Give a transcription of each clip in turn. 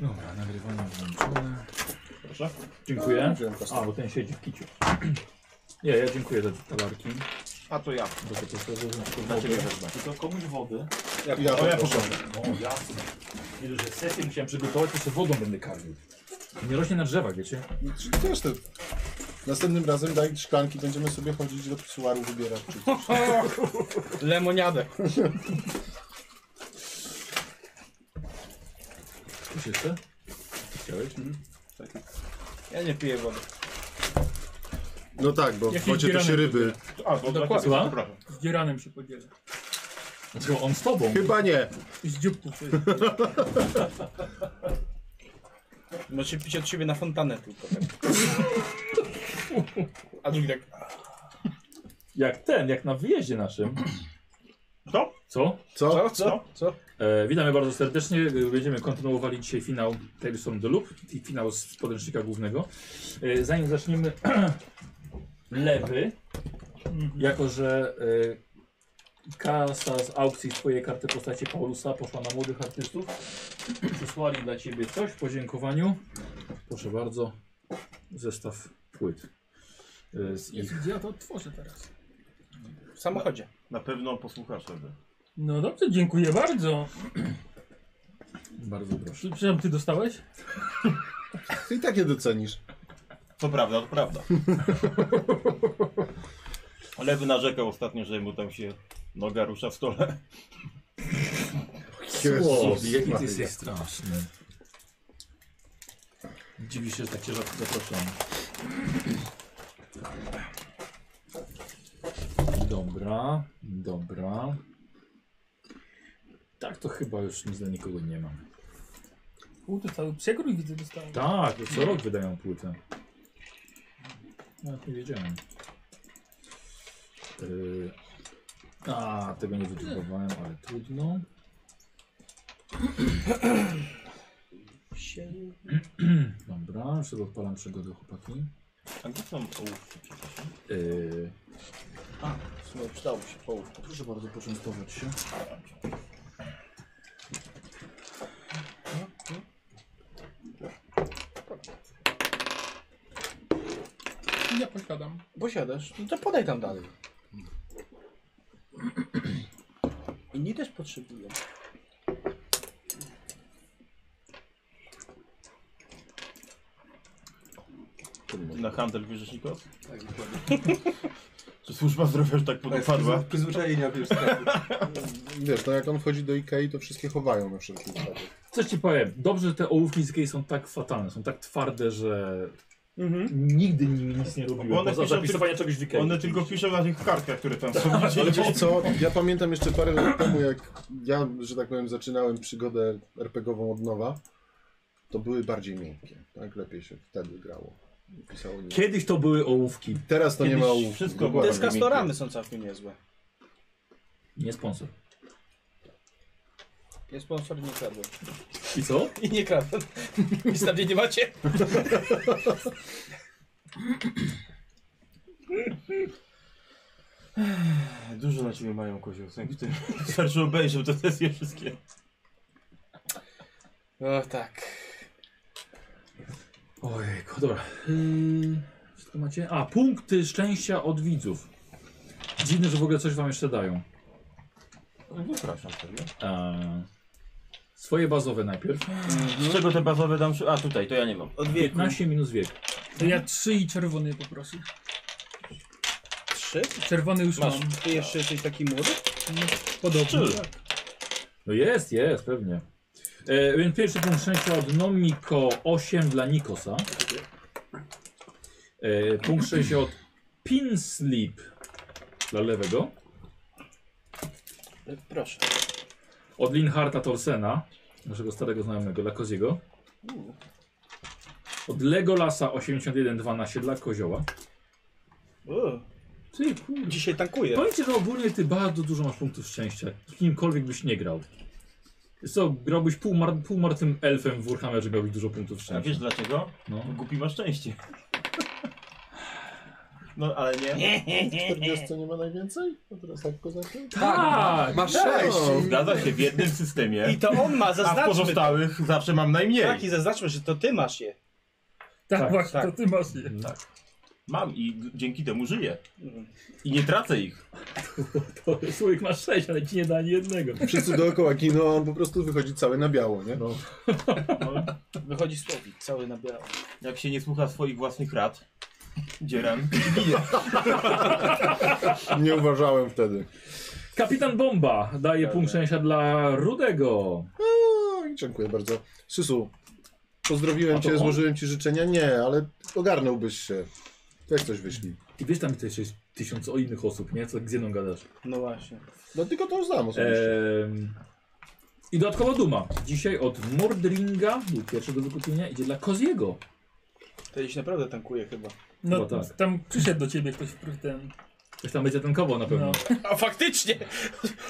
Dobra, nagrywanie włączone. Proszę. Dziękuję. Wziąłem kostkę. A, bo ten siedzi w kiciu. Nie, ja dziękuję za te talarki. A to ja. Bo to proszę, Dla ciebie wezmę. Tylko komuś wody. Ja, O, proszę. ja poproszę. O, jasne. Nie dość, że sesję musiałem przygotować, to się wodą będę karmił. Nie rośnie na drzewach, wiecie? Też te... Następnym razem daj szklanki, będziemy sobie chodzić do psułaru wybierać. Czy coś. Lemoniadę. Coś jeszcze? Chciałeś? Ja nie piję wody. No tak, bo w Jakieś wodzie to się bieramy. ryby. A, bo Dokładnie. Słucham? Z dzieranem się podzielę. Dlaczego on z tobą? Chyba nie. Z dzióbków. Możecie pić od siebie na fontanę tylko. Tak. A drugi tak. Jak ten, jak na wyjeździe naszym. Kto? Co? Co? Co? Co? E, witamy bardzo serdecznie. Będziemy kontynuowali dzisiaj finał Taysom the Loop i finał z podręcznika głównego. E, zanim zaczniemy, lewy, jako że e, kasa z aukcji z twojej karty postaci Paulusa poszła na młodych artystów, przysłali dla ciebie coś w podziękowaniu. Proszę bardzo, zestaw płyt e, z ich. Jezu, gdzie ja to otworzę teraz? W samochodzie. Na pewno posłuchasz wtedy. No dobrze, dziękuję bardzo. Bardzo proszę. Przepraszam, ty dostałeś? Ty i tak je docenisz. To prawda, to prawda. Lewy narzekał ostatnio, że mu tam się noga rusza w stole. Jezus Słowi, jaki ty Maria. jesteś straszny. Dziwi się, że tak cię rzadko zapraszam. Dobra, dobra. Tak, to chyba już nic dla nikogo nie mam. U, to cały przekrój widzę dostałem. Tak, to co rok wydają płytę. Nawet nie wiedziałem. Yy... A, tego nie wydrukowałem, ale trudno. Dobra, już sobie odpalam przygodę chłopaki. A gdzie są ołówki? przepraszam? Yy... W sumie przydałoby się połów. Proszę bardzo, poczęstować się. Ja posiadam. Posiadasz? No to podaj tam dalej. Hmm. Inni też potrzebują. Ty na handel bierzesz Nikos? Tak, dokładnie. Czy służba zdrowia już tak podupadła? Przyzwyczajenia, wiesz, Wiesz, no jak on wchodzi do Ikei, to wszystkie chowają na wszelki wypadek. Coś ci powiem, dobrze, że te ołówki z Ikei są tak fatalne, są tak twarde, że nigdy nimi nic nie robiłem, Mhm. Bo one poza piszą zapisywania czegoś w Ikei. One tylko piszą na tych kartkach, które tam są. Ale wiesz co, ja pamiętam jeszcze parę lat temu, jak ja, że tak powiem, zaczynałem przygodę RPGową od nowa, to były bardziej miękkie, tak? Lepiej się wtedy grało. Pisało nie. Kiedyś to były ołówki, Teraz to nie ma Kiedyś u... wszystko dokładnie Te z miękkie. kastorami są całkiem niezłe. nie sponsor. Ja sponsor nie kradłem. I co? I nie kradłem. Nic tam nie macie? Dużo na ciebie mają kozioł, w tym. Wystarczy obejrzeć te sesje wszystkie. No tak. Ojejku, dobra. Yy, co tu macie? A, punkty szczęścia od widzów. Dziwne, że w ogóle coś wam jeszcze dają. Zapraszam sobie. Eee, swoje bazowe najpierw. Z czego te bazowe dam? A tutaj, to ja nie mam. Od wieku. 15 minus wiek. To ja trzy i czerwony poproszę. Trzy? Czerwony już mam. Masz, ty jeszcze jesteś taki młody? Podobno. Trzy. No jest, jest, pewnie. E, więc pierwszy punkt szczęścia od Nomiko 8 dla Nikosa. E, punkt szczęścia od Pinslip dla lewego. E, Proszę. Od Linharta Torsena, naszego starego znajomego, dla Koziego. Od Legolasa 8112 dla Kozioła. Uuu. Ty, kurde. Dzisiaj tankuję. Powiem ci, że ogólnie ty bardzo dużo masz punktów szczęścia. Z kimkolwiek byś nie grał. Wiesz co, grałbyś pół, mar pół martwym elfem w Warhammerze, miałbyś dużo punktów No. A szczęścia. wiesz dlaczego? No. Głupi ma szczęście. No ale nie. 40 nie ma najwięcej? To teraz tak kozakiem? Tak! Masz sześć. No, Zgadza się, w jednym systemie. I to on ma, A w zaznaczmy. pozostałych zawsze mam najmniej. Tak, i zaznaczmy, że to ty masz je. Tak, Tak, właśnie, tak. to ty masz je. Tak. Mam i dzięki temu żyję. Mhm. I nie tracę ich. To człowiek ma sześć, ale ci nie da ani jednego. Wszyscy dookoła giną, a on po prostu wychodzi cały na biało, nie? Wychodzi słowik, cały na biało. Jak się nie słucha swoich własnych rad, dzieram. Nie uważałem wtedy. Kapitan Bomba daje Tak. punkt szczęścia dla Rudego. No i dziękuję bardzo. Sysu, pozdrowiłem A to cię, on? złożyłem ci życzenia. Nie, ale ogarnąłbyś się. Jak coś wyślij. I wiesz tam jeszcze jest tysiąc o innych osób, nie? Co, z jedną gadasz. No właśnie. No tylko to znam osobiście. Ehm, I dodatkowo duma. Dzisiaj od Mordringa, był pierwszy do wykupienia, idzie dla Koziego. To dziś naprawdę tankuje chyba. No Chyba tak. tam przyszedł do ciebie ktoś w ten. Ktoś tam będzie tankował na pewno. No. A faktycznie!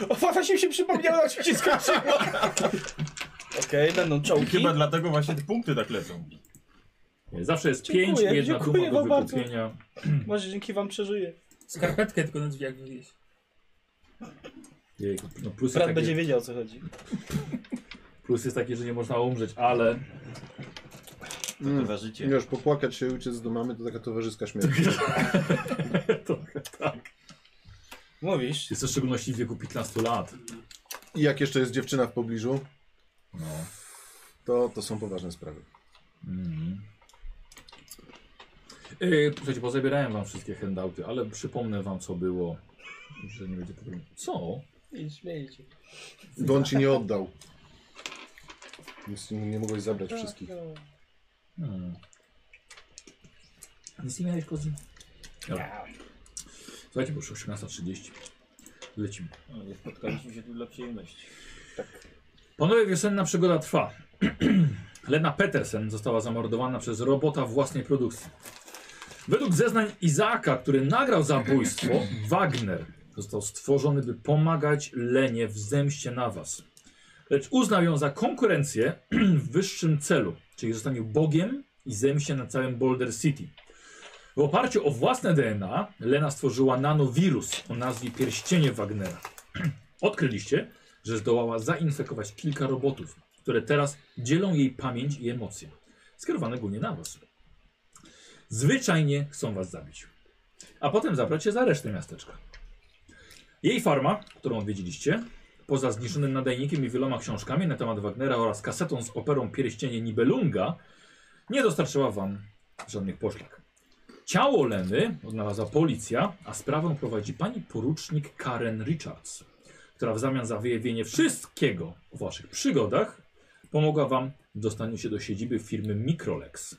O, właśnie mi się przypomniało, na czym się skończyło. Okej, będą I czołgi. chyba dlatego właśnie te punkty tak lecą. Zawsze jest Dziękuję, pięć, jedna dziękuję duma do wam bardzo. wykupienia. Może dzięki wam przeżyję. Skarpetkę tylko na drzwiach wywieźć. Jejku, No plus, jest Brat takie, będzie wiedział o co chodzi. plus jest taki, że nie można umrzeć, ale To Mm. za życie. Wiesz, popłakać się i uciec do mamy to taka towarzyska śmierć. trochę tak. Mówisz? Jest to w szczególności w wieku 15 lat. I jak jeszcze jest dziewczyna w pobliżu, No. to, to są poważne sprawy. Mm. Yy, słuchajcie, pozabierałem wam wszystkie handouty, ale przypomnę wam co było. Że nie będzie problemu. Co? I śmiejcie. Bo on ci nie oddał. Więc nie, nie mogłeś zabrać wszystkich. Hmm. Nic nie miałeś kozy? Dobra. Słuchajcie, bo już 18.30. Lecimy. No, Spotkaliśmy się tu dla przyjemności. Panowie, wiosenna przygoda trwa. Lena Petersen została zamordowana przez robota własnej produkcji. Według zeznań Izaaka, który nagrał zabójstwo, Wagner został stworzony, by pomagać Lenie w zemście na was. Lecz uznał ją za konkurencję w wyższym celu, czyli zostanie bogiem i zemście na całym Boulder City. W oparciu o własne DNA Lena stworzyła nanowirus o nazwie pierścienie Wagnera. Odkryliście, że zdołała zainfekować kilka robotów, które teraz dzielą jej pamięć i emocje, skierowane głównie na was. Zwyczajnie chcą was zabić, a potem zabrać się za resztę miasteczka. Jej farma, którą odwiedziliście, poza zniszczonym nadajnikiem i wieloma książkami na temat Wagnera oraz kasetą z operą Pierścienie Nibelunga, nie dostarczyła wam żadnych poszlak. Ciało Leny odnalazła policja, a sprawę prowadzi pani porucznik Karen Richards która w zamian za wyjawienie wszystkiego o waszych przygodach pomogła wam w dostaniu się do siedziby firmy Microlex.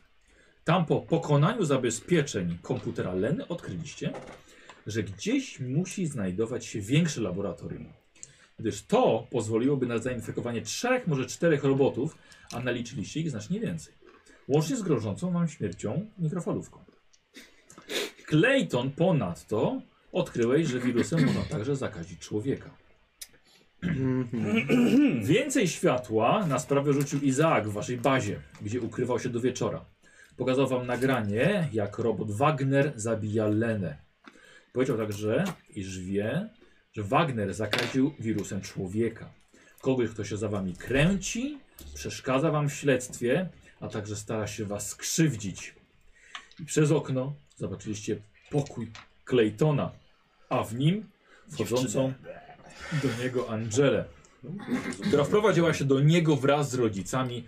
Tam po pokonaniu zabezpieczeń komputera Leny odkryliście, że gdzieś musi znajdować się większe laboratorium. Gdyż to pozwoliłoby na zainfekowanie trzech, może czterech robotów, a naliczyliście ich znacznie więcej. Łącznie z grożącą wam śmiercią mikrofalówką. Clayton ponadto odkryłeś, że wirusem można także zakazić człowieka. tak. Mhm. Więcej światła na sprawę rzucił Izaak w waszej bazie, gdzie ukrywał się do wieczora. Pokazał wam nagranie, jak robot Wagner zabija Lenę. Powiedział także, iż wie, że Wagner zakaził wirusem człowieka. Kogoś, kto się za wami kręci, przeszkadza wam w śledztwie, a także stara się was skrzywdzić. I przez okno zobaczyliście pokój Claytona, a w nim wchodzącą do niego Angelę która wprowadziła się do niego wraz z rodzicami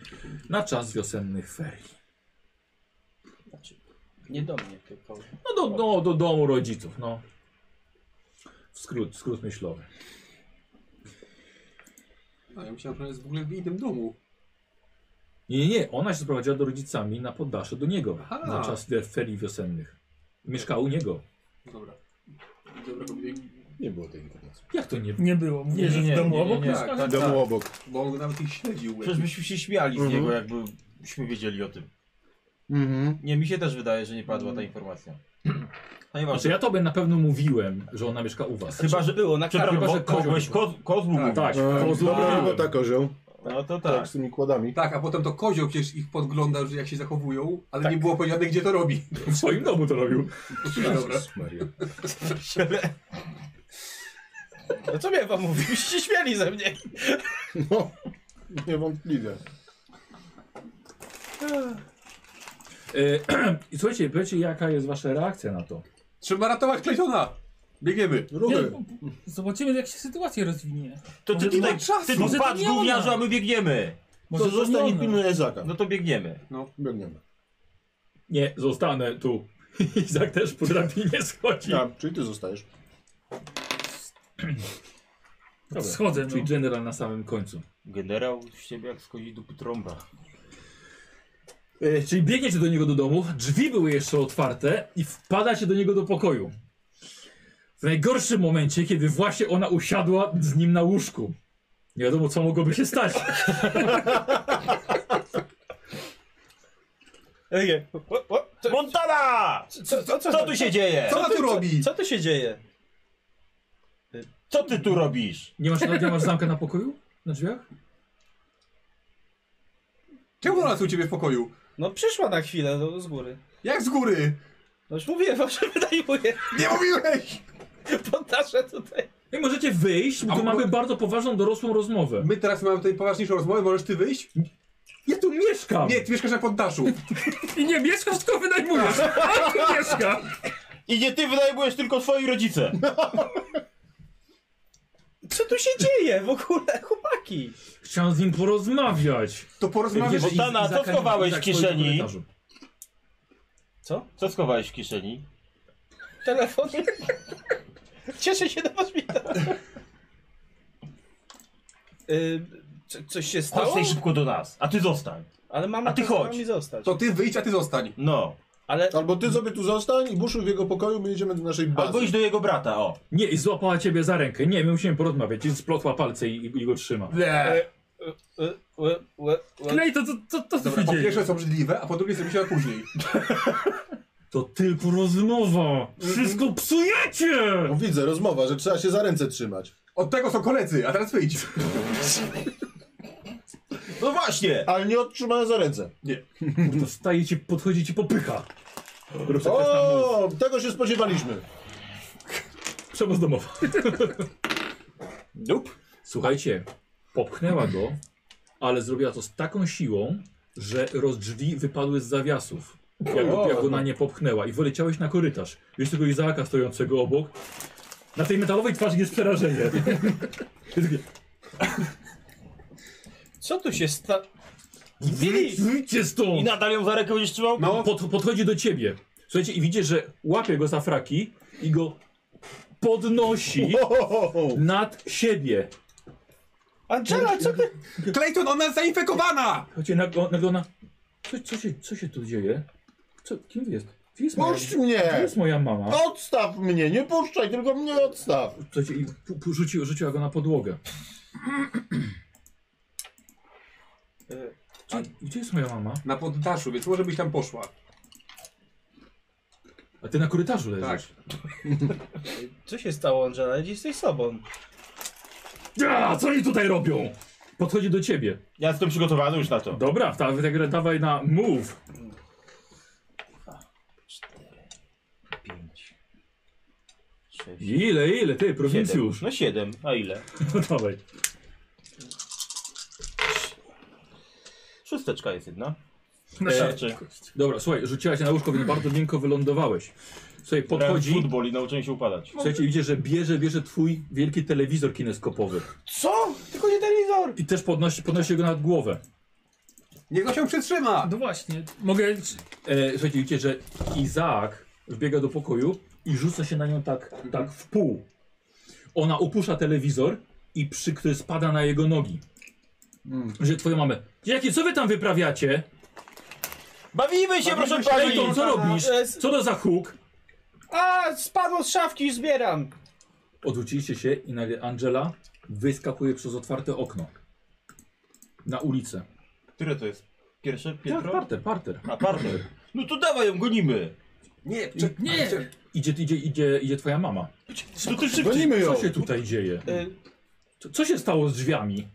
na czas wiosennych ferii. Znaczy, Nie do mnie, tylko. No do, do, do domu rodziców, no. W Skrót, skrót myślowy. A ja myślałem, że ona jest w ogóle w innym domu. Nie, nie, nie, ona się sprowadziła do rodzicami na poddasze do niego Aha. na czas we- ferii wiosennych. Mieszkała u niego. Dobra. Dobra, kobieta. Nie było tej informacji. Jak to nie... Nie było. Mówię, Nie, że nie, w domu nie, nie, obok nie. mieszka? Tak, W domu obok. Bo on go nawet ich śledził. Przecież byśmy się śmiali z niego, jakbyśmy wiedzieli o tym. Mhm. Nie, mi się też wydaje, że nie Mm. padła Mhm. ta informacja. No Znaczy nieważne. ja tobie na pewno mówiłem, że ona mieszka u was. Tak, Chyba, że Znaczy, Było na kartę. Przepraszam, Chyba, bo że kozioł kogoś, był. ko, kozlu Tak. Tak, E, kozła- Dobra robota, kozioł. No to Tak, tak. z tymi kładami. Tak, a potem to kozioł przecież ich podgląda, że jak się zachowują, ale Tak. nie było powiedziane, gdzie to robi. W swoim domu to robił. No dobra. Jezus Maria. No co miałem wam mówić? Byście śmiali ze mnie. No, niewątpliwie. E, I słuchajcie, powiecie jaka jest wasza reakcja na to. Trzeba ratować Claytona! Biegniemy. Nie, Ruchy. bo- bo- zobaczymy jak się sytuacja rozwinie. To Może ty to tutaj, nie ty tu Może to patrz nie ona. gówniarzu, a my biegniemy. To nie zostań i ona. pilnuj Ezaka. No to biegniemy. Biegniemy. Nie, zostanę tu. Izak też po drabinie schodzi. Ja, czyli ty zostajesz. Dobra. Schodzę, no. Czyli general na samym końcu. Generał z ciebie jak schodzi dupy trąba. E, czyli biegniecie do niego do domu, drzwi były jeszcze otwarte i wpadacie do niego do pokoju. W najgorszym momencie, kiedy właśnie ona usiadła z nim na łóżku. Nie wiadomo, co mogłoby się stać. Ej, o, o, co, Montana! co, co, co, Co Tak. tu się dzieje? Co ona tu robi? Co tu się dzieje? Co ty tu robisz? Nie masz, nie masz zamka na pokoju? Na drzwiach? Czemu ona tu u ciebie w pokoju? No przyszła na chwilę no, z góry. Jak z góry? No już mówiłem wam, że wynajmuję Nie mówiłeś! podaszę tutaj. I możecie wyjść, bo A tu mo- mamy bardzo poważną dorosłą rozmowę. My teraz mamy tutaj poważniejszą rozmowę, możesz ty wyjść? Ja tu mieszkam! Nie, ty mieszkasz na poddaszu. I nie mieszkasz, tylko wynajmujesz. A tu mieszka. I nie ty wynajmujesz tylko twoi rodzice. Co tu się dzieje w ogóle, chłopaki? Chciałem z nim porozmawiać. To porozmawiasz Wiesz, i... Montana, Izaka- co schowałeś Izak w kieszeni? stoi na korytarzu. Co? Co schowałeś w kieszeni? Telefon? Cieszę się na was witam. Y, co, coś się Chodź stało? tej szybko do nas, a ty zostań. Ale mama A ty kazała chodź. mi zostać. To ty wyjdź, a ty zostań. No. Ale Albo ty sobie tu zostań i buszuj w jego pokoju, my jedziemy do naszej bazy. Albo idź do jego brata, o. Nie, i złapała ciebie za rękę. Nie, my musimy porozmawiać. I splotła palce i, i go trzyma. Nie. y, y, y, y, Klej, to, to, to, to E, co Dobra, się po dzieje? pierwsze jest obrzydliwe, a po drugie zrobi się na później. To tylko rozmowa. Wszystko psujecie! No, widzę, rozmowa, że trzeba się za ręce trzymać. Od tego są koledzy, a teraz wyjdź. No właśnie! Ale nie odtrzymałem za ręce. Kurwa, staje ci, podchodzi ci, popycha. Proszę, też tam mów. O, tego się spodziewaliśmy. przemoc domowa. Nope. Słuchajcie, popchnęła go, ale zrobiła to z taką siłą, że rozdrzwi wypadły z zawiasów. Jak go, jak go na nie popchnęła i wyleciałeś na korytarz. Wiesz tego Izaaka stojącego obok. Na tej metalowej twarzy jest przerażenie. Jest takie, co tu się stało? Wyjdźcie I stąd! nadal ją za rękę będziesz trzymał? No, Pod, podchodzi do ciebie. Słuchajcie, i widzisz, że łapie go za fraki i go podnosi nad siebie. Angela, co ty? Clayton, ona jest zainfekowana! Słuchajcie, nagle nagle ona... Co, co, się, co się tu dzieje? Co, kim wy jest? Gdzie jest moja, Puść gdzie mnie! jest moja mama? Odstaw mnie, nie puszczaj, tylko mnie odstaw. Słuchajcie, i pu- pu- rzuci, rzuciła go na podłogę. E, A gdzie jest moja mama? Na poddaszu, więc może byś tam poszła. A ty na korytarzu Tak. leżysz. Co się stało, Angela? Jesteś sobą. Ja, co oni tutaj robią? Podchodzi do ciebie. Ja jestem przygotowany już na to. Dobra, ta, ta, gra- dawaj na move. Pięć. Sześć. Ile, ile, ty, prowincjusz. Siedem. No siedem, a ile? No dawaj. Szósteczka jest jedna. E, Na Starczy. Dobra, słuchaj, rzuciła się na łóżko, więc bardzo miękko wylądowałeś. Słuchaj, Podchodzi. podchodzi. futbol i nauczyłem się upadać. Słuchajcie, widzicie, że bierze, bierze twój wielki telewizor kineskopowy. Co? Tylko nie telewizor. I też podnosi, podnosi go nad głowę. Niech go się przytrzyma! No właśnie, mogę... E, słuchajcie, widzicie, że Izaak wbiega do pokoju i rzuca się na nią tak, tak w pół. Ona upusza telewizor i przy, który spada na jego nogi. Że twoją mamę. Jakie, co wy tam wyprawiacie? Bawimy się, proszę się, pani! Clayton, co robisz? A, e, s- Co to za huk? A, spadło z szafki i zbieram. Odwróciliście się i nagle Angela wyskakuje przez otwarte okno. Na ulicę. Które to jest? Pierwsze Tak, piętro? parter, parter. A, parter. No to dawaj ją, gonimy! Nie, czek- Nie. czek- Idzie, idzie, idzie, idzie twoja mama. No to szybciej! Gonimy ją. Y, Co się tutaj dzieje? E, Co- Co się stało z drzwiami?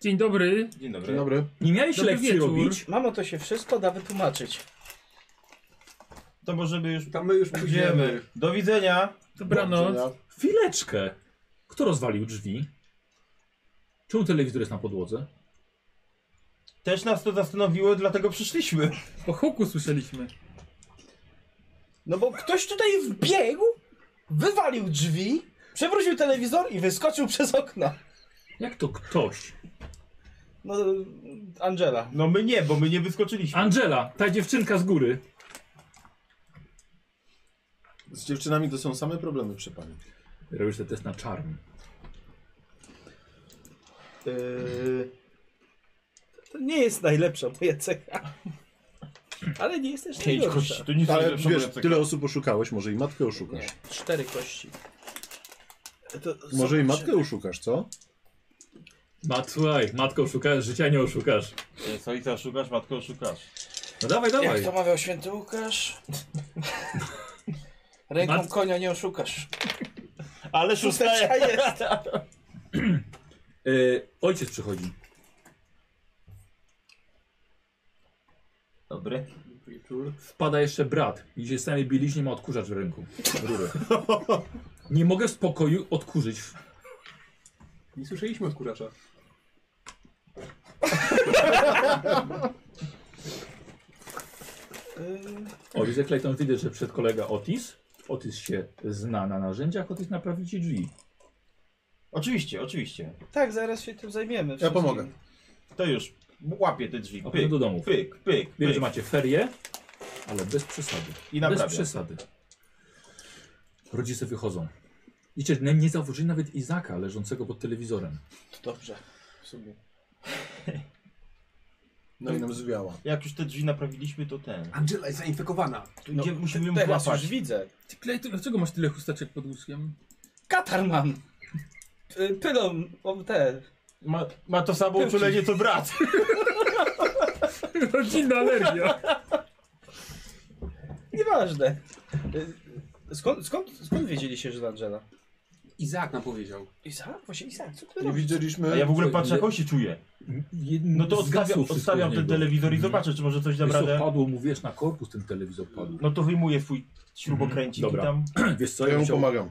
Dzień dobry. Dzień dobry. Dzień dobry. Nie miałeś Dobry lekcji wieczór. robić? Mamo, to się wszystko da wytłumaczyć. To możemy już... Tam my już Tak, pójdziemy. Idziemy. Do widzenia. Dobranoc. Ja- Chwileczkę. Kto rozwalił drzwi? Czemu telewizor jest na podłodze? Też nas to zastanowiło, dlatego przyszliśmy. O huku słyszeliśmy. No bo ktoś tutaj wbiegł, wywalił drzwi, przewrócił telewizor i wyskoczył przez okno. Jak to ktoś? No, Angela. No my nie, bo my nie wyskoczyliśmy. Angela, ta dziewczynka z góry. Z dziewczynami to są same problemy przy pani. Robisz ten test na czarny. Yy, to nie jest najlepsza moja cecha. Ale nie jest też Pięć najgorsza. kości, to nic Ale najlepszego wiesz, jaceka. tyle osób oszukałeś, może i matkę oszukasz. Cztery kości. To Może i zobaczymy. matkę oszukasz, co? Mat, słuchaj, matko oszukasz, życia nie oszukasz. Yy, Co i szukasz, matko szukasz. No dawaj, Jak dawaj. to mawiał święty Łukasz? Ręką Mat- konia nie oszukasz. Ale szósta Szósteczka jest. Y, ojciec przychodzi. Dobry. Wpada jeszcze brat. Idzie z samej bieliźnie, ma odkurzacz w ręku. Rurę. Nie mogę w spokoju odkurzyć. Nie słyszeliśmy od kuracza. Y, O, widzę Clayton, widzę, że przed kolega Otis. Otis się zna na narzędziach, Otis naprawi ci drzwi. Oczywiście, oczywiście. Tak, zaraz się tym zajmiemy. Ja pomogę. To już łapie te drzwi. A Pyk, potem no do domu. pyk, pyk, Wiem, że pyk. macie ferie, ale bez przesady. I Bez naprawia. przesady. Rodzice wychodzą. Wiecie, nie, nie zauważyli nawet Izaka leżącego pod telewizorem. Dobrze. W sumie. No i nam zwiała. Jak już te drzwi naprawiliśmy, to ten. Angela jest zainfekowana. Tu gdzie musimy ją No, Teraz łapać. już widzę. Ty, Clayton, dlaczego masz tyle chusteczek pod łóżkiem? Katar mam. Y, Pylą, o te. Ma, ma to samo uczulenie co brat. Rodzinna alergia. Nieważne. Y, Skąd, skąd, skąd wiedzieliście, że to Angela? Izaak nam powiedział. Izaak? Właśnie Izaak, co ty Nie robisz? A widzieliśmy. ja w ogóle patrzę, jak on się czuje. No to odstawiam, odstawiam ten telewizor i zobaczę, czy może coś dam Wiesz co, radę. padło mu, wiesz, na korpus ten telewizor padł. No to wyjmuję swój śrubokręcik Dobra. i tam. Wiesz co, To ja ja mu musiał, e, pomagam.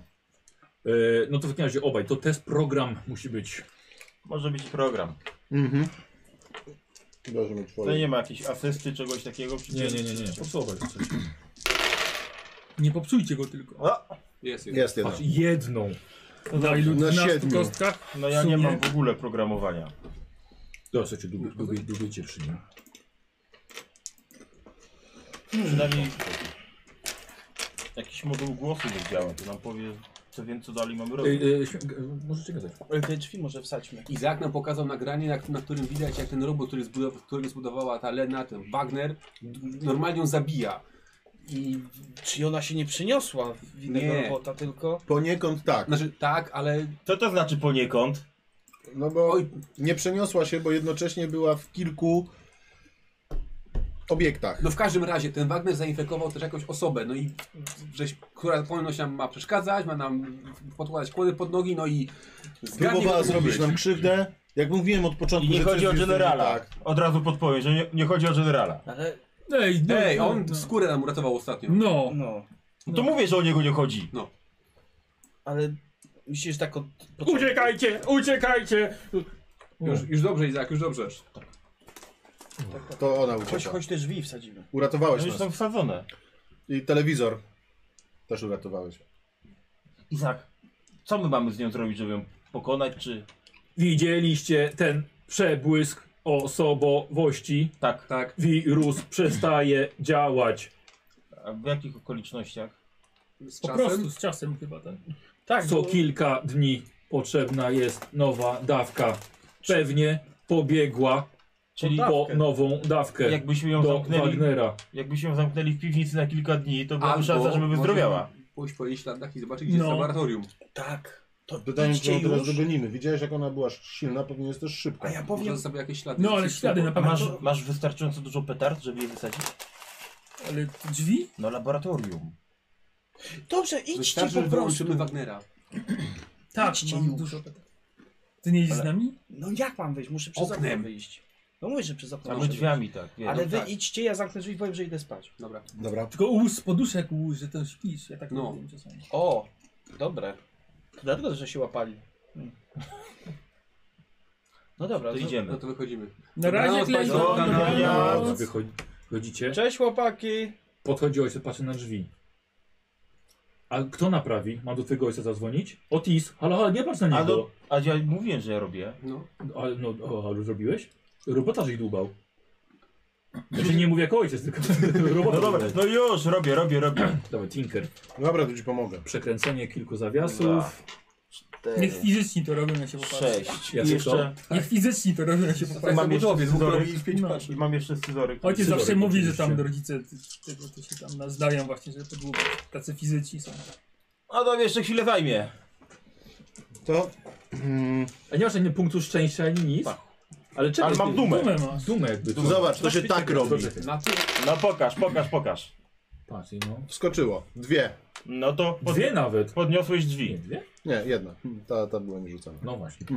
No to w takim razie obaj, to test program musi być. Może być program. Mhm. Dobrze, my To twoje. nie ma jakiejś asysty, czegoś takiego. Nie, nie, nie, nie, po co obaj? Nie popsujcie go tylko. O, Jest, jest. Jest jedna. Patrz, jedną. Na ilu? Na Na siedmiu. kostkach? no ja W nie sumie- mam w ogóle programowania. Dobra, słuchajcie, długo, długo, długo cię przy nim. Przynajmniej jakiś moduł głosu nie działa, to nam powie co wiem, co dalej mamy Ej, robić. ej, E, śmie- g- Możecie gadać. Ale Te drzwi może wsadźmy. Izaak nam pokazał nagranie, na, na którym widać, jak ten robot, który zbudowa, którego zbudowała ta Lena, ten Wagner, d- normalnie ją zabija. I czy ona się nie przyniosła w innego Nie. robota, tylko... Poniekąd tak. Znaczy, tak, ale Co to znaczy poniekąd? No bo Oj. nie przeniosła się, bo jednocześnie była w kilku obiektach. no w każdym razie ten Wagner zainfekował też jakąś osobę, no i żeś, która ponoć nam ma przeszkadzać, ma nam podkładać kłody pod nogi, no i zgadnie, Próbowała kto to mógł zrobić być. nam krzywdę. Jak mówiłem od I początku, nie że chodzi coś o jest nie generala. tak. Od razu podpowiem, że nie, nie chodzi o generala. Ale... Ej, no, Ej, no, on no. skórę nam uratował ostatnio. No. No. No to mówię, że o niego nie chodzi. Ale... Myślisz, że tak od... Uciekajcie, uciekajcie! Już, już dobrze, Izaak, już dobrze. To ona Chodź, uciekła. chodź te drzwi wsadzimy. Uratowałeś No już nas. są wsadzone. I telewizor też uratowałeś. Izak, co my mamy z nią zrobić, żeby ją pokonać, czy... Widzieliście ten przebłysk osobowości. Tak. Tak. Wirus przestaje działać. A w jakich okolicznościach? Z Po czasem. prostu, z czasem chyba, tak? Tak, Co bo- kilka dni potrzebna jest nowa dawka. Pewnie pobiegła Czyli dawkę. po nową dawkę jakbyśmy ją do zamknęli, Wagnera. jakbyśmy ją zamknęli w piwnicy na kilka dni, to byłaby Albo szansa, żeby możemy wyzdrowiała. Pójść po jej śladach i zobaczyć, gdzie jest No. laboratorium. Tak. To Pytanie, czy idźcie ją teraz już. dogonimy. Widziałeś, jak ona była silna, pewnie jest też szybka. A ja Może powiem... zostawił jakieś ślady. No ale ślady na A pewno. masz, masz wystarczająco dużo petard, żeby je wysadzić? Ale drzwi? No laboratorium. Dobrze, idźcie Wystarczy, po że prostu. wyłączymy Wagnera. Tak, Idźcie mam już. dużo. Ty nie idziesz z nami? No jak mam wyjść? Muszę przez okno Oknem. wyjść. No mówię, że przez okno Albo muszę drzwiami tak, wyjść. wiesz. Ale wy tak. idźcie, ja zamknę drzwi i powiem, że idę spać. Dobra. Tak. Dobra. Tylko łóż z poduszek łóż, że to śpisz. Ja tak No. robię czasami. O, dobre. Dlatego, że się łapali. Hmm. No dobra, To no- idziemy. No to wychodzimy. Na razie Dobranoc, klejmy. No, Państwo. Dobranoc. Dobranoc. Wychodzi- Wychodzicie. Cześć chłopaki. Podchodzi ojciec, patrzy na drzwi. A kto naprawi? Mam do twojego ojca zadzwonić? Otis, halo, halo, nie patrz na A, niego. do, a ja mówiłem, że ja robię. No. Ale no, o, ale zrobiłeś? Robota żeś dłubał. Znaczy nie mówię jako ojciec, tylko robota. No dobra, no już, robię, robię, robię. Dobra, Tinker. Dobra, to ci pomogę. Przekręcenie kilku zawiasów. Niech fizyczni to robią, jak się popatrzą. Sześć. Ja I co? jeszcze... Niech fizyczni to robią, jak się popatrzą. Mam jeszcze Zawodowiec, mógł scyzoryk. robić pięć No, paczek. I mam jeszcze scyzoryk. Ojciec Scyzoryk zawsze mówi, że tam oczywiście. rodzice t- tego to się tam nazdają właśnie, że to było tacy fizyczni są. A to jeszcze chwilę zajmie. To... Mm, A nie masz ani punktu szczęścia, ani nic. Ale czekaj. Ale mam ty- dumę. Dumę masz. Dumę jakby. to zobacz, to się tak robi. Poczekaj. Na ty. No pokaż, pokaż, pokaż. Patrz, no. Wskoczyło. Dwie. No to pod... Dwie nawet. podniosłeś Nie, drzwi. dwie? Nie, jedna. Hmm, Ta, ta była nierzucana. No właśnie.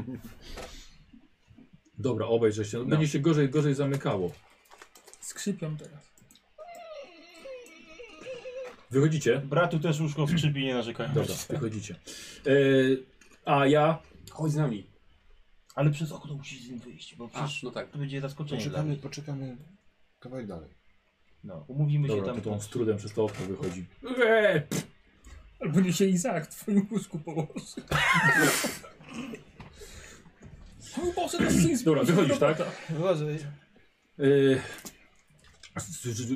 Dobra, obejrzę się. Będzie się gorzej, gorzej zamykało. Skrzypią teraz. Wychodzicie? Bratu też łóżko skrzypi, nie narzekaj. Dobra, wychodzicie. E, a ja Chodź z nami. Tak. Ale przez okno musisz z nim wyjść, bo A, przecież no tak. to będzie zaskoczenie dla Poczekamy, mnie. poczekamy kawałek dalej. No, umówimy się Dobra, tam. to on z trudem przez to okno wychodzi. Eee, Albo nie się Izaak w twoim łóżku położy. No Boże, to jest sens- Dobra, wychodzisz, tak? Wychodzę. Yy, z- z- z-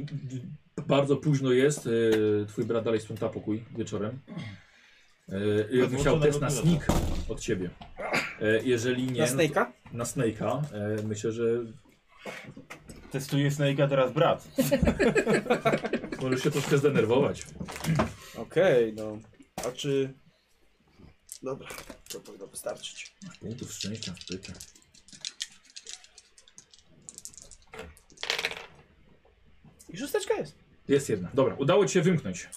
bardzo późno jest. Yy, twój brat dalej sprząta pokój wieczorem. Yy, I on musiał test na sneak od ciebie. Yy, jeżeli nie, Na no to- Snake'a? na snake'a. Yy, myślę, że Testuje Snake'a teraz brat. możesz się troszkę zdenerwować. Okej, no. A czy... Dobra, to powinno wystarczyć. Punktów szczęścia wpyta. I szósteczka jest. Jest jedna. Dobra, udało ci się wymknąć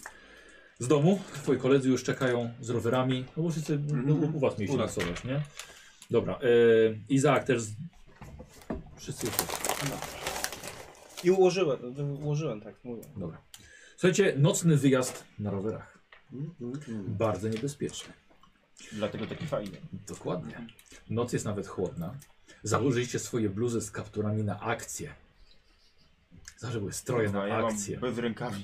z domu. Twoi koledzy już czekają z rowerami. No bo wszyscy no, u, u was mieliście U nas. nocować, nie? Dobra, yy, Izaak też. Z... Wszyscy już I ułożyłem, wy- ułożyłem tak, mówię. Dobra. Słuchajcie, nocny wyjazd na rowerach. Bardzo niebezpieczny. Dlatego taki fajny. Dokładnie. Noc jest nawet chłodna. Założyliście swoje bluzy z kapturami na akcję. Zawsze były stroje na Kurwa, No, ja mam akcję. Bez rękawi.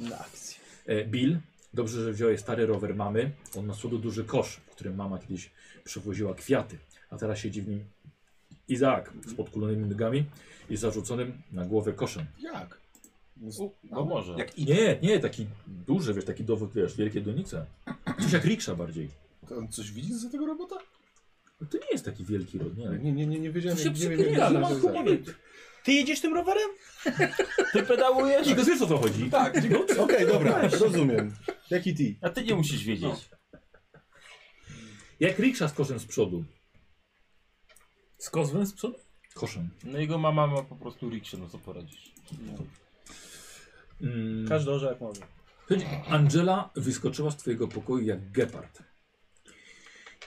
Na akcję. E, Bill, dobrze, że wziąłeś stary rower mamy. On ma cudu duży kosz, w którym mama kiedyś przewoziła kwiaty, a teraz siedzi w nim Izaak z podkulonymi nogami i zarzuconym na głowę koszem. Jak? No może. Jak i Nie, nie, taki duży, wiesz, taki dowód, wiesz, wielkie donice. Coś jak riksza bardziej. To on coś widzi za tego robota? No To nie jest taki wielki rod, nie. Nie, nie, nie, nie wiedziałem, To się jak- nie wiem, jak przypomina, no, to mam nawiązać. humorek. Ty jedziesz tym rowerem? Ty pedałujesz? Nie, to wiesz o co chodzi. tak. No, co? Okej, dobra, rozumiem. Jaki ty? A ty nie musisz wiedzieć. Jak riksza z koszem z przodu. Z kozłem z przodu? Koszem. No jego mama ma po prostu rikszy, no co poradzisz. Mm. Każdy orze jak Tak, może. Słuchajcie, Angela wyskoczyła z twojego pokoju jak gepard.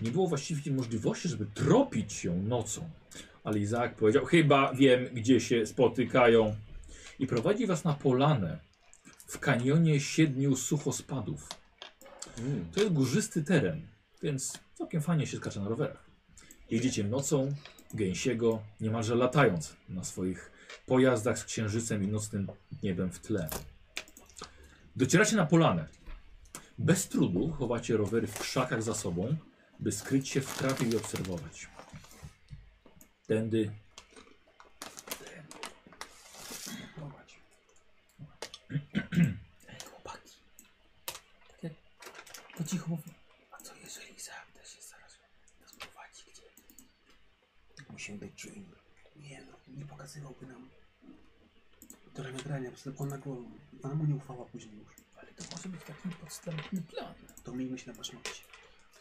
Nie było właściwie możliwości, żeby tropić ją nocą. Ale Izaak powiedział, chyba wiem, gdzie się spotykają. I prowadzi was na polanę w kanionie siedmiu suchospadów. To jest górzysty teren, więc całkiem fajnie się skacze na rowerach. Jedziecie nocą, gęsiego, niemalże latając na swoich pojazdach z księżycem i nocnym niebem w tle. Docieracie na polanę. Bez trudu chowacie rowery w krzakach za sobą, by skryć się w trawie i obserwować. Tędy. Tak Po cichu mówię. A co jeżeli Izaak też się zaraz nas prowadzi gdzie? Musimy być czujni. Nie no, nie pokazywałby nam do nagrania, po prostu ona go, ona mu nie ufała później już. Ale to może być taki podstępny plan. To miejmy się na baczności.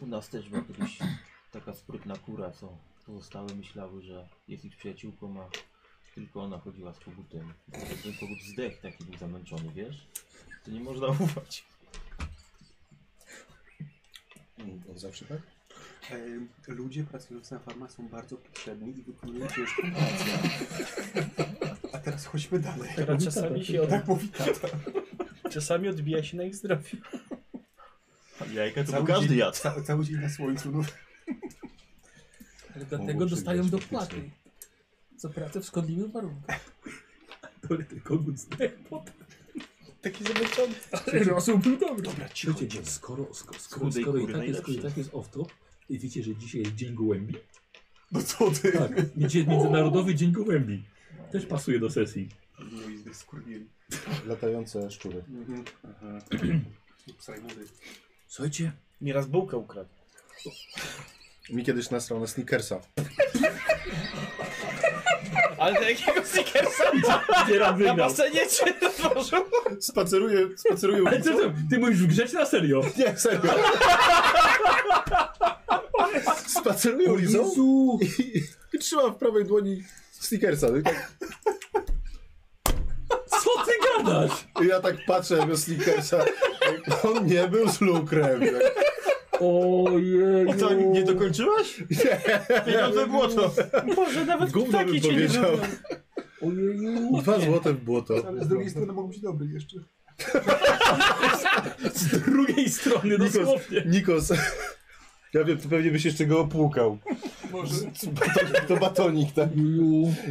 U nas też była kiedyś taka sprytna kura, co pozostałe myślały, że jest ich przyjaciółką, a tylko ona chodziła z kogutem. Ten kogut zdech taki był zamęczony, wiesz? To nie można ufać. Mm, On zawsze tak? E, ludzie pracujący na farmach są bardzo potrzebni i wykonują ciężką pracę. A teraz chodźmy dalej. Która czasami się od... Tak mówi tata. czasami odbija się na ich zdrowiu. Jajka to Cały był każdy dzień- jadł. Ca cały dzień na słońcu. No. Ale dlatego dostają dopłaty. Co pracę w szkodliwych warunkach. Ale ten kogut zdech potem. Taki zamęczony. Ale rosół był dobry. Dobra, Tak, cicho. Wiecie, skoro, skoro, skoro, Chudej skoro i kury tak jest, skoro i najlepsze. tak jest off-top, i wiecie, że dzisiaj jest Dzień Gołębi? no co ty? Tak, Między- Międzynarodowy Dzień Gołębi. Też pasuje do sesji. No i zdyskurwiłem. Latające szczury. Mhm. Psaj młody. Słuchajcie, Nieraz bułkę ukradł. Mi kiedyś nasrał na sneakersa. Ale do jakiego Snickersa Dziera na wygrał. basenie czy otworzył? Spaceruję, spaceruję Ale ty, ty, ty mówisz grzecznie na serio. Nie, serio. Spaceruję ulicą i, i trzymam w prawej dłoni sneakersa. I, tak, Co ty gadasz? i ja tak patrzę na tego sneakersa. On nie był z lukrem. Tak. Ojej. I to nie dokończyłaś? Pieniądze w błoto. Może nawet Gówno bym ptaki cię nie powiedział. lubią. Dwa złote w błoto. Ale z drugiej strony mogą być dobry jeszcze. Z drugiej strony Nikos, dosłownie. Nikos. Ja wiem, ty pewnie byś jeszcze go opłukał. Może. To, to batonik, tak?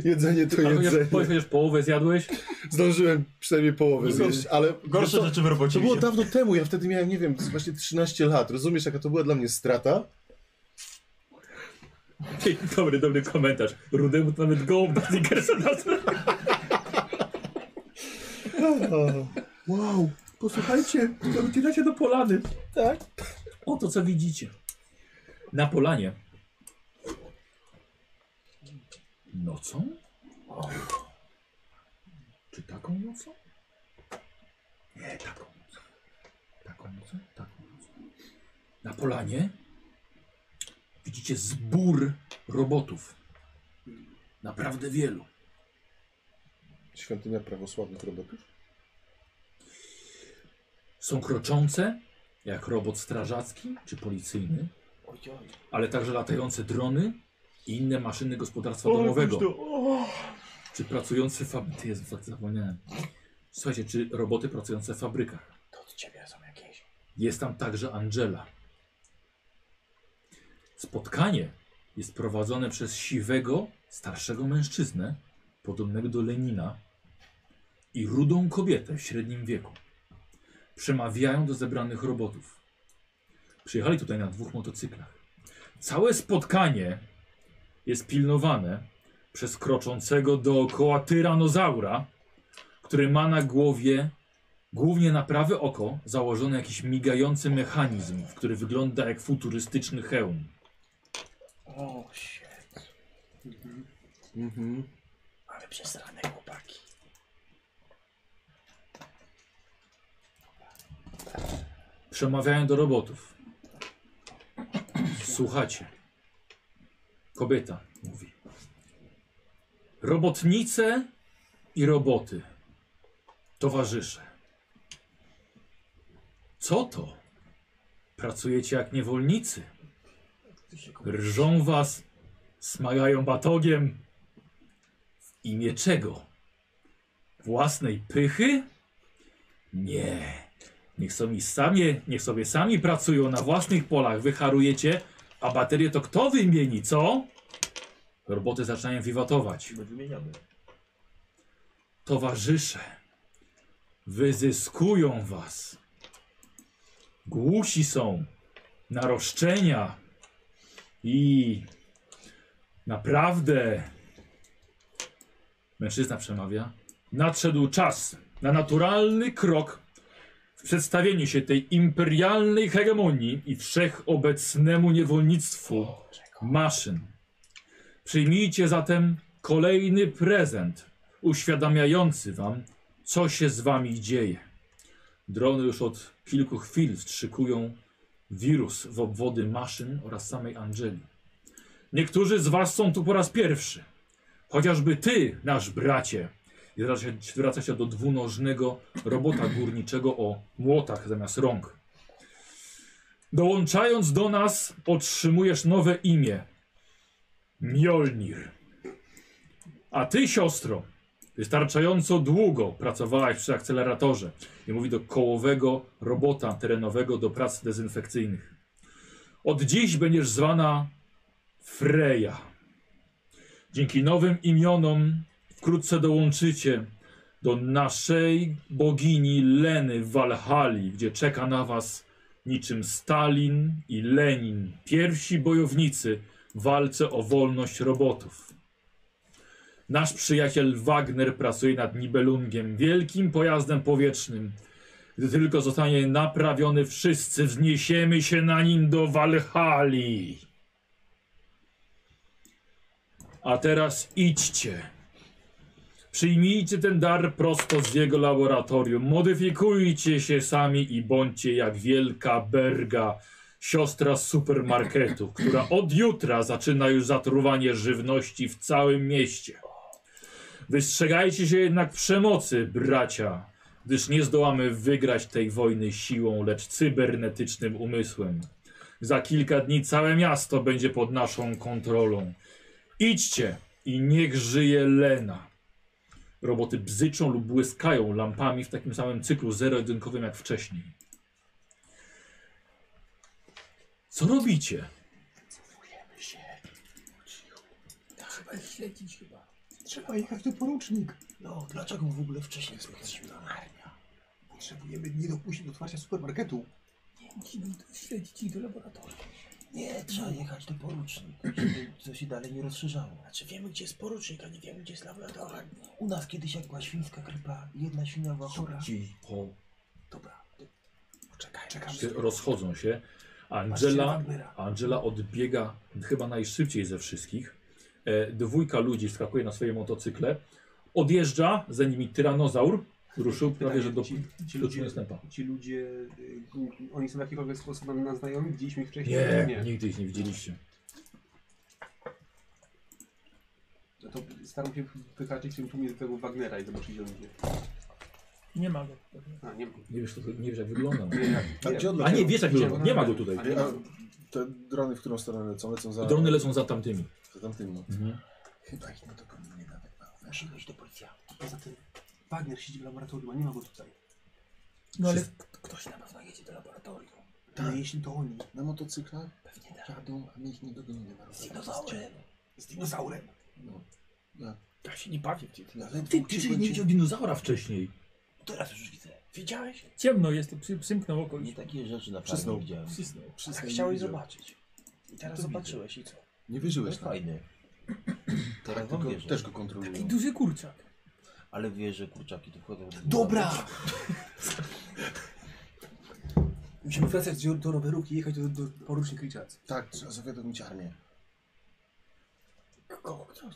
Jedzenie to A chociaż, jedzenie. chociaż połowę zjadłeś? Zdążyłem przynajmniej połowę zjeść, ale... Gorsze to, rzeczy w robocie to mi było się- dawno temu, ja wtedy miałem, nie wiem, właśnie 13 lat. Rozumiesz, jaka to była dla mnie strata? Ej, Dobry, dobry komentarz. Rudemu to nawet gołąb na Snickersa nazwa. Wow, posłuchajcie, to wybieracie do polany. Tak. Oto co widzicie. Na polanie. Nocą? Czy taką nocą? Nie, taką nocą. Taką nocą, taką nocą. Na polanie widzicie zbór robotów. Naprawdę wielu. Świątynia prawosławnych robotów? Są kroczące, jak robot strażacki czy policyjny, ale także latające drony i inne maszyny gospodarstwa domowego. Czy pracujące fabryki. Jezu, fakt zapomniałem. Słuchajcie, czy roboty pracujące w fabrykach. To od ciebie są jakieś. Jest tam także Angela. Spotkanie jest prowadzone przez siwego, starszego mężczyznę, podobnego do Lenina, i rudą kobietę w średnim wieku. Przemawiają do zebranych robotów. Przyjechali tutaj na dwóch motocyklach. Całe spotkanie jest pilnowane przez kroczącego dookoła tyranozaura, który ma na głowie Głównie na prawe oko założony jakiś migający mechanizm, który wygląda jak futurystyczny hełm. O, się. Ale przesrane chłopaki. Przemawiają do robotów. Słuchacie. Kobieta mówi. Robotnice i roboty. Towarzysze. Co to? Pracujecie jak niewolnicy. Rżą was, smagają batogiem. W imię czego? Własnej pychy? Nie. Niech sobie sami, niech sobie sami pracują na własnych polach, wycharujecie, a baterie to kto wymieni, co? Roboty zaczynają wiwatować. My wymieniamy. Towarzysze, wyzyskują was. Głusi są na roszczenia i naprawdę mężczyzna przemawia. Nadszedł czas na naturalny krok w przedstawieniu się tej imperialnej hegemonii i wszechobecnemu niewolnictwu maszyn. Przyjmijcie zatem kolejny prezent uświadamiający wam, co się z wami dzieje. Drony już od kilku chwil strzykują wirus w obwody maszyn oraz samej Angeli. Niektórzy z was są tu po raz pierwszy. Chociażby ty, nasz bracie. I zwraca się, zwraca się do dwunożnego robota górniczego o młotach zamiast rąk. Dołączając do nas, otrzymujesz nowe imię. Mjolnir. A ty, siostro, wystarczająco długo pracowałaś przy akceleratorze. I mówi do kołowego robota terenowego do prac dezynfekcyjnych. Od dziś będziesz zwana Freja. Dzięki nowym imionom wkrótce dołączycie do naszej bogini Leny w Walhali, gdzie czeka na was niczym Stalin i Lenin, pierwsi bojownicy w walce o wolność robotów. Nasz przyjaciel Wagner pracuje nad Nibelungiem, wielkim pojazdem powietrznym. Gdy tylko zostanie naprawiony, wszyscy wzniesiemy się na nim do Walhali. A teraz idźcie. Przyjmijcie ten dar prosto z jego laboratorium. Modyfikujcie się sami i bądźcie jak wielka Berga, siostra supermarketu, która od jutra zaczyna już zatruwanie żywności w całym mieście. Wystrzegajcie się jednak przemocy, bracia, gdyż nie zdołamy wygrać tej wojny siłą, lecz cybernetycznym umysłem. Za kilka dni całe miasto będzie pod naszą kontrolą. Idźcie i niech żyje Lena. Roboty bzyczą lub błyskają lampami w takim samym cyklu zero-jedynkowym jak wcześniej. Co robicie? Trzeba ich śledzić chyba. Trzeba jechać do porucznik. No, dlaczego w ogóle wcześniej jest potrzebna armia? Potrzebujemy nie dopuścić do otwarcia supermarketu. Nie, musimy no to śledzić ich do laboratorium. Nie, trzeba jechać do porucznik, żeby to się dalej nie rozszerzało. Znaczy wiemy, gdzie jest porucznik, a nie wiemy, gdzie jest laboratorium. U nas kiedyś jak była świńska grypa, jedna świnia była chora. Ci po, Dobra, poczekaj. się rozchodzą się. Patrzcie na Angela, Wagnera. Angela odbiega chyba najszybciej ze wszystkich. E, dwójka ludzi skakuje na swoje motocykle. Odjeżdża, za nimi tyranozaur. Ruszył prawie, że do, Ci, ci, do ludzie, następa. ci ludzie, y, oni są w jakikolwiek sposób nam nas znajomi? Widzieliśmy ich wcześniej? Nie, nigdy ich nie widzieliście. No to staram się wyhaczyć w tym tłumie tego Wagnera i zobaczyć, gdzie on idzie. Nie ma go. A, No, nie ma. Nie wiesz, to- nie wiesz jak wygląda. Nie, jak, A gdzie A nie, odleciały? wiesz jak wygląda. Nie ma go tutaj. A nie ma go. Te drony, w którą stronę lecą? Lecą za... Drony lecą za tamtymi. Mhm. Za tamtym. Chyba ich nie dogonimy nawet. Musimy iść do policji. Poza tym Wagner siedzi w laboratorium, a nie ma go tutaj. No ale Wszyscy- k- ktoś na pewno jedzie do laboratorium. Ale jeśli to oni, Na motocyklach? Pewnie tak. Jadą, a my ich nie dogonimy. Z dinozaurem. z dinozaurem. No. No. Ja się nie bawię w tych Na Ty, ledwo ty, ci ty nie będzie... widział dinozaura wcześniej. Teraz już widzę. Widziałeś? Ciemno jest, to przy, przymknął oko. Nie takie rzeczy na Przysnął. farmie widziałem. Przysnął. Tak Przestań, nie chciałeś widział. zobaczyć. I teraz To widzę. zobaczyłeś i co? Nie To wierzyłeś jest tam. Tak, fajne. Teraz wam Tylko wierzę. też go Taki kontrolują. duży kurczak. Ale wie, że kurczaki No, tu wchodzą. Dobra! Musimy wracać do, do rowerówki i jechać do, do porucznik Richards. Tak, trzeba zawiadomić armię. Kogo? Co?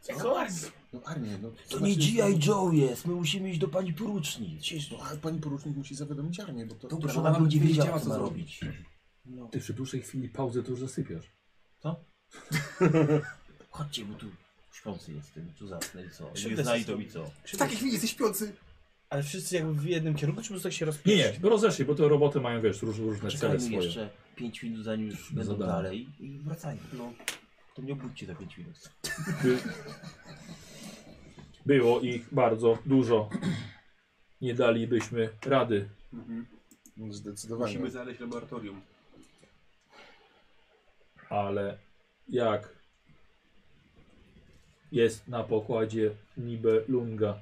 Co? No armię, no. To nie G.I. Joe jest, my musimy iść do pani porucznik. No, ale pani porucznik musi zawiadomić armię, bo to... Dobra, To, że bo ona ona będzie będzie wiedziała, wiedziała, co co ma zrobić. robić. Ty przy dłuższej chwili pauzy to już zasypiasz. Chodźcie, bo tu śpiący jestem, tu zasnę i co? Szybko Nie znajdą i co? W takiej chwili jesteś śpiący! Ale wszyscy jakby w jednym kierunku, czy po prostu tak się Nie, rozpieszli? nie, rozeszli, bo to roboty mają, wiesz, róż, różne cele Czekajmy swoje. jeszcze 5 minut, zanim już będą Zadanie. dalej i wracajmy. No, to mnie obudźcie za 5 minut. By... Było ich bardzo dużo. Nie dalibyśmy rady. No, Zdecydowanie. Musimy znaleźć laboratorium. ale jak jest na pokładzie Nibelunga.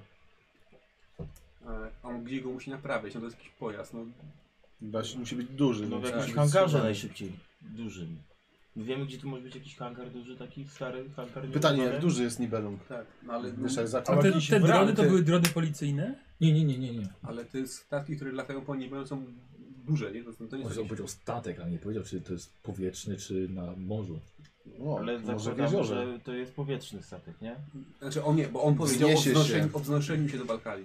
E, A on gdzie go musi naprawiać? No to jest jakiś pojazd, no. Baś, musi być duży. No w więc jakimś musi być hangarze schowany. najszybciej, dużym. My wiemy, gdzie tu może być jakiś hangar duży, taki stary hangar. Pytanie, nieużywany? jak duży jest Nibelung? Tak, no ale, Muszę A te, zakładać. te drony to wranty. były drony policyjne? Nie, nie, nie, nie, nie. ale te statki, które latają po niebie, one są duże, nie? To, to nie On jest jakieś... powiedział statek, ale nie powiedział, czy to jest powietrzny, czy na morzu. O, Ale może w zakładamy, jeziorze. że to jest powietrzny statek, nie? Znaczy on nie, bo on powiedział o Wzniesie się. wznoszeniu, o wznoszeniu się do Balkali.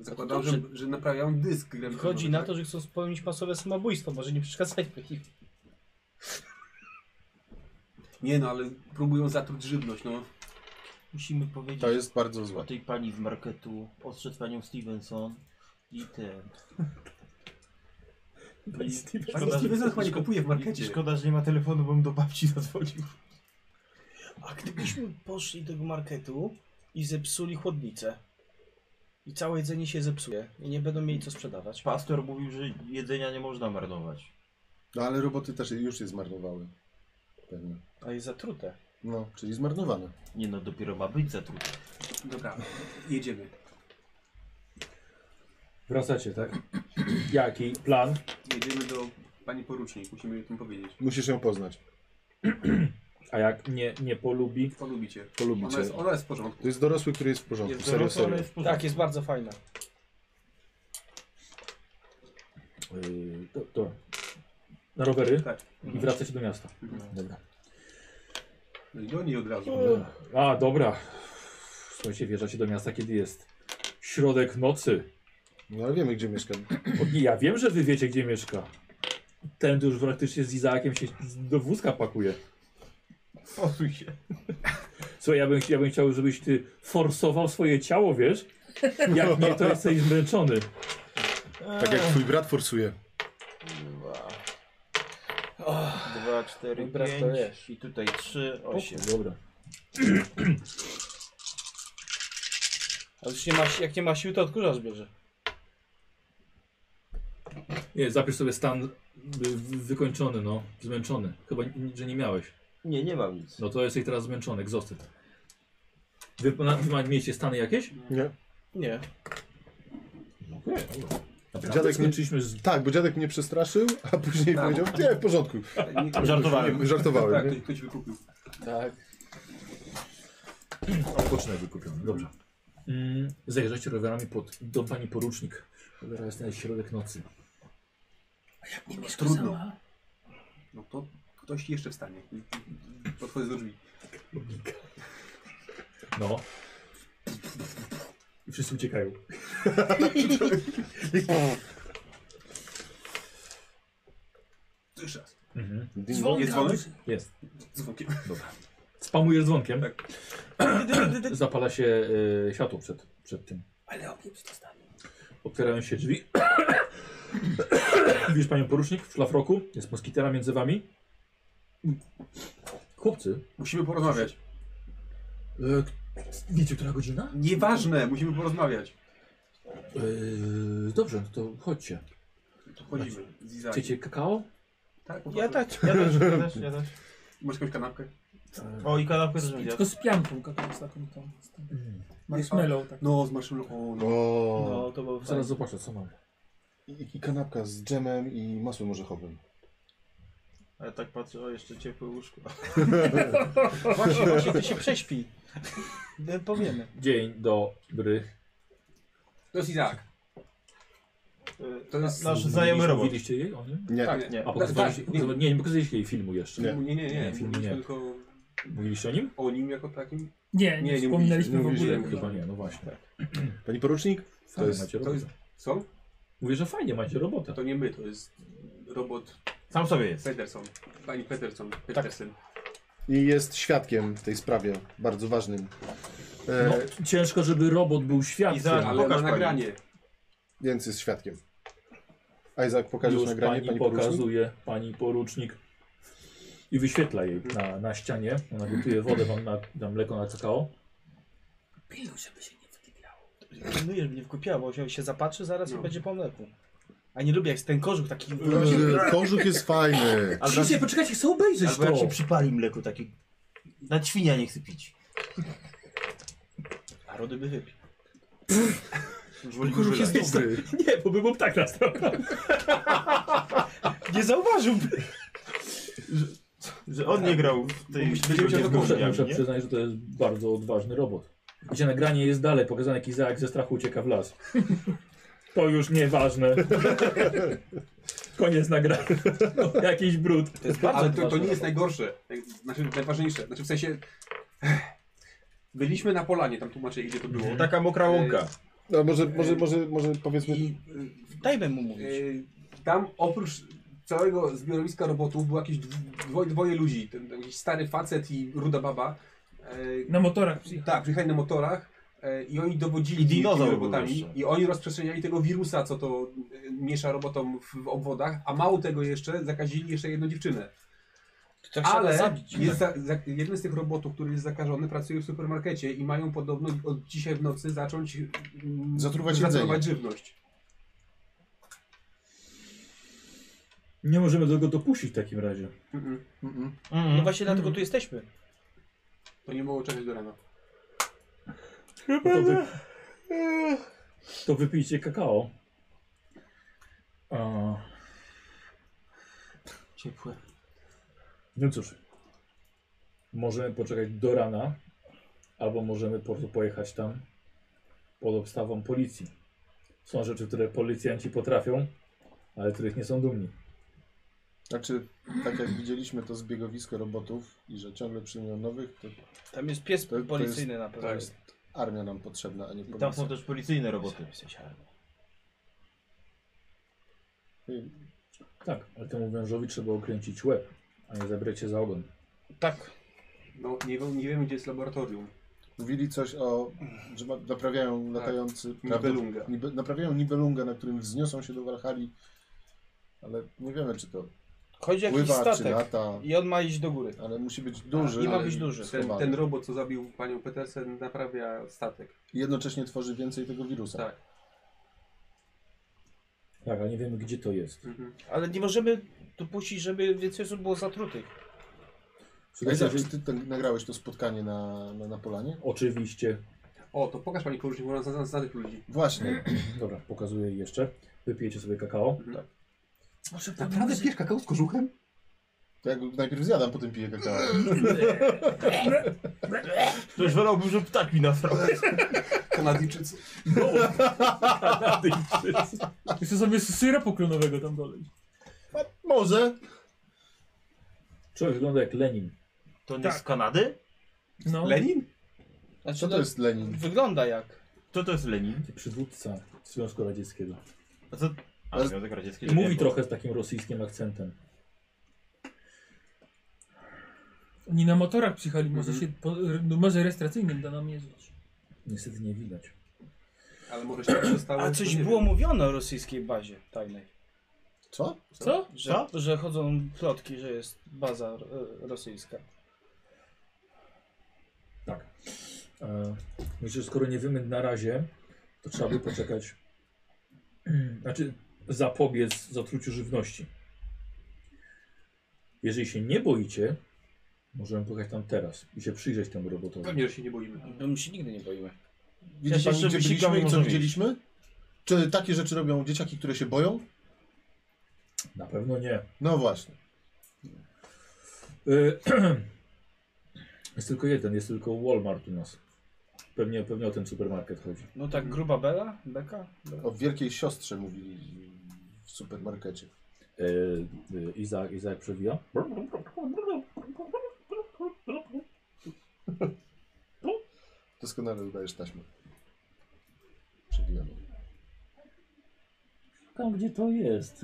Zakładał, że, że naprawiają dysk. grem- Chodzi tak? na to, że chcą spełnić masowe samobójstwo, może nie przeszkadzajmy im. Nie no, ale próbują zatruć żywność, no. Musimy powiedzieć To jest bardzo o złe. tej pani z marketu, ostrzec panią Stevenson i te... Szkoda, że- Stevenson chyba nie kupuje w markecie. Szkoda, że nie ma telefonu, bo bym do babci zadzwonił. A gdybyśmy poszli do marketu i zepsuli chłodnicę i całe jedzenie się zepsuje i nie będą mieli co sprzedawać. Pastor mówił, że jedzenia nie można marnować. No ale roboty też już je zmarnowały. Pewnie. A jest zatrute. No, czyli zmarnowane. Nie no, dopiero ma być zatrute. Dobra, jedziemy. Wracacie, tak? Jaki plan? Jedziemy do pani porucznik, musimy jej o tym powiedzieć. Musisz ją poznać. A jak nie, nie polubi? Polubicie. Ona Polubicie. jest, ona jest w porządku. To jest dorosły, który jest w porządku. Jest serio, dorosły, ale serio. jest w porządku. Tak, jest bardzo fajna. Yy, to, to. Na rowery Tak. i wracacie do miasta. No i do niej od razu. A, dobra. Słuchajcie, wjeżdżacie do miasta, kiedy jest środek nocy. No ale wiemy, gdzie mieszka. Bo nie, ja wiem, że wy wiecie, gdzie mieszka. Ten tu już praktycznie z Izaakiem się do wózka pakuje. Posuń się. Słuchaj, ja bym, ja bym chciał, żebyś ty forsował swoje ciało, wiesz? Jak nie, to jesteś zmęczony. Tak jak twój brat forsuje. Dwa, cztery, Dobra, to pięć wiesz. i tutaj trzy, osiem. Dobra. A już nie ma, jak nie ma sił, to odkurzacz bierze. Nie, zapisz sobie stan y, w- wykończony, no. Zmęczony. Chyba, n- że nie miałeś. Nie, nie mam nic. No to jesteś teraz zmęczony, egzostyt. Wy, na, wy ma- mieliście stany jakieś? Nie? Nie. Okej, dobra. Naprawdę Dziadek nie- skończyliśmy z... Tak, bo dziadek mnie przestraszył, a później Tak. powiedział, nie, w porządku. Nie, Żartowałem. Nie, żartowałem. Tak, nie? ktoś, ktoś wykupił. Tak. Odpoczynek wykupiony, dobrze. Mm, zajeżdżacie rowerami pod, do pani porucznik. Rowera jest na środek nocy. Trudno. No to ktoś jeszcze wstanie. Podchodzę do drzwi. No. I wszyscy uciekają. To jeszcze raz. Mhm. Jest dzwonek? Jest. Dzwonkiem. Spamujesz dzwonkiem. Tak. Zapala się y, światło przed, przed tym. Ale okiem przestanie. Otwierają się drzwi. Widzisz panią porucznik w szlafroku. Jest moskitera między wami. Chłopcy. Musimy porozmawiać. E, k- wiecie, która godzina? Nieważne, musimy porozmawiać. E, dobrze, no to chodźcie. To Chodzimy. Z Izaakiem. Chcecie kakao? Tak, Ja tak. Ja też, ja też, ja też. Masz jakąś kanapkę? O, i kanapkę też będzie. Tylko z pianką, kakao z taką tą. z tym Mm. Marshmallow, tak. No, z marszmallow. No. O. No, to było Zaraz fajne. zobaczę, co mam. I, I kanapka z dżemem i masłem orzechowym. Ale tak patrzę, o, jeszcze ciepłe łóżko. Właśnie, właśnie, ty się prześpi. No, Powiemy. Dzień dobry. To jest Izaak. E, To jest- nasz znajomy robot. Mówiliście jej o nim? Nie. Tak, Nie. A tak, tak. pokazywaliście, nie, nie pokazaliście jej filmu jeszcze. Nie, nie, nie. nie. Nie, filmu Mówiliśmy nie. tylko Mówiliście o nim? o nim jako takim. Nie, Nie, nie, nie wspominaliśmy mówiliśmy, w ogóle. mówiliśmy. Chyba nie, no właśnie. Pani porucznik? Fajnie jest- macie To robotę. jest... Co? Mówię, że fajnie macie robotę. To nie my, to jest robot Sam sobie jest. Peterson. Pani Peterson. Peterson. I jest świadkiem w tej sprawie, bardzo ważnym. E, No, ciężko, żeby robot był świadkiem. Izaak, Ale na Pokaż pani. nagranie. Więc jest świadkiem. Isaac, pokażesz Już nagranie, pani, pani, porucznik? pokazuje, pani porucznik. I wyświetla jej na, na ścianie. Ona gotuje wodę wam na, na mleko na kakao. Pilnuj, żeby się nie wytypiało. Pilnuję, żeby nie wkupiła, bo się, się zapatrzy zaraz No. i będzie po mleku. A nie lubię, jak ten kożuch taki... No. E, Kożuch jest fajny. Albo, Ciszej, poczekajcie, chcę obejrzeć albo jak to. się przypali mleko takie. Na świnia nie chce pić. A rody by wypił. Żwoliku Jest dobry. Nie, bo by było tak na Nie zauważyłby. Że on nie grał w tej Będziemy się w Muszę, grudniu, muszę nie? przyznać, że to jest bardzo odważny robot. Gdzie nagranie jest dalej, pokazane jak Izaak ze strachu ucieka w las. To już nieważne. Koniec nagrania. Jakiś brud. To jest Ale to, to nie jest najgorsze. Jak- Znaczy najważniejsze. Znaczy w sensie. Byliśmy na polanie, tam tłumaczyli gdzie to było. Tak. Taka Yy, mokra łąka. No, może, może, może, może powiedzmy... I Dajmy mu y, mówić. y, tam oprócz całego zbiorowiska robotów było jakieś dwo, dwoje ludzi. Ten, ten jakiś stary facet i ruda baba. Y, Na motorach przyjechał. tak, przyjechali na motorach. E, I oni dowodzili I tymi- tymi dinozaur był robotami jeszcze. i oni rozprzestrzeniali tego wirusa, co to e, miesza robotom w, w obwodach, a mało tego jeszcze zakazili jeszcze jedną dziewczynę. To trzeba Ale Tak zabić. jest za, za, jeden z tych robotów, który jest zakażony, pracuje w supermarkecie i mają podobno od dzisiaj w nocy zacząć mm, Zatruwać zatruwać jedzenie. żywność. Nie możemy do tego dopuścić w takim razie. Mm-mm, mm-mm. Mhm. No właśnie dlatego tu jesteśmy. To nie mogło czekać do rana. To, wy... to wypijcie kakao. A... Ciepłe. No cóż, możemy poczekać do rana, albo możemy po prostu pojechać tam pod obstawą policji. Są rzeczy, które policjanci potrafią, ale których nie są dumni. Znaczy, tak jak widzieliśmy to zbiegowisko robotów i że ciągle przyjmują nowych, to Tam jest tak. pies to jest- policyjny na pewno. to jest armia nam potrzebna, a nie I tam policja. są też policyjne roboty. Tak, ale temu wężowi trzeba okręcić łeb, a nie zabrać się za ogon. Tak. No, nie, wiem- nie wiemy, gdzie jest laboratorium. Mówili coś o, że ma- naprawiają Tak. latający... Nibelunga. Nibe, naprawiają Nibelunga, na którym wzniosą się do Walhali, ale nie wiemy, czy to Chodzi jakiś pływa, czy statek. lata, I on ma iść do góry. ale musi być duży. nie ma ale być tak. duży. Ten, schowany. ten robot, co zabił panią Petersen, naprawia statek. I jednocześnie tworzy więcej tego wirusa. Tak. Tak, ale nie wiemy gdzie to jest. Mhm. Ale nie możemy dopuścić, żeby więcej osób było zatrutych. Słuchaj, Słuchajcie, czy ty ten, nagrałeś to spotkanie na, na, na polanie? Oczywiście. O, to pokaż pani porucznik, bo ona zna, zna tych ludzi. Właśnie. Dobra, pokazuję jej jeszcze. Wypijecie sobie kakao. Może Naprawdę pijesz kakao z kożuchem? To ja go najpierw zjadam, potem piję kakao. Też wolałbym, żeby ptak mi nasrał. Kanadyjczycy. Jeszcze sobie syropu klonowego tam dolej. Może. Człowiek wygląda jak Lenin. To nie z Kanady? No. Lenin? Znaczy, Co to jest Lenin? Wygląda jak. Kto to jest Lenin? Przywódca Związku Radzieckiego. A co? A, Ale- Związek Radziecki. I mówi nie, trochę z takim rosyjskim akcentem. Oni na motorach przyjechali, może się po r- numerze rejestracyjnym da nam jeździć. Niestety nie widać. Ale może się przestało. A coś było mówione o rosyjskiej bazie tajnej. Co? Co? Że, że chodzą plotki, że jest baza e, rosyjska. Tak. E, myślę, że skoro nie wiemy na razie, to trzeba by poczekać. Znaczy, zapobiec zatruciu żywności. Jeżeli się nie boicie, możemy pojechać tam teraz i się przyjrzeć temu robotowi. Pewnie, że się nie boimy. My się nigdy nie boimy. Widzi się pani, jeszcze gdzie wysikam, byliśmy i może co iść. widzieliśmy? Czy takie rzeczy robią dzieciaki, które się boją? Na pewno nie. No właśnie. Y, Jest tylko jeden, jest tylko Walmart u nas. Pewnie, pewnie o ten supermarket chodzi. No Mhm. tak, gruba Bela? Beka? O wielkiej siostrze mówili w supermarkecie. E, e, Iza, Iza jak przewija? Doskonale udajesz taśmę. Przebijaną. Tam gdzie to jest.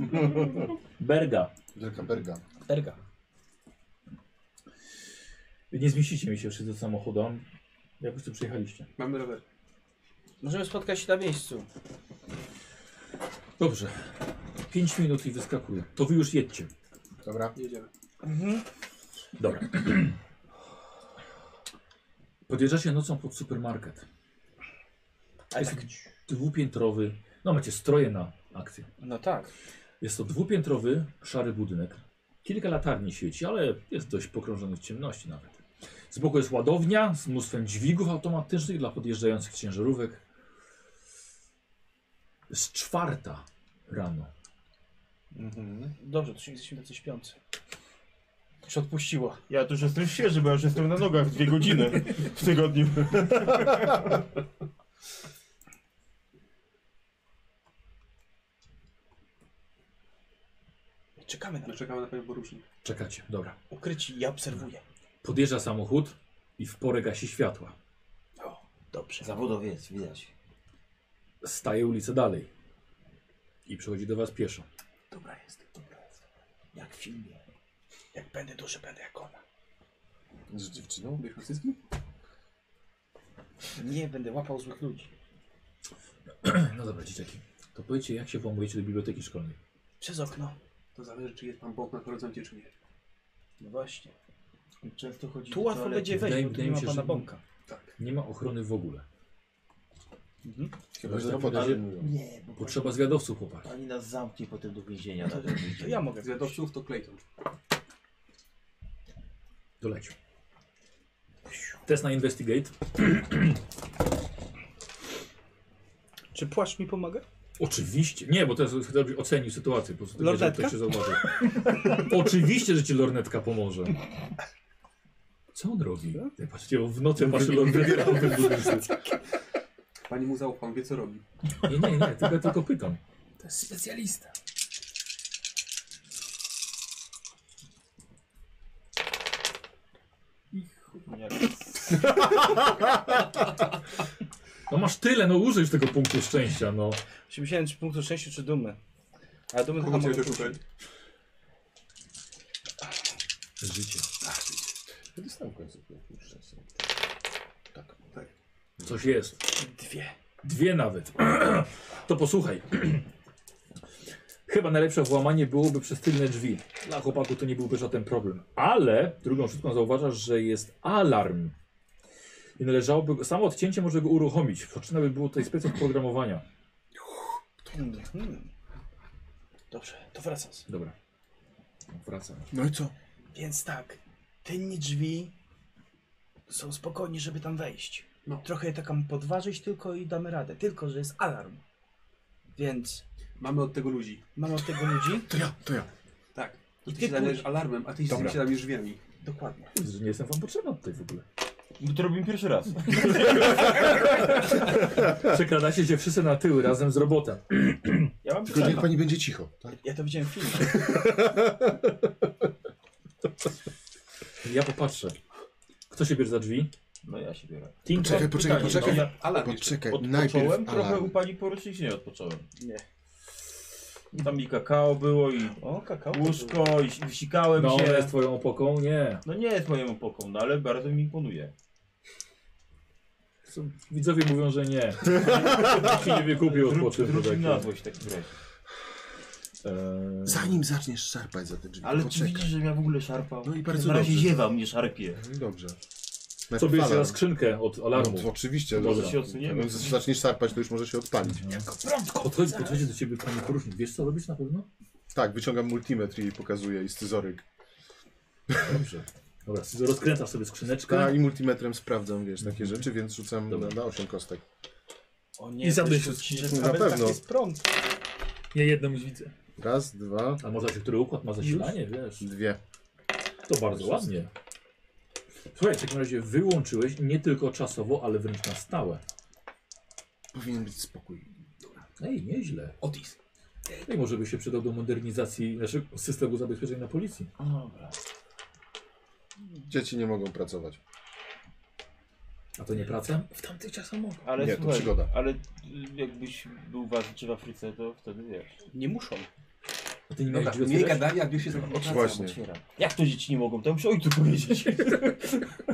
Berga. Wielka berga. Berga. Nie zmieścicie mi się wszyscy samochodem. Jak już tu przyjechaliście. Mamy rower. Możemy spotkać się na miejscu. Dobrze. 5 minut i wyskakuję. To wy już jedźcie. Dobra. Jedziemy. Mhm. Dobra. Podjeżdżacie nocą pod supermarket. Jest dwupiętrowy. No macie stroje na akcję. No tak. Jest to dwupiętrowy, szary budynek. Kilka latarni świeci, ale jest dość pokrążony w ciemności nawet. Z boku jest ładownia z mnóstwem dźwigów automatycznych dla podjeżdżających ciężarówek. Z czwarta rano. Dobrze, to się jesteśmy tacy śpiący. Już odpuściło. Ja tu już jestem świeży, bo ja już jestem na nogach dwie godziny w tygodniu. Czekamy na No, czekamy na panią porucznik. Czekacie, dobra. Ukryci, ja obserwuję. Podjeżdża samochód i w porę gasi światła. Dobrze. Zawodowiec, widać. Staje ulicę dalej. I przychodzi do was pieszo. Dobra jest, dobra jest. Jak w filmie. Jak będę duży, będę jak ona. Z dziewczyną? Wiesz o wszystkim? Nie, będę łapał złych ludzi. No dobra, dzieciaki. To powiedzcie, jak się włamujecie do biblioteki szkolnej. Przez okno. To zależy, czy jest Pan Bóg na horyzoncie, czy nie. No właśnie. Często chodzi Tu do łatwo toalety. będzie wejść, Wydaje- bo tu wydaje nie mi ma się, pana że- bąka. Nie ma ochrony w ogóle. Chyba, że tak robotę podaje- zajmują. Nie, bo Potrzeba zwiadowców, chłopaki. pani nas zamknie potem do więzienia. na To ja mogę. wejść. Zwiadowców to Clayton. To leć. Test na investigate. Czy płaszcz mi pomaga? Oczywiście. Nie, bo to jest, chcę, żebyś ocenił sytuację. Po prostu żeby Lornetka? ktoś się zauważył. Oczywiście, że ci lornetka pomoże. Co on robi? Ja patrzcie, w nocy patrzy lornetka. po tym budynku. Pani mu zaufa, on wie co robi. Nie, nie, nie, tylko, tylko pytam. To jest specjalista. Jak No masz tyle, no użyj już tego punktu szczęścia, no. Czy myślałem, czy punktu szczęścia, czy dumy? Ale dumy chyba Kogo chciałeś mogę oszukać? Życie. Ja dostałem w końcu piękny szczęście. Tak. Coś jest. Dwie. Dwie nawet. To posłuchaj. Chyba najlepsze włamanie byłoby przez tylne drzwi. Dla chłopaków to nie byłby żaden problem. Ale drugą sztuką zauważasz, że jest alarm. I należałoby. go- Samo odcięcie może go uruchomić. Potrzebna by było tutaj specjalne programowania. Mhm. Dobrze, to wracam. Dobra. Wracam. No i co? Więc tak, tylnie drzwi są spokojni, żeby tam wejść. No. Trochę je taką podważyć tylko i damy radę. Tylko, że jest alarm. Więc Mamy od tego ludzi. mamy od tego ludzi. To ja, to ja. Tak. I ty ty się zajmujesz alarmem, a ty Dobra. się zajmujesz drzwiami. Dokładnie. Że nie jestem wam potrzebna tutaj w ogóle. My to robimy pierwszy raz. Przekradacie się wszyscy na tył razem z robotem. Ja mam Tylko niech pani będzie cicho, tak? Ja to widziałem w filmie. Ja popatrzę. Kto się bierze za drzwi? No ja się biorę. Team Poczekaj, poczekaj, pytanie, poczekaj. no. Alarm jeszcze. Poczekaj, najpierw Odpocząłem trochę u alarm. pani porucznicznie odpocząłem. Nie. Tam i kakao było i O, kakao. łóżko i wysikałem No, się. ona jest twoją opoką? Nie. No nie jest moją opoką, no ale bardzo mi imponuje. Co- Widzowie mówią, że nie. Ci nie wykupił Zrób- odpoczynku zrób mi na takiego. złość tak wyraźnie. Eee, Zanim zaczniesz szarpać za te drzwi, Ale czy poczekaj. widzisz, że ja w ogóle szarpał? No i bardzo Na razie dobrze. No ziewa mnie szarpie. Dobrze. Co bierzesz Alarm. za skrzynkę od alarmu? No, to oczywiście, Dobra. dobra. Może się odsuniemy. Jak zaczniesz sarpać, to już może się odpalić. Podchodzi, podchodzi do ciebie pani porusznik. Wiesz co robisz na pewno? Tak, wyciągam multimetr i jej pokazuję i scyzoryk. Dobrze. Dobra, rozkręcasz sobie Tak, skrzyneczkę. i multimetrem sprawdzam, wiesz, takie rzeczy, więc rzucam Dobra. na, na 8 kostek. O nie, I zadyszę. też tu ci, że Na nawet pewno. Tak jest prąd. Ja jedną już widzę. Raz, dwa, A może się który układ ma zasilanie, wiesz? dwie. To bardzo ładnie. Słuchaj, w takim razie wyłączyłeś nie tylko czasowo, ale wręcz na stałe. Powinien być spokój. Ej, nieźle. Otis. Ej, może by się przydał do modernizacji naszego systemu zabezpieczeń na policji. Dobra. Dzieci nie mogą pracować. A to nie praca? W tamtych czasach mogą. Ale Nie, to słuchaj, przygoda. ale y, jakbyś był w Azji czy w Afryce, to wtedy wiesz. Nie muszą. A No ty nie Dobra, tak, miałeś drzwi mniej otwierać? gadania, bierz się za pracę. Właśnie. Otwieram. Jak to dzieci nie mogą? To muszę ojcu powiedzieć.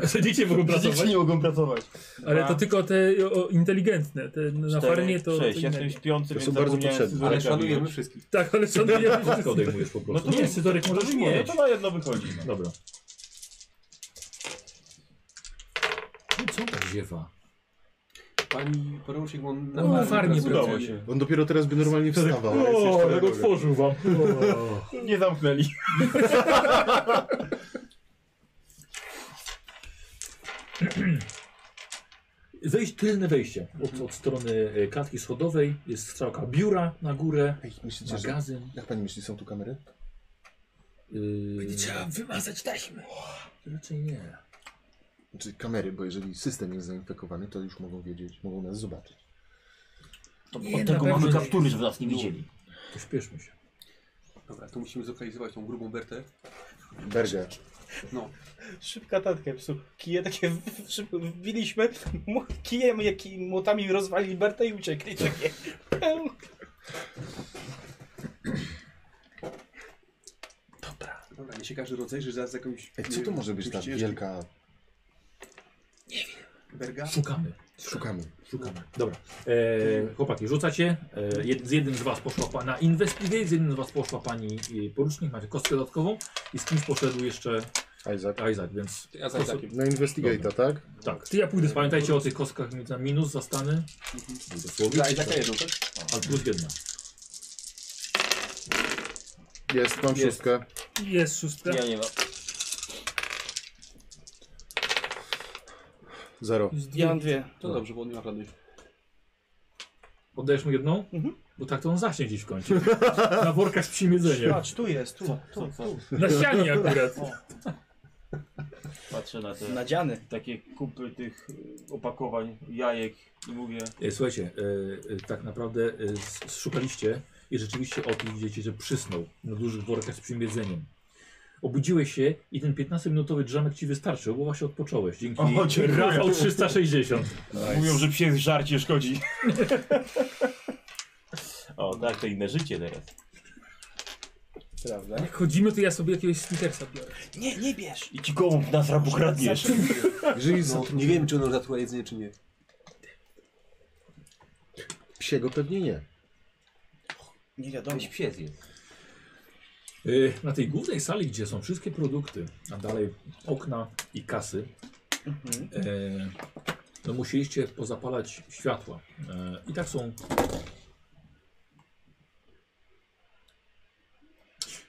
Że dzieci mogą Że pracować. dzieci nie mogą pracować. Ale to tylko te o, inteligentne. Te na Cztery, farmie to. sześć. to Ja inne. jestem śpiący, To więc są bardzo zapomniałem potrzebne. scyzoryka Ale no. szanujemy wyjąć. wszystkich. Tak, ale szanujemy. Kostkę odejmujesz po prostu. nie, scyzoryk no możesz to nie, mieć. To na jedno wychodzi. No. Dobra. No co tak ziewa? Pani porusznik, bo on No, na farmie pracuje. Udało się. On dopiero teraz by normalnie wstawał. No, ale jest jeszcze na drodze. otworzył wam. Nie zamknęli. Wejść, tylne wejście. Od, od strony e, klatki schodowej jest strzałka biura na górę, Ej, myślicie, że... magazyn. Jak pani myśli, są tu kamery? Yy, Trzeba wymazać taśmy. raczej nie. Znaczy kamery, bo jeżeli system jest zainfekowany, to już mogą wiedzieć, mogą nas zobaczyć. To Nie, od na tego pewno mamy nie. kaptury, żeby No. nas nie widzieli. Pośpieszmy się. Dobra, to musimy zlokalizować tą grubą Bertę. Berger. No, Szybka tatka, psu. Kije takie w- w- szybko wbiliśmy, mu- kijem jakimi młotami rozwalili Bertę i uciekli. Takie. dobra, nie się każdy rozejrzy, zaraz jakąś... Ej, co to może być ta jakąś wielka... Berga? Szukamy. Szukamy, szukamy. No, Dobra. E, chłopaki, rzucacie. E, jed, z jednym z was poszła pa- na investigate, z jednym z was poszła pani e, porucznik, macie kostkę dodatkową i z kimś poszedł jeszcze Isaac. Isaac, więc Ja za takim. Na Investigate'a, tak? tak. Ty ja pójdę, pamiętajcie o tych kostkach, więc na minus za stany. Dosłownie. Za Isaaca jedną, tak? Ale plus jedna. Jest, mam szóstkę. Jest szóstka. Ja nie mam. Zero. Ja mam dwie. No. To dobrze, bo on nie ma żadnej. Oddajesz mu jedną? Bo tak to on zaśnie gdzieś w kącie. Na workach z psim jedzeniem. Patrz, tu jest, tu, tu, tu. Na ścianie akurat. Patrzę na te Nadziany. takie kupy tych y, opakowań, jajek i mówię, E, Słuchajcie, e, e, tak naprawdę e, s- szukaliście i rzeczywiście o tym widzicie, że przysnął na dużych workach z psim jedzeniem. Obudziłeś się i ten 15-minutowy drzamek ci wystarczył, bo właśnie odpocząłeś. Dzięki O, dziękuję. Rafał 360. mówią, że psie żarcie szkodzi. o, tak, to inne życie teraz. Prawda? Jak chodzimy, to ja sobie jakiegoś sneakersa biorę. Nie, nie bierz. I ci gołąb nas rabokradniesz. Jeżeli no, nie wiem, czy ono zatruła jedzenie, czy nie. Psiego pewnie nie. Nie wiadomo. psie zjedz. Y, Na tej głównej sali, gdzie są wszystkie produkty, a dalej okna i kasy, e, no musieliście pozapalać światła. E, I tak są.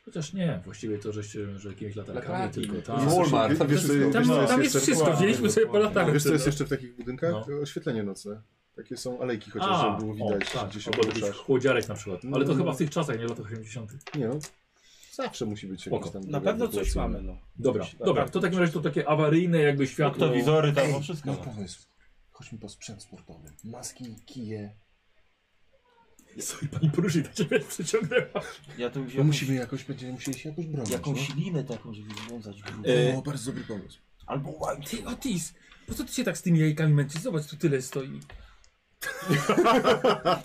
Chociaż nie, właściwie to, żeście, że jakimiś latarkami Latarki. tylko tak. tam. Jest- Walmart, Tam, wiesz, co, Tam, wiesz, co tam jest jeszcze- no. wszystko, wzięliśmy sobie po latarce. Wiesz co jest jeszcze w takich budynkach? No. Oświetlenie nocne. Takie są alejki chociaż, żeby było widać, o, tak, gdzie się albo jakiś poruszasz. chłodziarek na przykład. Ale to Mm. chyba w tych czasach, nie w latach 80. Nie no, zawsze musi być Spoko. jakiś tam... Na pewno coś mamy, no. Dobra, Tak. dobra, to w takim razie to takie awaryjne jakby światło. Oktowizory tam, o wszystko. No ma. pomysł. Chodźmy po sprzęt sportowy. Maski, kije. Słuchaj, pani poruszy, to ciebie przyciągnęła. Ja tu wziąłem No musimy jakoś, będziemy musieli się jakoś bronić. jakąś no. linę taką, żeby związać grubą. E, O, bardzo dobry pomysł. Albo łańcuch. Ty, Otis, po co ty się tak z tymi jajkami męczysz? Zobacz, tu tyle stoi. Tak,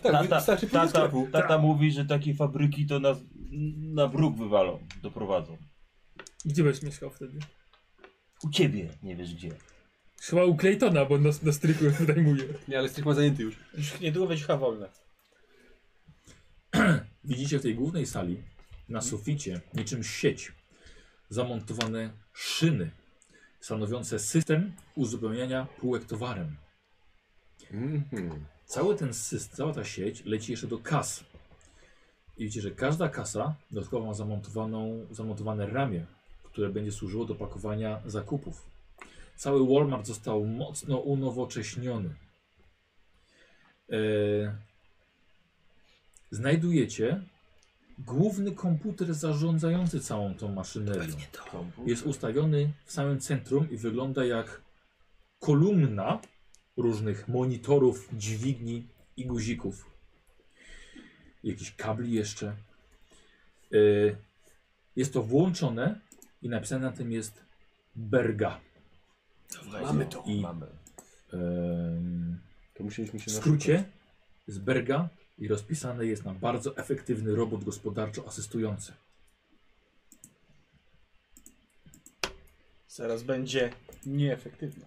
Tata, wystarczy pójść do tata, sklepu. tata mówi, że takie fabryki to nas na bruk wywalą, doprowadzą. Gdzie byś mieszkał wtedy? U ciebie nie wiesz gdzie. Chyba u Claytona, bo on nas na stryku wynajmuje. Nie, ale stryk ma zajęty już. Już niedługo będzie chyba wolne. Widzicie w tej głównej sali na suficie, niczym sieć, zamontowane szyny stanowiące system uzupełniania półek towarem. Mhm. Cały ten system, cała ta sieć leci jeszcze do kas. I widzicie, że każda kasa dodatkowo ma zamontowaną, zamontowane ramię, które będzie służyło do pakowania zakupów. Cały Walmart został mocno unowocześniony. E, znajdujecie główny komputer zarządzający całą tą maszynerią. Jest ustawiony w samym centrum i wygląda jak kolumna różnych monitorów, dźwigni i guzików. Jakichś kabli jeszcze. Y, Jest to włączone i napisane na tym jest Berga. Mamy to. I Mamy. em, To musieliśmy się w skrócie z Berga i rozpisany jest na bardzo efektywny robot gospodarczo asystujący. Zaraz będzie nieefektywna.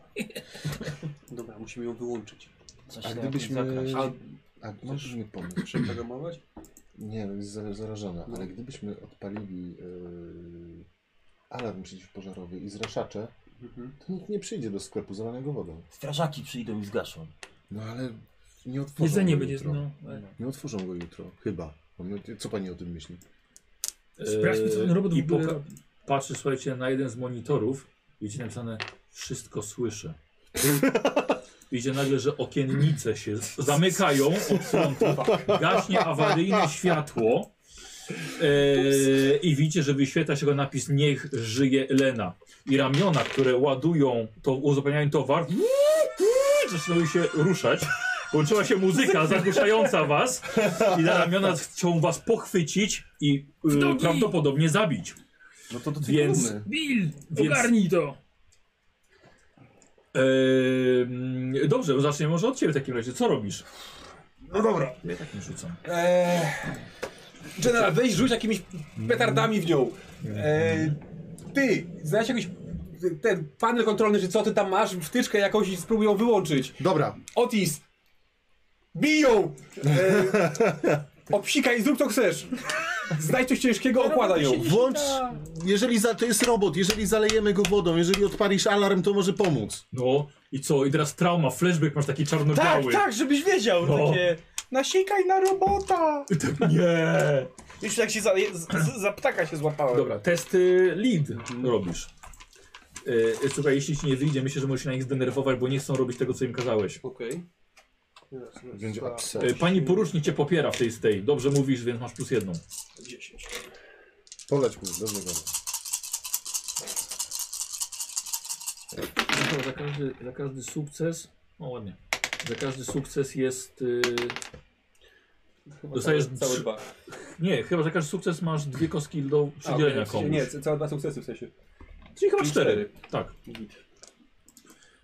Dobra, musimy ją wyłączyć. Coś A na gdybyśmy... jakimś zakraść. A A masz mi pomysł. przeprogramować? Nie, no jest za- zarażona, ale gdybyśmy odpalili yy, alarm przeciwpożarowy i zraszacze, Mhm. to nikt nie przyjdzie do sklepu zalanego wodą. Strażaki przyjdą i zgaszą. No ale nie otworzą Jedzenie go będzie, jutro. no. Nie otworzą go jutro, chyba. No, Co pani o tym myśli? Sprawdźmy, co ten Eee, robot w E, I ogóle poka- robi. Patrzę, słuchajcie, na jeden z monitorów. Widzicie napisane, wszystko słyszę. Widzicie nagle, że okiennice się z- zamykają od frontu, gaśnie awaryjne światło e, i widzicie, że wyświetla się go napis Niech żyje Elena. I ramiona, które ładują, to uzupełniają towar, zaczynają się ruszać. Włączyła się muzyka zagłuszająca was i na ramiona chcą was pochwycić i W y, nogi! prawdopodobnie zabić. No to do tej Więc- kolumny. Bill, Więc- ogarnij to! Ehm, dobrze, zaczniemy może od ciebie w takim razie. Co robisz? No dobra. Ja tak nie rzucam. Eee, General, weź rzuć jakimiś petardami w nią. Eee, ty, znajdź jakiegoś ten panel kontrolny, czy co ty tam masz, wtyczkę jakąś i spróbują wyłączyć. Dobra, Otis! Biją! E, obsikaj, zrób co chcesz. Znajdź coś ciężkiego, okładaj ją. włącz. Jeżeli za, to jest robot, jeżeli zalejemy go wodą, jeżeli odpalisz alarm, to może pomóc. No i co? I teraz trauma, flashback, masz taki Tak, czarno-biały. tak, żebyś wiedział. No. Takie. Nasiekaj na robota! tak. Nie. Już tak się za, z, za ptaka się złapałem. Dobra, test y, lead robisz. Y, y, Słuchaj, jeśli ci nie wyjdzie, myślę, że możesz się na nich zdenerwować, bo nie chcą robić tego, co im kazałeś. Okej. Będzie upset. Y, Pani porucznik cię popiera w tej z tej. Dobrze mówisz, więc masz plus jedną. Poleć mu, dobrze go. No to za każdy, za każdy sukces. O ładnie. Za każdy sukces jest. y, Chyba Dostajesz całe, całe trzy- dwa. Nie, chyba za każdy sukces masz dwie kostki do A, przydzielenia okej, w sensie komuś. Nie, całe dwa sukcesy w sensie. Czyli chyba czyli cztery. Tak.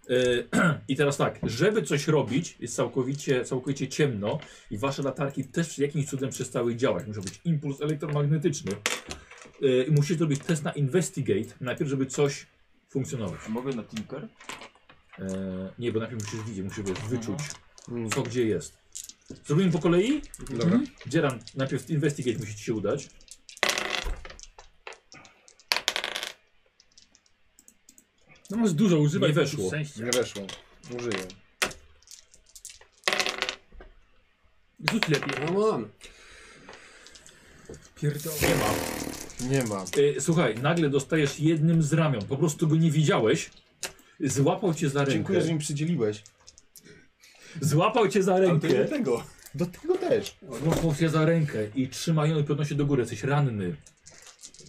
Y, I teraz tak, żeby coś robić, jest całkowicie, całkowicie ciemno i wasze latarki też jakimś cudem przestały działać. Muszą być impuls elektromagnetyczny. Y, I musisz zrobić test na investigate, najpierw, żeby coś funkcjonować. A mogę na Tinker? Mhm. Y, nie, bo najpierw musisz widzieć, musisz wyczuć, Mm. co gdzie jest. Zrobimy po kolei? Dobra. Dzieran, najpierw investigate musi ci się udać. No masz dużo używać. Nie weszło. Szczęścia. Nie weszło. Użyję. Rzuć lepiej. No, Come on. Pierdolę. Nie ma. Y, słuchaj, nagle dostajesz jednym z ramion, po prostu go nie widziałeś. Złapał cię za rękę. Dziękuję, że mi przydzieliłeś. Złapał cię za Ale to nie tak. rękę. do tego. Do tego też. Złapał cię za rękę i trzyma ją i podnosi do góry. Jesteś ranny.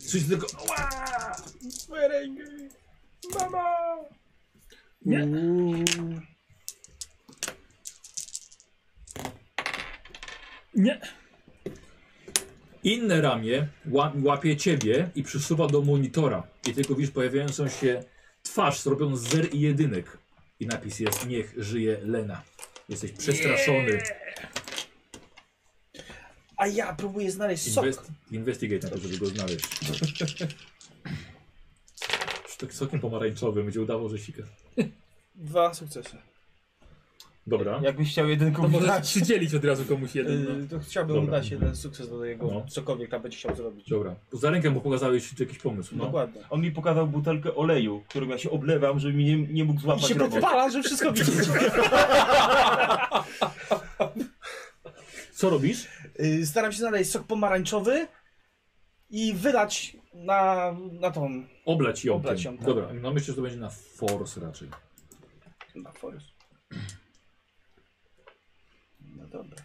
Coś tylko. Moje ręki. Mama! Nie. Nie. Inne ramię ła- łapie ciebie i przysuwa do monitora. I tylko widzisz pojawiającą się twarz zrobioną z zer i jedynek. I napis jest Niech żyje Lena. Jesteś przestraszony. A ja próbuję znaleźć sok. Inwest, investigate na to, żeby go znaleźć. Już tak sokiem pomarańczowym, będzie udawał, że sika. Dwa sukcesy. Dobra. Jakbyś chciał jeden To komuś może dać. przydzielić od razu komuś jeden. No. Yy, to chciałbym Dobra. dać jeden sukces do jego No. cokolwiek tam będzie chciał zrobić. Dobra. Za rękę mu pokazałeś jakiś pomysł. No. Dokładnie. On mi pokazał butelkę oleju, którą ja się oblewam, żeby mi nie, nie mógł I złapać się robot. podpala, że wszystko widzi. Co robisz? Yy, staram się znaleźć sok pomarańczowy i wylać na, na tą... Oblać ją. Oblać tym. ją, tak. Dobra, no myślę, że to będzie na force raczej. na forest. No dobra.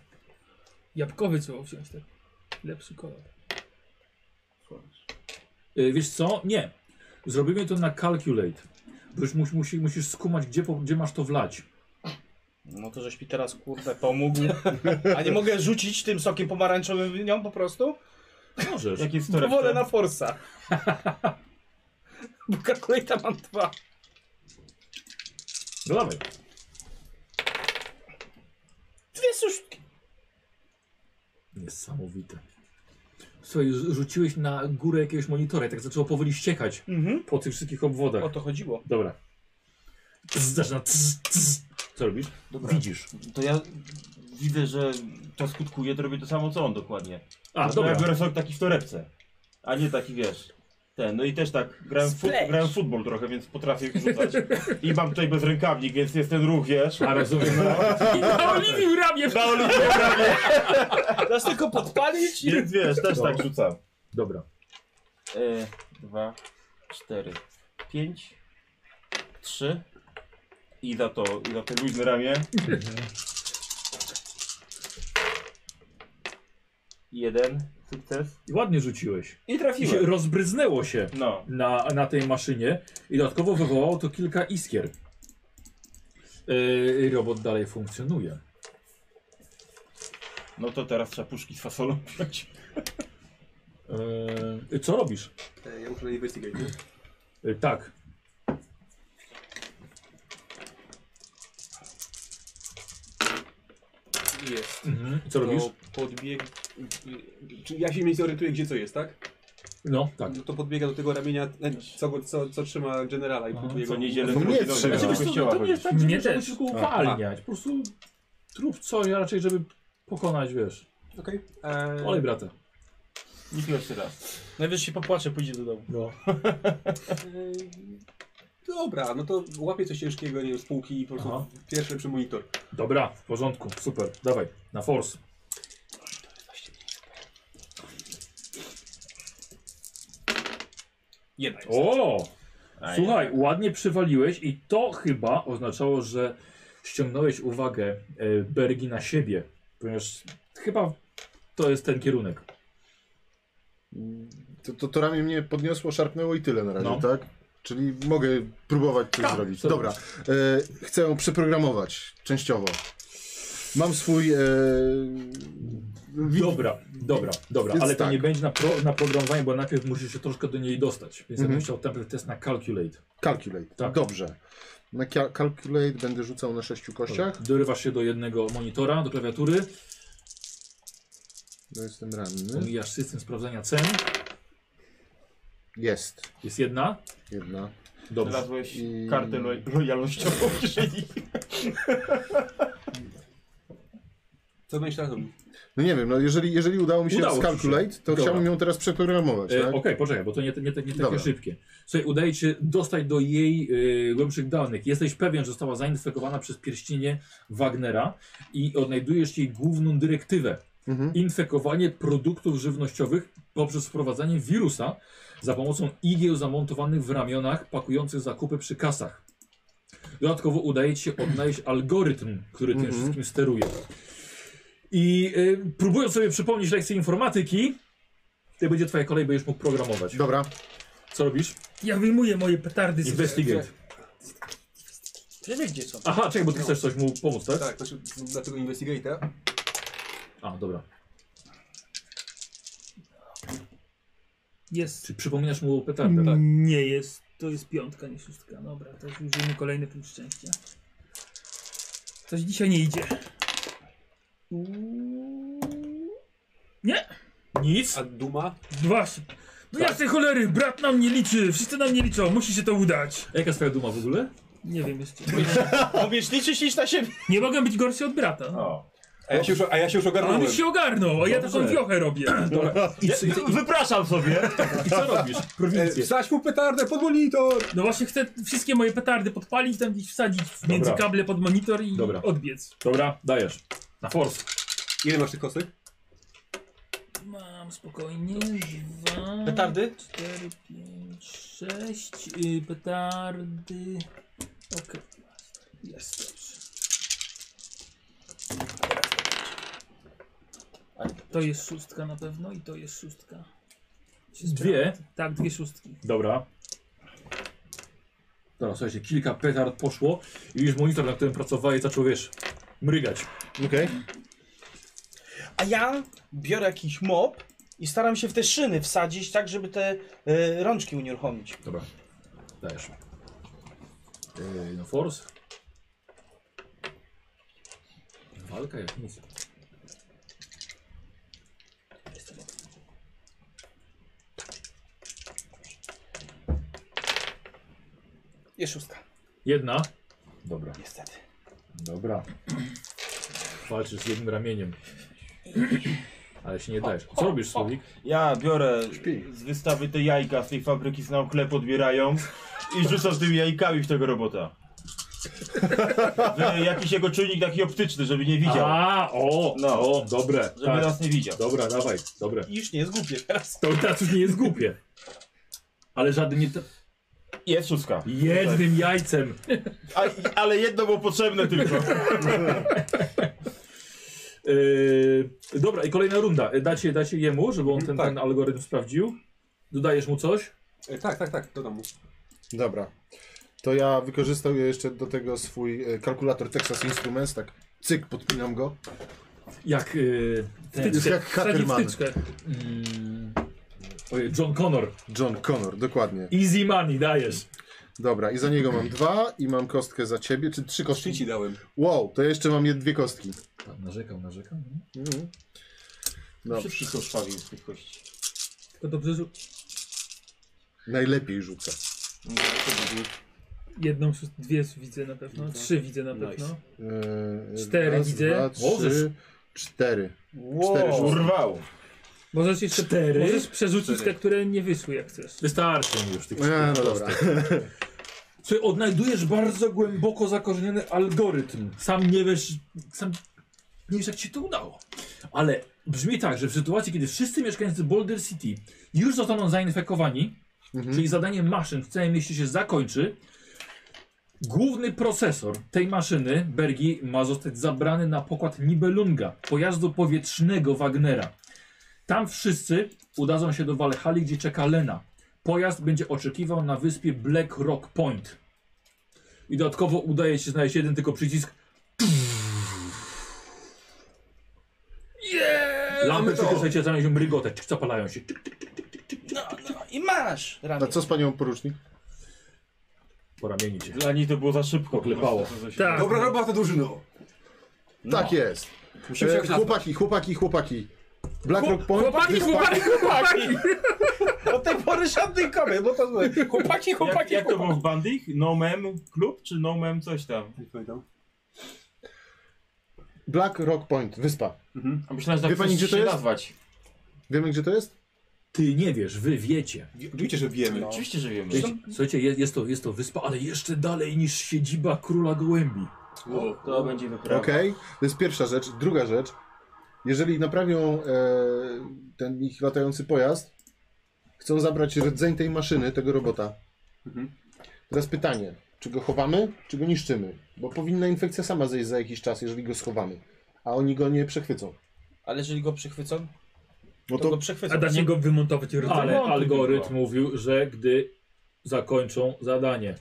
Jabłkowy trzeba wziąć tak. Lepszy kolor. Y, wiesz co? Nie. Zrobimy to na calculate. Bo już mus, musi, musisz skumać, gdzie, po, gdzie masz to wlać. No to żeś mi teraz kurde pomógł. A nie mogę rzucić tym sokiem pomarańczowym w nią po prostu? Możesz. Jak jest w To torebce? wolę na forsa. Bo kalkulata mam dwa. No dawaj. Dwie suszki. Niesamowite. Słuchaj, rzu- rzuciłeś na górę jakiegoś monitora i tak zaczęło powoli ściekać Mhm. po tych wszystkich obwodach. O to chodziło. Dobra. Tz, Zaczyna. tz, tz. Co robisz? Dobra. Widzisz. To ja widzę, że to skutkuje, to robię to samo co on dokładnie. A, No to Ja dobra. biorę sok taki w torebce, a nie taki wiesz. Ten, no i też tak, grałem, w fu- Splash. grałem w futbol trochę, więc potrafię rzucać. I mam tutaj bezrękawnik, więc jest ten ruch, wiesz. A rozumiem. Oliwił ramię! Na oliwie prawie. Teraz tylko podpalić i... Więc wiesz, No. też tak rzucam. Dobra. E, dwa, cztery, pięć, trzy. I za to, i za to luźne ramię. Mhm. Jeden sukces. I ładnie rzuciłeś. I I się trafiłem. rozbryznęło się No. na, na tej maszynie i dodatkowo wywołało to kilka iskier. Yy, robot dalej funkcjonuje. No to teraz trzeba puszki z fasolą wziąć. Yy, co robisz? E, Ja muszę na investigate. nie? Yy, tak. Jest. Mhm. Co robisz? No. To podbieg... Czy ja się mniej orientuję, gdzie co jest, tak? No, tak. To podbiega do tego ramienia, e, co, co, co trzyma generala i Aha, próbuje co go... niedzielę No mnie wróci trzyma. do Znaczy, wiesz co, kościoła to nie jest chodzisz. tak, że Mnie muszę też. tylko uwalniać. Po prostu trów co, ja raczej, żeby pokonać, wiesz. Okej. e, Olej brata. Nikt jeszcze raz. Najwyżej się popłacze, pójdzie do domu. No. Ej, Dobra, no to łapię coś ciężkiego, nie wiem, z półki i po prostu Aha. pierwszy przy monitor. Dobra, w porządku, super, dawaj, na force. Jedna jest. O! A Słuchaj, ładnie przywaliłeś i to chyba oznaczało, że ściągnąłeś uwagę e, Bergi na siebie, ponieważ chyba to jest ten kierunek. To, to, to ramię mnie podniosło, szarpnęło i tyle na razie, No. tak? Czyli mogę próbować coś zrobić. co Dobra, e, chcę ją przeprogramować częściowo. Mam swój. E, wi- Dobra, dobra, dobra, Więc ale to tak. nie będzie na, pro, na programowanie, bo najpierw musisz się troszkę do niej dostać, więc ja bym Mhm. chciał najpierw test na calculate. Calculate. Tak. Dobrze. Na cal- calculate będę rzucał na sześciu kościach. Dorywasz się do jednego monitora, do klawiatury, No jestem ranny. pomijasz system sprawdzania cen, Jest. jest jedna, Jedna. dobrze. Znalazłeś I- kartę lo lojalnościową w kieszeni. Co będziesz teraz robił? No nie wiem, no jeżeli, jeżeli udało mi się Udało ci się. calculate, to Dobra. chciałbym ją teraz przeprogramować, E, tak? Okej, poczekaj, bo to nie, nie, nie takie Dobra. szybkie. Słuchaj, udaje ci się dostać do jej y, głębszych danych. Jesteś pewien, że została zainfekowana przez pierścienie Wagnera i odnajdujesz jej główną dyrektywę. Mhm. Infekowanie produktów żywnościowych poprzez wprowadzanie wirusa za pomocą igieł zamontowanych w ramionach pakujących zakupy przy kasach. Dodatkowo udaje ci się odnaleźć algorytm, który tym Mhm. wszystkim steruje. I y, próbując sobie przypomnieć lekcję informatyki, to będzie twoja kolej, będziesz mógł programować. Dobra. Co robisz? Ja wyjmuję moje petardy z Investigate. Ja wiem gdzie są. Aha, czekaj, bo ty chcesz coś mu pomóc, tak? Tak, znaczy, dlatego investigator. A, dobra. Jest. Czy przypominasz mu o petardę? Mm, Nie jest. To jest piątka, nie szóstka. Dobra, to już użyjmy kolejny punkt szczęścia. Coś dzisiaj nie idzie. Nic. A Duma? Dwa. szy- No Tak. jasnej cholery, brat nam nie liczy, wszyscy nam nie liczą, musi się to udać. A jaka jest twoja duma w ogóle? Nie wiem jeszcze. No wiesz, liczysz iść na siebie. Nie mogę być gorszy od brata. O. A ja się już, a ja się już On ogarnąłem. już się ogarnął, a ja Dobrze. taką fiochę robię. I, co- i, co- Wypraszam sobie. i co robisz? E, Prowincja. Wsadź mu petardę pod monitor! No właśnie chcę wszystkie moje petardy podpalić, tam gdzieś wsadzić w między Dobra. kable pod monitor i Dobra. odbiec. Dobra, dajesz. Na force. Ile masz tych kostek? Mam spokojnie. Dwa. Petardy? 4, 5, 6. y, Yy, petardy. Okej. Jest dobrze. To jest szóstka na pewno i to jest szóstka. Się Dwie? sprawdza. Tak, dwie szóstki. Dobra. Dobra, słuchajcie, kilka petard poszło i już monitor, na którym pracowałeś, zaczął, wiesz, mrygać. Okej. A ja biorę jakiś mop i staram się w te szyny wsadzić, tak żeby te e, rączki unieruchomić. Dobra, dajesz. Yy, no force. Walka jak nic. Jest szóstka. Jedna. Dobra, Niestety. dobra. Walczysz z jednym ramieniem. Ale się nie dajesz. Co robisz, Słowik? Ja biorę z wystawy te jajka z tej fabryki, z nam chleb odbierają i rzucam tymi jajkami w tego robota. W jakiś jego czujnik taki optyczny, żeby nie widział. A, o, No. o, dobre. Żeby Tak. nas nie widział. Dobra, dawaj, dobre. I już nie jest głupie teraz. To teraz już nie jest głupie. Ale żadnym nie... Jest szóstka. Jednym jajcem. A, ale jedno było potrzebne tylko. Yy, dobra, i kolejna runda. Yy, Dacie, dacie jemu, żeby on ten, Tak. ten algorytm sprawdził. Dodajesz mu coś? E, tak, tak, tak, dodam mu. Dobra. To ja wykorzystał jeszcze do tego swój e, kalkulator Texas Instruments, tak cyk, podpinam go. Jak yy, ten... Jest jak Wsadzi Hackerman, wtyczkę. Mm, ojej, John Connor. John Connor, dokładnie. Easy money dajesz. Dobra, i za niego mam dwa i mam kostkę za ciebie, czy trzy Trzy kostki. ci dałem. Wow, to ja jeszcze mam je dwie kostki. Tak, narzekał, narzekał. Mhm. Dobrze. Wszystko szwawił z tych kości. Tylko dobrze, że Najlepiej rzuca. No, to by- Jedną, szóst- dwie widzę na pewno, trzy widzę na Nice. pewno. Eee, Cztery raz, widzę. Dwa, Możesz. trzy, cztery. Cztery Wow. rzuty. Urwał. Możesz jeszcze Cztery? możesz przerzucić Cztery. te, które nie wyszły jak chcesz. Wystarczy mi już tych A, no dobra. Słuchaj, odnajdujesz bardzo głęboko zakorzeniony algorytm. Sam nie wiesz, sam nie wiesz jak ci to udało. Ale brzmi tak, że w sytuacji, kiedy wszyscy mieszkańcy Boulder City już zostaną zainfekowani, czyli zadanie maszyn w całym mieście się zakończy, główny procesor tej maszyny, Bergi, ma zostać zabrany na pokład Nibelunga, pojazdu powietrznego Wagnera. Tam wszyscy udadzą się do Walhali, gdzie czeka Lena. Pojazd będzie oczekiwał na wyspie Black Rock Point. I dodatkowo udaje się znaleźć jeden tylko przycisk. Yeah! Lampy tylko słuchajcie, znajdują mrygotek, czyk, zapalają się. Czyk, czyk, No, no i masz A ramię. co z panią porucznik? po ramieniu cię. Dla niej to było za szybko klepało. Tak. Dobra robota drużyno. Tak jest. Musimy się Eee, jakoś nazwać. chłopaki, chłopaki, chłopaki. Black Rock Point. Chłopaki, wyspa- chłopaki, chłopaki! Od tej pory żadnych kobiet, no to złe. Chłopaki, Jak, chłopaki, jak to chłopaki. było w Bandich? No Mem Klub czy No Mem coś tam? Nie pamiętam. Black Rock Point, wyspa. A myślałem, że Wie tak pani, chcesz gdzie to się jest? nazwać. Wiemy gdzie to jest? Ty nie wiesz, wy wiecie. Oczywiście, że wiemy. No. Oczywiście, że wiemy. Wiecie- Słuchajcie, je- jest to, jest to wyspa, ale jeszcze dalej niż siedziba króla gołębi. To będzie wyprawa. Okej, to jest pierwsza rzecz. Druga rzecz. Jeżeli naprawią e, ten ich latający pojazd, chcą zabrać rdzeń tej maszyny, tego robota. Teraz pytanie, czy go chowamy, czy go niszczymy? Bo powinna infekcja sama zejść za jakiś czas, jeżeli go schowamy. A oni go nie przechwycą. Ale jeżeli go przechwycą, No to, to go przechwycą. Tak. A da się go wymontować rodzaju? Ale Ale... algorytm mówił, że gdy zakończą zadanie,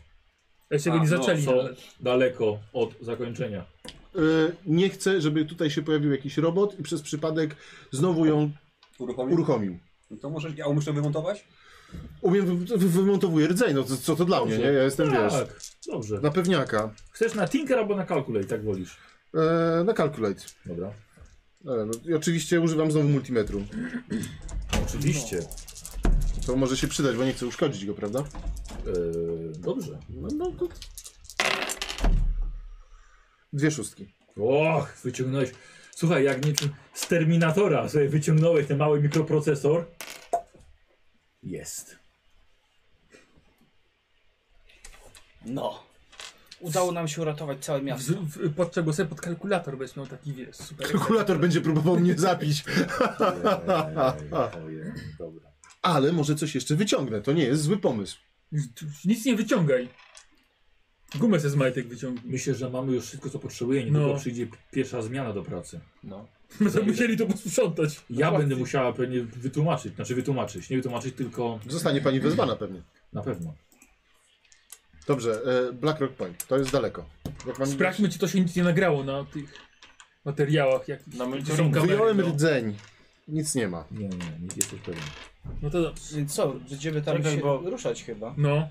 Jeszcze go A, nie no, zaczęli. są nawet. daleko od zakończenia. y, nie chcę, żeby tutaj się pojawił jakiś robot i przez przypadek znowu ją Uruchomił. uruchomił. To możesz, ja umiesz to wymontować? Umiem, wy- wy- wymontowuję rdzeń, no co, co to dla mnie, nie? Ja jestem, wiesz, Tak, dobrze. na pewniaka. Chcesz na Tinker albo na Calculate, tak wolisz. E, na calculate. Dobra. E, no, I oczywiście używam znowu multimetru. Oczywiście. To może się przydać, bo nie chcę uszkodzić go, prawda? Yy, dobrze. No, no to... Dwie szóstki. Och, wyciągnąłeś. Słuchaj, jak niczym z Terminatora sobie wyciągnąłeś ten mały mikroprocesor. Jest. No. Udało nam się uratować całe miasto. Wz- w- Podczego sobie pod kalkulator byś miał taki, wiesz, super. Kalkulator będzie próbował mnie zapić, Ojej, dobra. ale może coś jeszcze wyciągnę. To nie jest zły pomysł. Nic nie wyciągaj. Gumę ze z majtek wyciągnij. Myślę, że mamy już wszystko, co potrzebujemy. Niedługo No. przyjdzie pierwsza zmiana do pracy. No. Będziemy musieli to posprzątać. Ja będę musiała pewnie wytłumaczyć, znaczy wytłumaczyć, nie wytłumaczyć, tylko Zostanie pani wezwana pewnie. na pewno. Dobrze, e, Black Rock Point, to jest daleko. Jak mam... Sprawdźmy, czy to się nic nie nagrało na tych materiałach. Jak... Na To są monitoringu. kamery, Wyjąłem no. rdzeń, nic nie ma. Nie, nie, nie, nie jesteś pewien. no to dobrze. Więc co, będziemy tam Czekaj, się bo- ruszać chyba. No.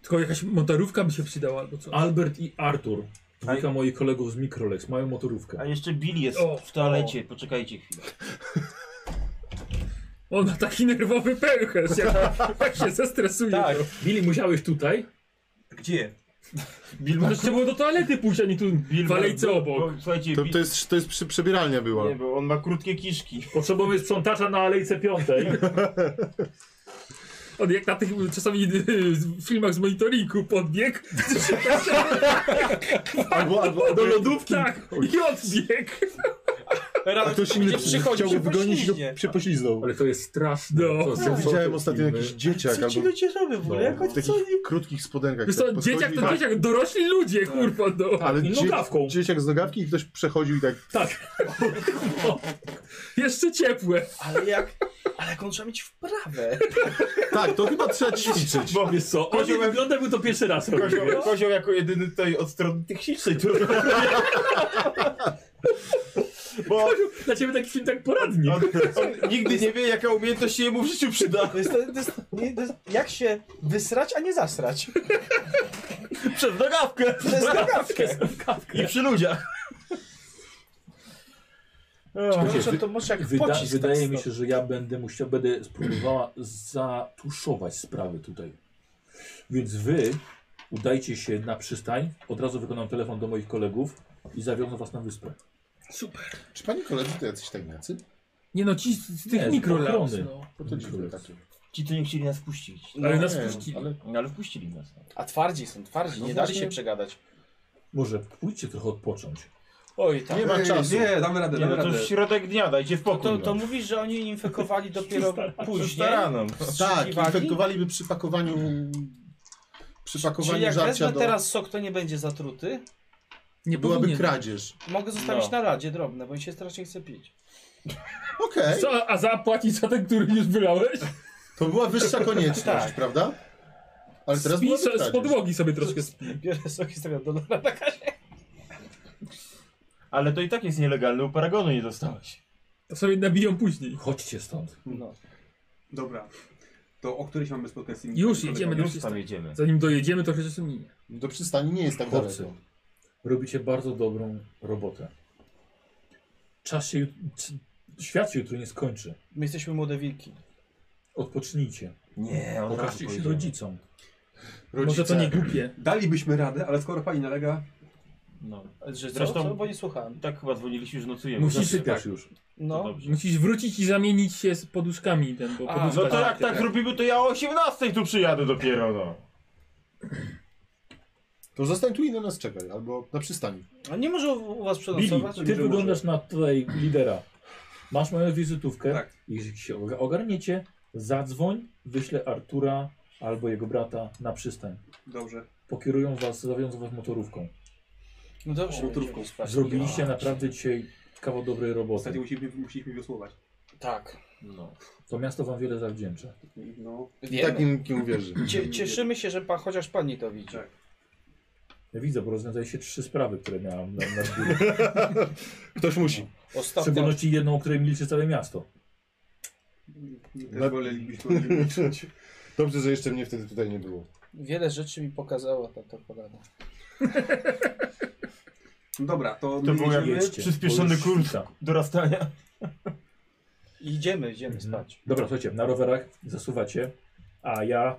Tylko jakaś motorówka by się przydała albo co. Albert i Artur, dwójka moich kolegów z Mikrolex, mają A motorówkę. jeszcze Bill jest O, w toalecie, poczekajcie chwilę. On ma taki nerwowy pęcherz, jak, jak się zestresuje. Tak. to. Billy, musiałeś tutaj? Gdzie? Bill Może trzeba było do toalety pójść, a nie tu w alejce obok. Bo, słuchajcie, To, Bill... to, jest, to jest przy, przebieralnia była. Nie, bo on ma krótkie kiszki. Potrzebujemy sprzątacza na alejce piątej. On jak na tych y, czasami y, z- filmach z monitoringu podbiegł. Albo, albo, Do lodówki? Tak. I odbiegł. a ktoś inny Będzie przychodził chciał go się wygonić i go poślizgnie. się poślizgnął. Ale to jest straszne. No. To są- Ja są widziałem te ostatnio filmy. jakiś dzieciak Co ci albo No. ludzie robią w ogóle? Jak w oni co takich oni... krótkich spodenkach. Wiesz tak co, dzieciak to podchodzi- dzieciak, dorośli ludzie, kurwa, no. Tak, Ale I dzie- nogawką. dzieciak z nogawki i ktoś przechodził i tak Tak. Jeszcze ciepłe. Ale jak... Ale jak on trzeba mieć wprawę. Tak, to chyba trzeba ćwiczyć. Bo wiesz co, on nie wygląda, był to pierwszy raz robił. Kozioł, kozioł jako jedyny tutaj od strony technicznej tu Bo on, Dla ciebie taki film tak poradni. on nigdy nie wie, jaka umiejętność się mu w życiu przyda. To jest, to jest, nie, to jest, jak się wysrać, a nie zasrać. Przez nogawkę! Przez nogawkę. I przy ludziach. Słuchajcie, Muszę wy- to może jak Wyda pocisk. wydaje tak mi się, że ja będę musiał, będę spróbowała zatuszować sprawy tutaj. Więc wy udajcie się na przystań, od razu wykonam telefon do moich kolegów i zawiozę was na wyspę. Czy pani koledzy to jacyś tajniacy? Nie no, ci z, z tych Nie, z mikrolaps, ochrony. no. Bo to dziwne takie. Ci, co nie chcieli nas puścić. Ale No nas nie, puścili. Ale No, ale wpuścili nas. A twardzi są, twardzi, No nie dali właśnie. się przegadać. Może pójdźcie trochę odpocząć. Oj, tak. nie ma czasu. Nie, damy radę, Nie, damy no to radę. już środek dnia, dajcie To, spokój. to, to mówisz, że oni infekowali dopiero później? Staraną. Tak, Wstrzykiwali? infektowaliwali by przy pakowaniu, przy Czyli pakowaniu jak żarcia wezmę do... teraz sok, to nie będzie zatruty? Nie Byłaby powinien. kradzież. Mogę zostawić No. na radzie drobne, bo mi się strasznie chce pić. Okej, Co, a zapłacić za ten, który już wylałeś? to była wyższa konieczność, Tak. prawda? Ale teraz Spij byłaby so- z kradzież. podłogi sobie troszkę spij. Biorę sok i stawiam dolara na kasie. Ale to i tak jest nielegalne, u paragonu nie dostałeś. To sobie nabiją później. Chodźcie stąd. No. Dobra. To o którejś mamy spotkać z tymi Już kolegami? jedziemy do Już tam przystań. jedziemy. Zanim dojedziemy, trochę czasu minie. Do przystani nie jest tak Chłopcy, daleko. robicie bardzo dobrą robotę. Czas się, jut- c- świat się jutro nie skończy. My jesteśmy młode wilki. Odpocznijcie. Nie, od razu Pokażcie się pojedziemy. rodzicom. Może to nie tak. głupie. Dalibyśmy radę, ale skoro pani nalega, No. Że Zresztą... Zresztą- co? Bo nie słuchałem. I tak chyba dzwoniliśmy, że nocujemy. Musisz Zawsze sypiać tak. już. To No. dobrze. Musisz wrócić i zamienić się z poduszkami ten, bo A, poduszka... No to jak tak robimy, to ja o 18 tu przyjadę dopiero, no. To zostań tu i na nas czekaj, albo na przystani. A nie może u u was Billy, przenocować? ty wyglądasz na tutaj lidera. Masz moją wizytówkę. Tak. Jeśli się oga- ogarniecie, zadzwoń, wyślę Artura albo jego brata na przystań. dobrze. Pokierują was, zawiążą was motorówką. No dobrze, Motorówką. będziemy spać. No. Zrobiliście naprawdę dzisiaj kawał dobrej Ostatnio roboty. musieliśmy, musieliśmy wiosłować. Tak. No. To miasto wam wiele zawdzięcza. No, I Wiemy. tak im, kim wierzy. Cie, cieszymy się, że pa, chociaż pani to widzi. Tak. Ja widzę, bo rozwiązaliście trzy sprawy, które miałem na, na biurze. Ktoś musi. W Ostatnio szczególności jedną, o której liczy całe miasto. też wolelibyśmy liczyć. Dobrze, że jeszcze mnie wtedy tutaj nie było. wiele rzeczy mi pokazała ta torpolada. No Dobra, to, To my było jak jedziemy. Jedźcie, przyspieszony bo już kurs. świta. Dorastania. Idziemy, idziemy Mhm. spać. Dobra, słuchajcie, na rowerach zasuwacie, a ja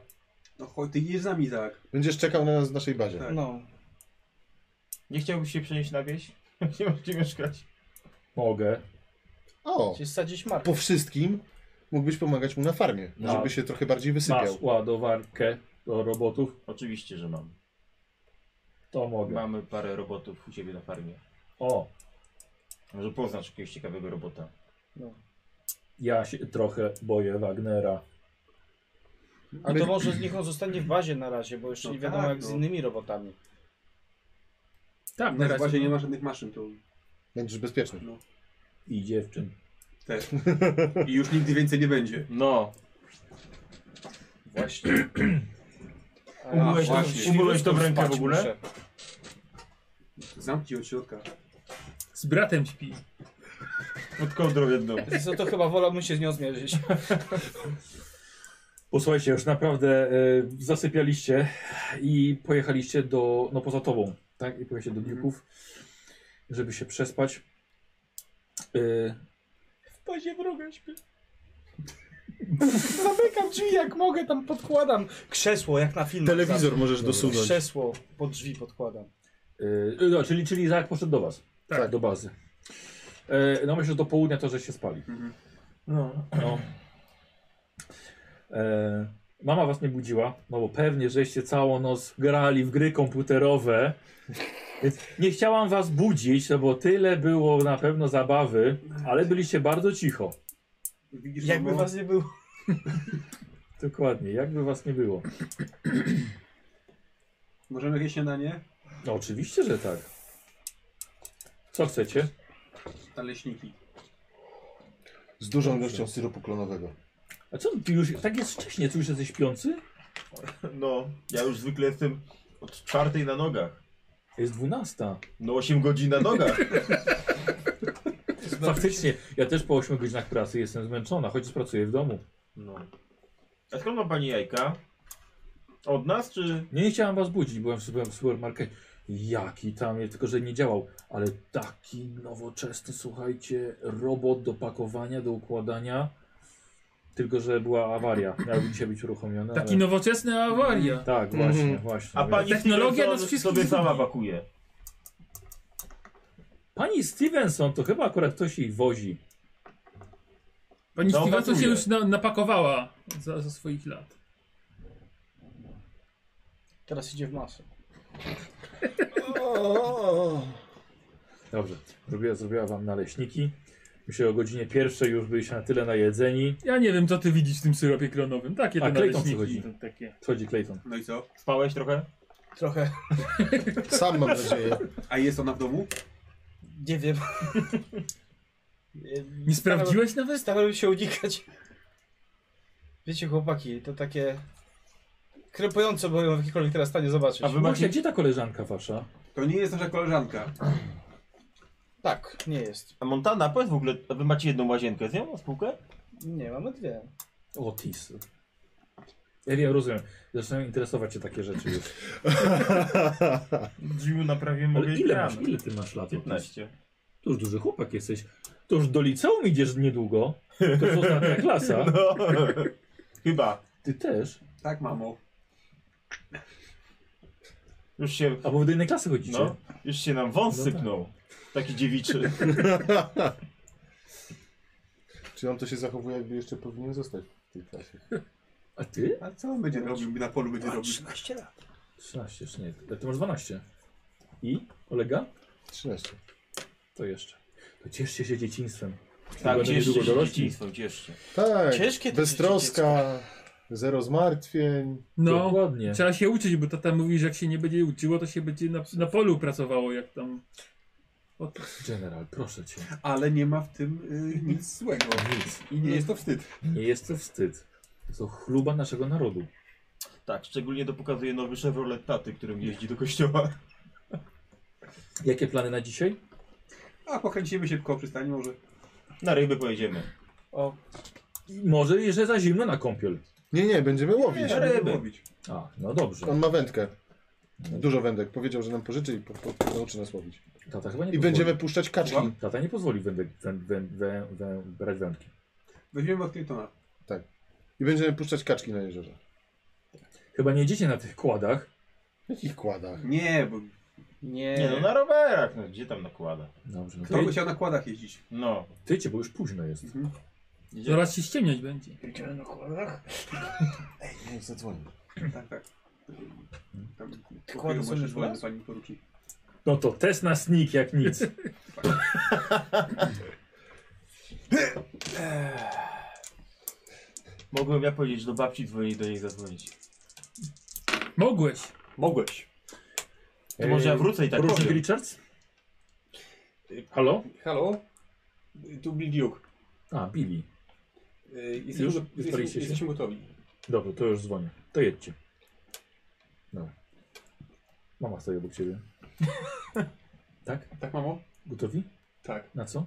No chodź, ty jedź z nami, Izak. Będziesz czekał na nas w naszej bazie. Tak. No. Nie chciałbyś się przenieść na wieś? Nie masz gdzie mieszkać. mogę. O, Gdzieś sadzić markę. po wszystkim mógłbyś pomagać mu na farmie, No. żeby się trochę bardziej wysypiał. Masz ładowarkę do robotów, Oczywiście, że mam. to mogę. Mamy parę robotów u siebie na farmie. O, Może poznasz jakiegoś ciekawego robota. ja się trochę boję Wagnera. No to może z nich on zostanie w bazie na razie, bo jeszcze No nie wiadomo tak, jak z no. innymi robotami. Tak, na Na razie. razie nie ma żadnych maszyn, to Będziesz bezpieczny. I dziewczyn. też. I już nigdy więcej nie będzie. No. Właśnie. Ale Umyłeś ja tą- już umyłeś tą świrówką rękę spać w ogóle? muszę. Zamknij od środka. Z bratem śpi. Pod kołdrą jedną. Wiesz Co no to chyba wolałbym się z nią zmierzyć. Posłuchajcie, już naprawdę y, zasypialiście i pojechaliście do, no poza tobą, tak? I pojechaliście do Ników, żeby się przespać. Y, W bazie wroga śpię. Zamykam drzwi jak mogę, tam podkładam krzesło jak na filmie. Telewizor możesz dosunąć. Krzesło pod drzwi podkładam. y, no, czyli, czyli Izaak poszedł do was, tak, do bazy. Y, no myślę, że do południa to, że się spali. No. No. E, mama was nie budziła, no bo pewnie żeście całą noc grali w gry komputerowe. Więc nie chciałam was budzić, no bo tyle było na pewno zabawy, ale byliście bardzo cicho. Widzisz, Jakby mamo? was nie było. Dokładnie, jakby was nie było. Możemy jakieś śniadanie? No oczywiście, że tak. Co chcecie? Naleśniki. Z dużą ilością syropu klonowego. A co ty już, tak jest wcześnie, co już jesteś śpiący? No. Ja już zwykle jestem od czwartej na nogach. Jest dwunasta. No 8 godzin na nogach. No, Faktycznie, ja też po 8 godzinach pracy jestem zmęczona, chociaż pracuję w domu. No. A skąd ma pani jajka? Od nas czy... No Nie chciałam was budzić, byłem w, byłem w supermarkecie. Jaki tam, jest, tylko że nie działał, ale taki nowoczesny, słuchajcie, robot do pakowania, do układania. Tylko, że była awaria, miał dzisiaj być uruchomiony. Taki ale... nowoczesny awaria. Tak, właśnie, Mhm. właśnie. A więc- pani technologia Stevenson nas wszystkich sobie sama zgubi. pakuje. Pani Stevenson, to chyba akurat ktoś jej wozi. Pani No, Stevenson się gratuluję. już na, napakowała za, za swoich lat. Teraz idzie w masę. Dobrze, zrobiła, zrobiła wam naleśniki. Myślę, o godzinie pierwszej już byliście na tyle najedzeni. Ja nie wiem, co ty widzisz w tym syropie klonowym. Takie A, te Clayton naleśniki. przychodzi. Takie. Wchodzi Clayton. No i co? Spałeś trochę? Trochę, Sam mam nadzieję. A jest ona w domu? nie wiem. Em, Nie sprawdziłeś nawet? Starałem się unikać. Wiecie, chłopaki, to takie... Krępujące, bo ją w jakikolwiek teraz stanie zobaczyć. A wy Właśnie, macie... gdzie ta koleżanka wasza? To nie jest nasza koleżanka. Tak, nie jest. A Montana, powiedz w ogóle, a wy macie jedną łazienkę z nią, spółkę? Nie, mamy dwie. Otis. Ja wiem, rozumiem. Zaczynają interesować cię takie rzeczy już. Dziu naprawię Ale ile masz, ile ty masz lat? Otis? 15. To już duży chłopak jesteś. To już do liceum idziesz niedługo. To jest ostatnia klasa. No. Chyba. Ty też. Tak, mamo. Już się, A bo do innej klasy chodzicie. no, już się nam wąs No tak. sypnął. Taki dziewiczy. Czy on to się zachowuje, jakby jeszcze powinien zostać w tej klasie? A ty? A co on będzie robił? Na polu będzie robił. 13 lat. 13 jeszcze nie. Ale ty masz 12. I? Kolega? 13. To jeszcze. To cieszcie się dzieciństwem. Tak, Będę cieszcie niedługo się dorośli. dzieciństwo, cieszcie. Tak. Ciężkie to Beztroska, zero zmartwień. No. Dokładnie. Trzeba się uczyć, bo tata mówi, że jak się nie będzie uczyło, to się będzie na, na polu pracowało, jak tam. General, proszę cię. Ale nie ma w tym y, nic złego. Nic. I nie jest to wstyd. Nie jest to wstyd. To chluba naszego narodu. Tak, szczególnie to pokazuje nowy Chevrolet taty, którym jeździ do kościoła. Jakie plany na dzisiaj? A pokręcimy się koło przystani może. Na ryby pojedziemy. Może, że za zimno na kąpiel. Nie, nie, będziemy łowić. Nie, ryby. ryby. Robić. A, no dobrze. On ma wędkę. Dużo wędek. Powiedział, że nam pożyczy i po, po, nauczy nas łowić. Tata chyba nie I pozwoli. będziemy puszczać kaczki. Słucham? Tata nie pozwoli wędek, wę, wę, wę, wę, brać wędki. Weźmiemy od Clintona. I będziemy puszczać kaczki na jeziorze. Chyba nie jedziecie na tych kładach. W jakich kładach? Nie, bo Nie. Nie no, na rowerach, no, gdzie tam nakłada? Dobrze, no kto to by jedź- chciał na kładach jeździć? No. tycie, bo już późno jest. Idzie... Zaraz się No, ściemniać będzie. Wiedziałem na kolorach? Niech zadzwoni. Tak, tak. Tam kłady są już u dzwonię nas? pani porucznik. No to test na snik jak nic. Mogłem ja powiedzieć, że do babci dzwonić, do niej zadzwonić. Mogłeś. Mogłeś. To może ja wrócę i tak Porucznik powiem. Richards? Halo? Halo? Tu Bill Duke. A, Billy. Y, Już? Jesteśmy, Już paliście się? jesteśmy, jesteśmy gotowi. Dobra, to już dzwonię. To jedźcie. No. Mama stoi obok ciebie. tak? Tak, mamo? Gotowi? Tak. Na co?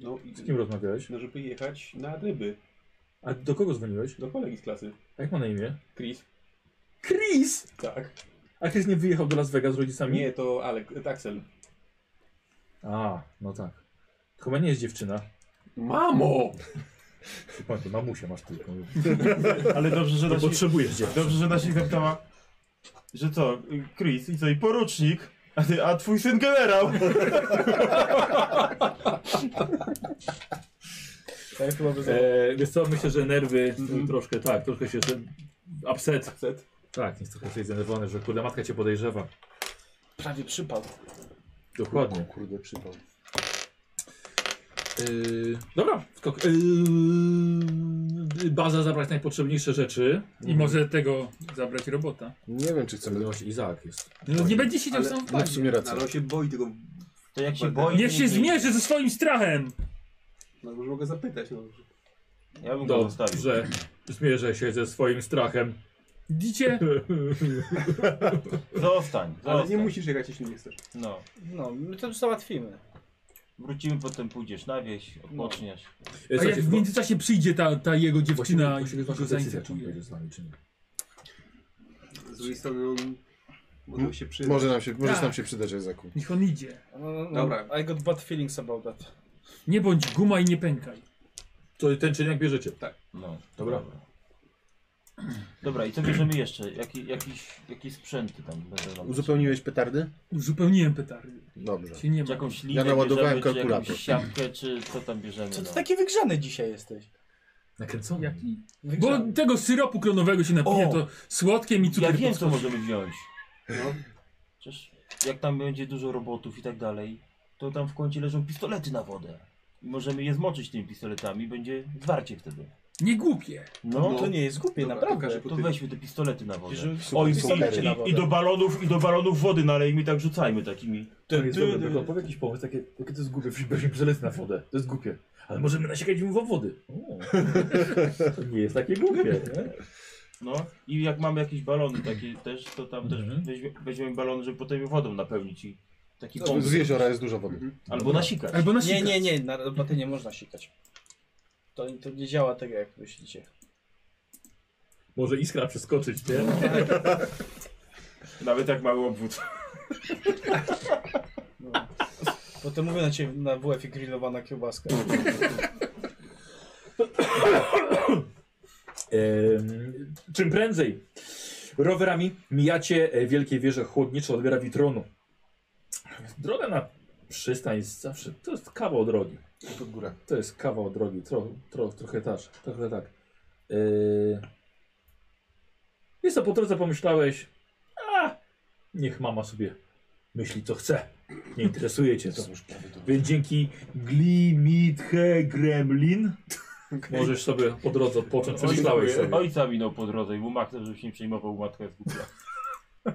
No, i, Z kim rozmawiałeś? no żeby jechać na ryby A do kogo dzwoniłeś? do kolegi z klasy. Jak ma na imię? Chris? Chris! Tak. A Chris nie wyjechał do Las Vegas z rodzicami? Nie, to Alek, e, tak, Axel. A, no tak. Chyba nie jest dziewczyna. Mamo! Chyba to mamusia masz tylko. Ale dobrze, że To na się... potrzebujesz dziewczyn. Dobrze, że na się zapytała. Że co, y, Chris, i co, i porucznik? A, ty, a twój syn generał? Tak, chyba by E, wiesz co, myślę, że nerwy troszkę, tak, troszkę się... Ten... Upset. Upset. Tak, jest trochę jesteś zdenerwowany, że kurde matka cię podejrzewa. prawie przypadł. Dokładnie. Kurde, przypał. Yy, dobra, skok. Yy, baza zabrać najpotrzebniejsze rzeczy. I może tego zabrać robota. Nie wiem, czy Chcemy chcemy... zobaczyć, Izaak jest. No, nie będzie siedział Ale- sam w No w bazie. sumie Ale racja. on się boi tego. To jak się Niech boi... Niech się nikt nie idzie. zmierzy ze swoim strachem. No może mogę zapytać. No. Ja bym go zostawił. Dobrze, zmierzę się ze swoim strachem. E, Widzicie? Zostań, zostań. Ale nie musisz jechać, jeśli nie chcesz. No. No, my to załatwimy. Wrócimy, potem pójdziesz na wieś, odpoczniesz. E, A jak słuchajcie, w bo- międzyczasie przyjdzie ta, ta jego Właściwie, dziewczyna właściwie i to go wasza decyzja, czy on zainteresuje. będzie z nami, czy nie. Z drugiej strony on Mogą się przydać. Hmm? Może nam się, może Tak. nam się przydać Ezeku. Niech on idzie. Dobra. No, I got bad feelings about that. Nie bądź guma i nie pękaj. To ten czyniak bierzecie. Tak. No, Dobra. Dobra, i co bierzemy jeszcze? Jaki, jakiś, jakieś sprzęty tam będą nam Uzupełniłeś petardy? Uzupełniłem petardy. Dobrze. Się nie Czy ma. jakąś linę Ja naładowałem bierzemy, Czy kalkulator. jakąś siatkę, czy co tam bierzemy? Co ty no? taki wygrzany dzisiaj jesteś? Nakręcony. Jaki? Bo Wygrzany. tego syropu klonowego się napije, O! to słodkiem i Ja cukier wiem, co podskoczy. możemy wziąć. No. Przecież jak tam będzie dużo robotów i tak dalej, to tam w kącie leżą pistolety na wodę. I możemy je zmoczyć tymi pistoletami, będzie zwarcie wtedy. Nie głupie. No, No. To nie jest głupie, Dobra, naprawdę. pokażę. to weźmy te pistolety na wodę. Bierzemy O, i, i, pistolety na wodę. i, i do balonów, i do balonów wody nalejmy, tak rzucajmy takimi. To jest dobre, tylko powie no, jakiś pomysł, takie, jakie to jest głupie, weźmy przelec na wodę, to jest głupie. Ale możemy nasiekać im wo- wody. O. to nie jest takie głupie, nie? No i jak mamy jakieś balony takie też, to tam Mhm. też weźmie, weźmiemy balony, żeby potem je wodą napełnić i taki No, pomysł. Z jeziora jest dużo wody. Albo nasikać. Albo na Nie, nie, nie, na roboty nie można sikać. To, to nie działa tak, jak myślicie. Może iskra przeskoczyć, nie? Nawet jak mały obwód. Potem mówię na ciebie na WF-ie grillowana kiełbaska. Em, czym prędzej. Rowerami mijacie e, wielkie wieże chłodnicze odbiera witronu. Droga na przystań jest zawsze, to jest kawał drogi. Pod górę. To jest kawał drogi, tro, tro, trochę, taż, trochę tak. Yy... Jest to po drodze pomyślałeś, a niech mama sobie myśli co chce. Nie interesuje cię to. Więc dzięki Glimithe Gremlin możesz sobie po drodze odpocząć. Przemyślałeś Ojca, sobie. ojca minął po drodze i mu machnął, żeby się nie przejmował, matka jest głupia.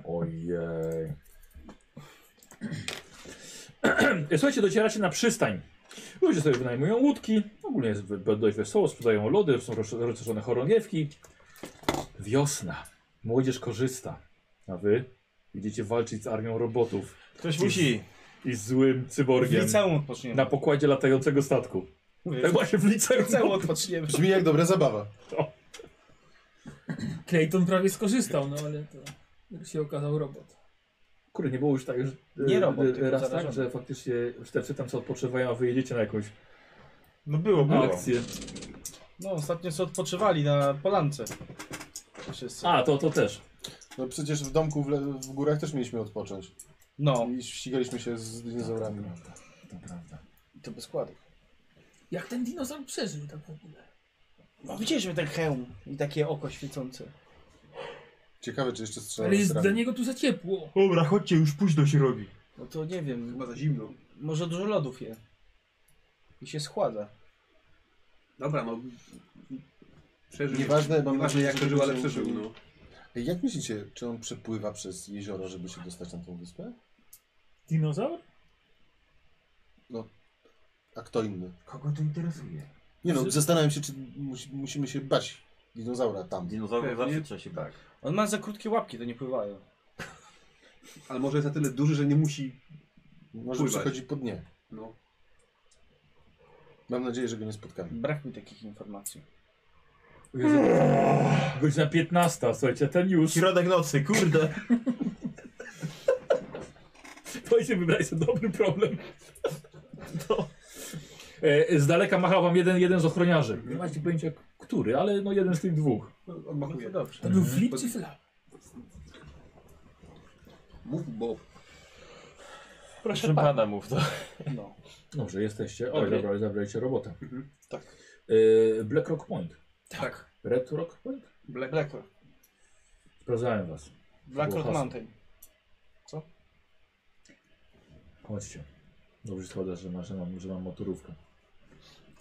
Ojej. Słuchajcie, docieracie na przystań. Ludzie sobie wynajmują łódki. Ogólnie jest we- dość wesoło, sprzedają lody, są roz- rozszerzone chorągiewki. Wiosna. Młodzież korzysta. A wy idziecie walczyć z armią robotów Ktoś musi. i z złym W cyborgiem liceum odpoczniemy. na pokładzie latającego statku. Tak właśnie w liceum. W liceum odpoczniemy. Brzmi jak dobra zabawa. Clayton prawie skorzystał, no ale to jak się okazał robot. Kurde, nie było już tak, że Nie robot, e, tylko raz tak, zarażony. że faktycznie sztewcy tam co odpoczywają, a wy jedziecie na jakąś No było, było. akcję. No, ostatnio sobie odpoczywali na polance. Wszyscy. A, to, to też. No przecież w domku w, le- w górach też mieliśmy odpocząć. No, I ścigaliśmy się z dinozaurami. i to bez składu. Jak ten dinozaur przeżył tak w ogóle? No, widzieliśmy ten hełm i takie oko świecące. Ciekawe, czy jeszcze strzelają Ale jest z dla ramienia. niego tu za ciepło. Dobra, chodźcie, już późno się robi. No to nie wiem, Chyba za zimno. może dużo lodów je. I się schładza. Dobra, no. Przeżył. Nieważne, mam Nieważne nadzieję, jak że przeżył, ale będzie przeżył. użył. No. Ej, Jak myślicie, czy on przepływa przez jezioro, żeby się dostać na tą wyspę? Dinozaur? A kto inny? Kogo to interesuje? Nie no, zastanawiam się, czy musi, musimy się bać dinozaura tam. Dinozaurów Pewnie. no, zawsze trzeba się bać. On ma za krótkie łapki, to nie pływają. Ale może jest na tyle duży, że nie musi. Może Pływać. przechodzi po dnie. No. Mam nadzieję, że go nie spotkamy. Brak mi takich informacji. Godzina 15, słuchajcie, ten już. Środek nocy, kurde. Słuchajcie, wybraliście dobry problem. To. E, Z daleka machał wam jeden, jeden z ochroniarzy. Nie macie pojęcia który, ale no jeden z tych dwóch. Odmachuje. dobrze. To był Mhm. flip czy flap? Mów Bob. Proszę pana mów to. No. Dobrze, jesteście. Oj, Dobry. dobra, zabraliście robotę. Mhm, Tak. Black Rock Point. Tak. Red Rock Point? Black. Black Rock. Sprawdzałem was. Black Było Rock hasło. Mountain. Chodźcie. Dobrze składa, że, ma, że, mam, że mam motorówkę.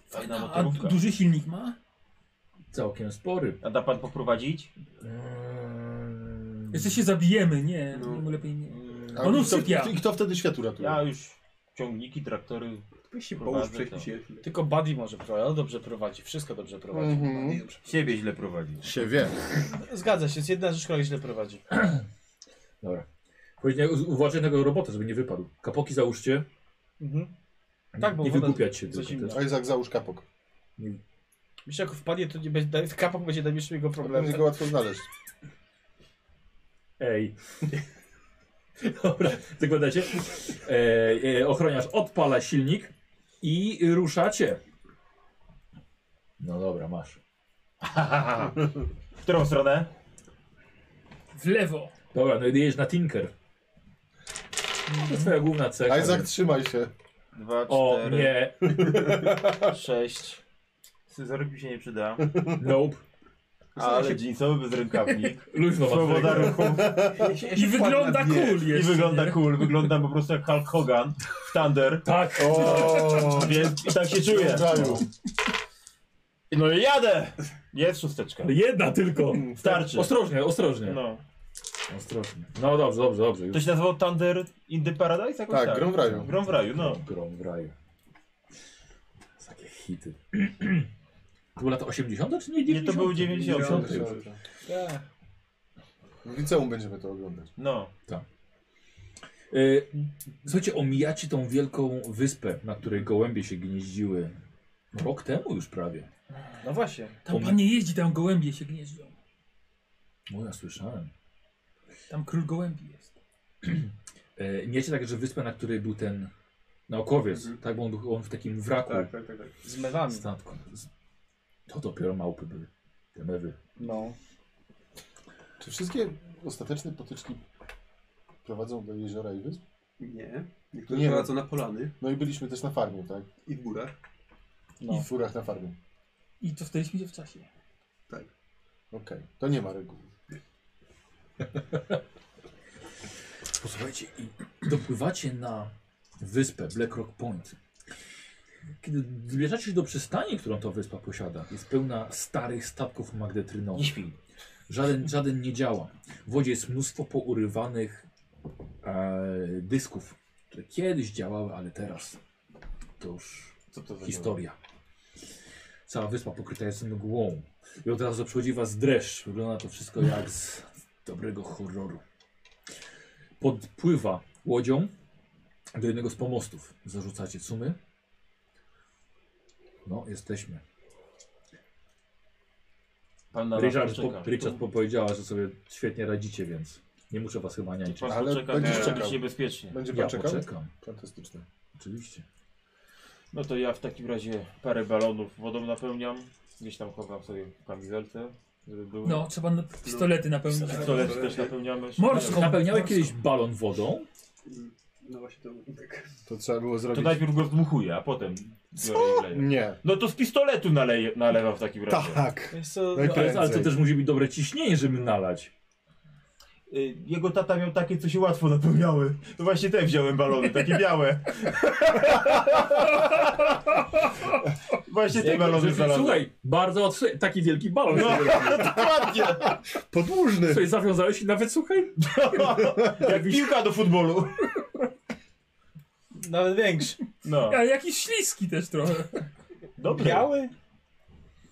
Fajna A du- motorówka. duży silnik ma? Całkiem spory. A da pan poprowadzić? Mm. Eee. Jeszcze się zabijemy, nie, No. no. lepiej nie. A On i kto, usypia. I kto wtedy światu ratuje? Ja już ciągniki, traktory. Weź się Prowadzę połóż, to. prześpij się. chwilę. Tylko Buddy może prowadzić. On dobrze prowadzi, wszystko dobrze prowadzi. Nie Mhm. wiem, przepraszam. Siebie źle prowadzi. Się wie. Zgadza się, jest jedna rzecz, która źle prowadzi. Dobra. Powiedzcie, u- Uważaj na tego robotę, żeby nie wypadł. Kapoki załóżcie. Mhm. Tak, bo nie woda wygłupiać się za tylko. zimna. też. A Izak, No, załóż kapok. Myślę, jak wpadnie, to nie będzie, kapok będzie najmniejszym jego problemem. Będzie go łatwo znaleźć. Ej. Dobra, zakładacie. E, e, ochroniarz odpala silnik i ruszacie. No dobra, masz. W którą stronę? W lewo. Dobra, no i jedziesz na Tinker. To jest twoja główna cecha. Isaac, więc- trzymaj się. Dwa, O, cztery. nie. Sześć. Scyzoryk mi się nie przyda. Nope. Ale dżinsowy bez rękawnik. Luźno was Swoboda ręka. ruchu. I wygląda Nie. cool I jeszcze, wygląda nie? cool. Wygląda po prostu jak Hulk Hogan w Thunder. Tak. O, więc i tak się czuję. No i jadę! Jest szósteczka. Jedna tylko. Starczy. Ostrożnie, ostrożnie. No. Ostrożnie. No dobrze, dobrze, dobrze. Już. To się nazywało Thunder in the Paradise? Jakoś Tak, tak, Grą w Raju. Grą w raju, no. Grom w raju. Takie hity. To były lata 80 czy nie 90? Nie, to były 90. Tak. W liceum będziemy to oglądać. No. Tak. Y, Słuchajcie, omijacie tą wielką wyspę, na której gołębie się gnieździły. Rok temu już prawie. No właśnie. Tam pan nie jeździ, tam gołębie się gnieżdżą. No ja słyszałem. Tam król gołębi jest. E, miecie także wyspę, na której był ten naukowiec, tak? Bo on, był- on w takim wraku. Tak, tak, tak, tak. Z mewami. Statku. Z- To dopiero małpy były. Te mewy. No. Czy wszystkie ostateczne potyczki prowadzą do jeziora i wysp? Nie. Niektórzy Nie. prowadzą na polany No i byliśmy też na farmie, tak? i w górach. No. I w furach na farmie. I cofnęliśmy się w czasie. Okej, to nie ma reguł. Posłuchajcie, i dopływacie na wyspę Black Rock Point. Kiedy zbliżacie się do przystani, którą ta wyspa posiada, jest pełna starych statków magdetrynowych. Nie śpi. Żaden, żaden nie działa. W wodzie jest mnóstwo pourywanych e, dysków, które kiedyś działały, ale teraz to już historia. Cała wyspa pokryta jest mgłą. I od razu przychodzi was dreszcz. Wygląda to wszystko jak z dobrego horroru. Podpływa łodzią do jednego z pomostów. Zarzucacie sumy. No, jesteśmy. Pan na nas Richard, poczeka. po, Richard powiedziała, że sobie świetnie radzicie, więc nie muszę was chyba niać. Pan poczeka, będziesz będzie czekał. być niebezpiecznie. Będzie pan Ja czekał? poczekam. Fantastycznie. Oczywiście. No to ja w takim razie parę balonów wodą napełniam. Gdzieś tam chowam sobie w kamizelce, żeby były. No, trzeba na pistolety napełnić. Pistolety też napełniamy. No, Morską. Napełniałeś Morską. kiedyś balon wodą? No właśnie to tak. To trzeba było To zrobić. najpierw go zdmuchuję, a potem biorę i wleję. Nie. No to z pistoletu naleję, nalewam w takim razie. Tak. Jest to... No, ale, ale to Najprędzej. też musi być dobre ciśnienie, żeby nalać. Y, Jego tata miał takie, co się łatwo napełniały. To właśnie te wziąłem balony, takie białe. właśnie te Jak- balony że- znalazłem. Słuchaj, bardzo odsu- taki wielki balon. No, sobie robisz. dokładnie. Podłużny! Sobie zawiązałeś i nawet słuchaj. Jak piłka do futbolu. Nawet większy. No, A jakiś śliski też trochę. dobry. Biały?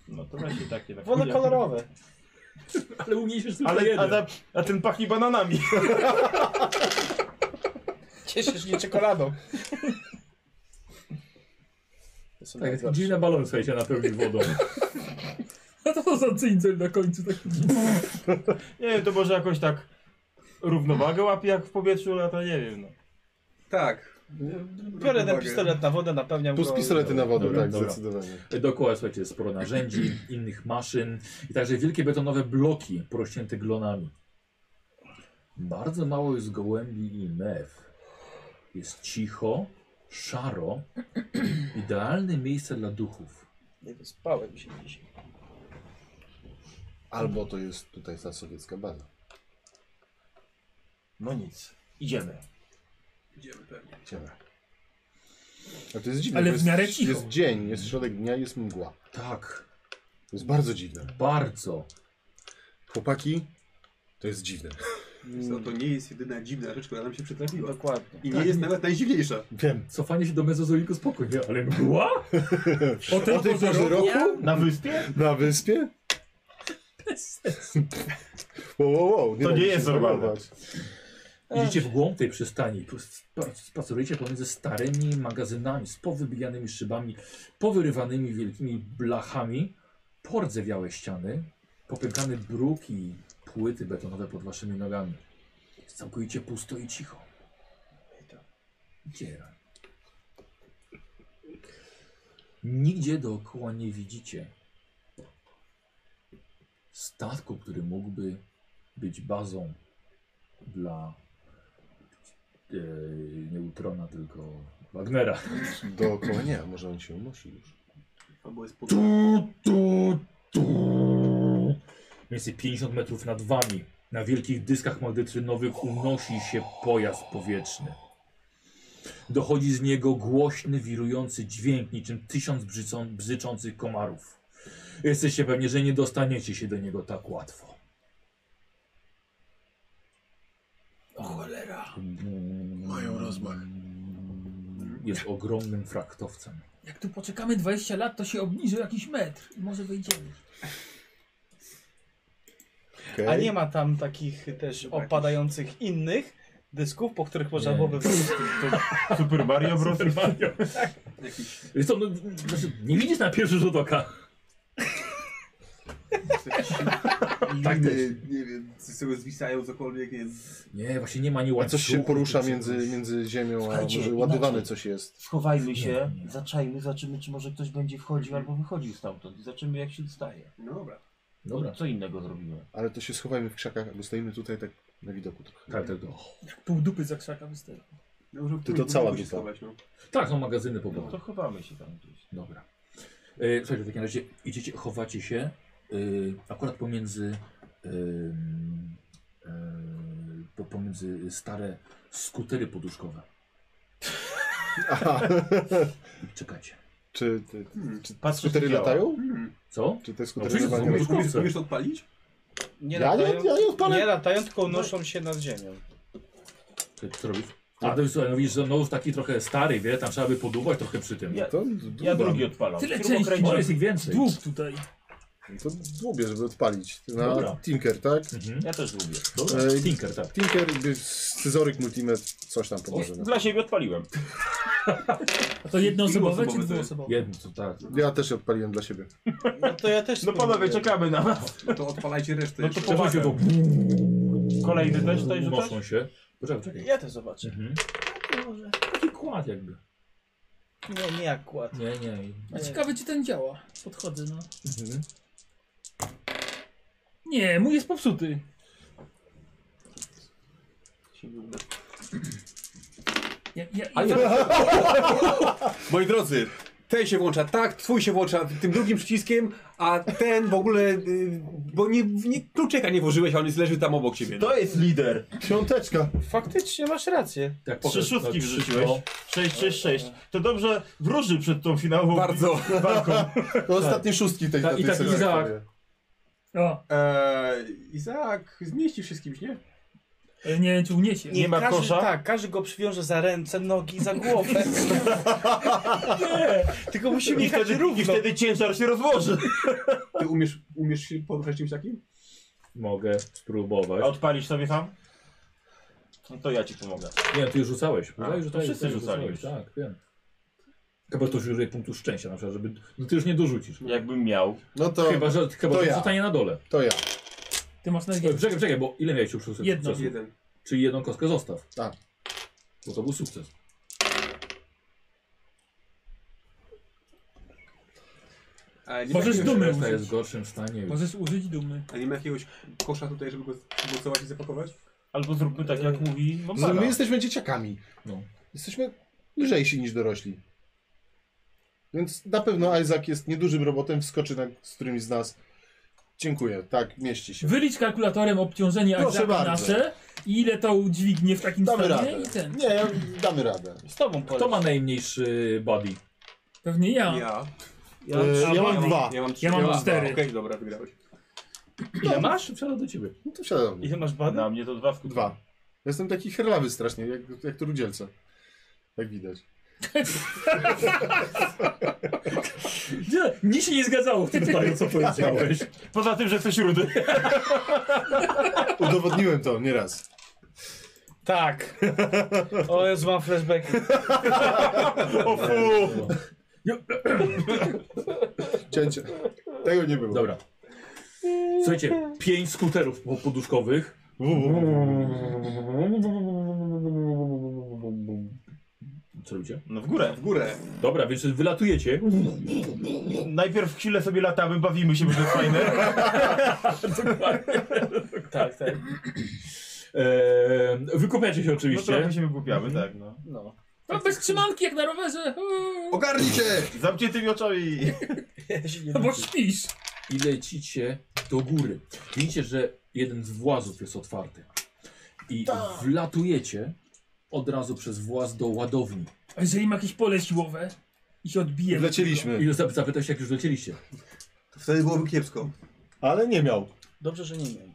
No to właśnie takie. Tak. Wolę kolorowe. Ale umniejszysz tylko ale, Ale, jeden. a, ta, a ten pachnie bananami. Cieszysz się czekoladą. To są Tak, najgorsze. dziwne balony słuchajcie napełnić wodą. A to za cyncel na końcu taki. Nie wiem, to może jakoś tak równowagę łapie jak w powietrzu lata, nie wiem. No. Tak. Biorę ten pistolet na wodę, napełniam Plus go. pistolety na wodę, Dobra, tak, dobra. zdecydowanie. Dookoła słuchajcie, jest sporo narzędzi, innych maszyn i także wielkie betonowe bloki porośnięte glonami. Bardzo mało jest gołębi i mew. Jest cicho, szaro, idealne miejsce dla duchów. Nie wyspałem się dzisiaj. Albo to jest tutaj ta sowiecka baza. no nic, idziemy. Idziemy pewnie. Ciemne. A to jest dziwne. Ale bo w jest, miarę cicho. Jest dzień, jest środek dnia, jest mgła. Tak, To jest bardzo dziwne. bardzo. Chłopaki, to jest dziwne. Mm. To nie jest jedyna dziwna rzecz, która nam się przytrafiła. Dokładnie. I nie jest nawet najdziwniejsza. Wiem. Cofanie się do mezozoliku spokojnie, ale mgła? O tej, O tej porze roku? Na wyspie? Na wyspie? Wow, wow, wow. To da nie mi się jest normalne. zwariować. Idziecie w głąb tej przystani, tu spa- spacerujecie pomiędzy starymi magazynami z powybijanymi szybami, powyrywanymi wielkimi blachami, pordzewiałe ściany, popękane bruki i płyty betonowe pod waszymi nogami. Jest całkowicie pusto i cicho. Dzieran. Nigdzie dookoła nie widzicie statku, który mógłby być bazą dla e, Neutrona, tylko Wagnera. Dookoła nie, a może on się unosi już. Albo jest pod... Tu, tu, tu. Mniej Więcej 50 metrów nad wami. Na wielkich dyskach magnetycznych unosi się pojazd powietrzny. Dochodzi z niego głośny, wirujący dźwięk, niczym tysiąc brzycą, bzyczących komarów. Jesteście pewni, że nie dostaniecie się do niego tak łatwo. O cholera. Mają rozmach. Jest ogromnym fraktowcem. Jak tu poczekamy 20 lat, to się obniży o jakiś metr i może wejdziemy. A nie ma tam takich też opadających innych dysków, po których można Nie. byłoby wrócić. Super Mario Bros. Super Mario. Wiesz co, no, znaczy, nie widzisz na pierwszy rzut oka. tak nie wiem, co z tego zwisają cokolwiek, jest... Nie, właśnie nie ma nie A coś się porusza między, między ziemią, a no Słuchajcie, może ładowane inaczej. coś jest. Schowajmy się, zaczajmy, zobaczymy czy może ktoś będzie wchodził albo wychodził stamtąd i zobaczymy jak się dostaje. No dobra. Dobra. Bo Co innego zrobimy? Ale to się schowajmy w krzakach, bo stoimy tutaj tak na widoku trochę. Tak, tak, no. Jak pół dupy za krzaka wystaje. No, może w Ty to którymś cała budynku się dupa. schować, no. Tak, są magazyny po No to prostu. chowamy się tam gdzieś. Dobra. E, słuchajcie, w takim razie idziecie, chowacie się e, akurat pomiędzy e, e, po, pomiędzy stare skutery poduszkowe. Aha. I czekacie. Czy, te, czy Patrz, co skutery działa. latają? Mm. Co? Czy te No, skutery przecież no, są nie poduszkowce. Umiesz, umiesz to odpalić? Nie Ja nie- latają, ja nie odpalę. nie latają, tylko unoszą się nad ziemią. Co co robisz? A to słuchaj, no widzisz, że no taki trochę stary, wie, tam trzeba by podubać trochę przy tym. Ja, To, no. ja dłubam. drugi odpalam. Tyle Śrubokręt- części. O, jest ich więcej. Dług tutaj. to dłubię, żeby odpalić. Na Dobra. Tinker, tak? Mhm. Ja też lubię. Dobra. Ej. Tinker, tak. Tinker, by- scyzoryk, multimet, coś tam pomoże. no. Dla siebie odpaliłem. A to jednoosobowe Dwuosobowe czy to jest. dwuosobowe? Jedno, to tak. Ja też odpaliłem dla siebie. No to ja też No panowie, spróbuję. czekamy na was. No to odpalajcie resztę No to jeszcze. Czekaj, pomagam. to Kolejny też tutaj Unoszą rzucasz? się. Poczekaj, czekaj. Ja też zobaczę. Mhm. Taki kład jakby. Nie, nie akurat. Nie, nie. A ciekawe czy ten działa. Podchodzę, no. Mhm. Nie, mój jest popsuty. Się nie uda. Ja, ja, A ja, nie. Moi drodzy, Ten się włącza tak, twój się włącza tym drugim przyciskiem, a ten w ogóle, y, bo nie, nie, kluczeka nie włożyłeś, a on jest leży tam obok ciebie. To jest lider. Piąteczka. Faktycznie masz rację. Tak, Trzy pokaż, szóstki tak, trzy, wrzuciłeś. no. 6, 6, 6. To dobrze wróży przed tą finałową Bardzo. walką. To ostatnie szóstki tej no, Tak, tej i tak serii. Izaak. o, Eee, Izaak, zmieścisz się z kimś, nie? e, nie wiem czy uniesie. Nie ma każdy, kosza? Tak, każdy go przywiąże za ręce, nogi, za głowę. nie, tylko musimy I jechać wtedy, I równo. wtedy ciężar się rozłoży. Ty umiesz, umiesz się poruszać czymś takim? Mogę A spróbować. odpalisz sobie tam? No to ja ci pomogę. Nie, ty już rzucałeś. A, Rzucałeś, to rzucałeś, wszyscy rzucałeś, rzucali Tak, wiem. Chyba to już użyje punktu szczęścia na przykład, żeby... No ty już nie dorzucisz. Jakbym miał. No to, chyba, że, chyba, to że ja. zostanie na dole. to ja. Ty masz Ej, najwięcej. Czekaj, czekaj, bo ile miałeś już sukcesu? Jedno. sukcesu? Jeden. Czyli jedną kostkę zostaw. Tak. Bo to był sukces. A nie tak, ma Możesz jakiegoś- dumy Reszta jest w użyć. gorszym stanie. Już. Możesz użyć dumy. A nie ma jakiegoś kosza tutaj, żeby go mocować i zapakować? Albo zróbmy tak jak mówi Z- Mamara. No, My jesteśmy dzieciakami. No. Jesteśmy lżejsi niż dorośli. Więc na pewno Isaac jest niedużym robotem, wskoczy na, z którymś z nas. Dziękuję, tak, mieści się. Wylicz kalkulatorem obciążenie Proszę Isaaca bardzo. nasze i ile to udźwignie w takim Damy stanie radę. i ten. Nie, ja- damy radę. Z tobą Kto polecam. ma najmniejszy body? Pewnie ja. Tak. Ja. E, Ja, ja mam dwa. Ja mam trzy. Ja mam dwa. cztery. Okej, dobra, wygrałeś. Ile masz? Wsiadam do ciebie. No to siadam. Ile masz badań? Na mnie to dwa w kółko. Dwa. Ja Jestem taki herlawy strasznie, jak, jak to rudzielce. Jak widać. Nie, nic się nie zgadzało w tym zdaniu, co powiedziałeś. Poza tym, że jesteś rudy. Udowodniłem to nieraz. Tak. O, Jezu, mam flashback. O fu. Cięcie. Tego nie było. Dobra. Słuchajcie, pięć skuterów po- poduszkowych Co robicie? No w górę. W górę. Dobra, więc wylatujecie. Najpierw chwilę sobie latamy, bawimy się, bo to jest fajne. tak, tak. Eee, wykupiacie się oczywiście. No trochę się wygłupiamy, tak, no. No. No bez trzymanki jak na rowerze. Ogarnij się! Zamkniętymi oczami. No bo śpisz. I lecicie do góry. Widzicie, że jeden z włazów jest otwarty. I Tak. wlatujecie od razu przez właz do ładowni. A jeżeli ma jakieś pole siłowe i się odbije... I już zap- zapytał się, jak już lecieliście. To wtedy byłoby kiepsko. Ale nie miał. Dobrze, że nie miałem.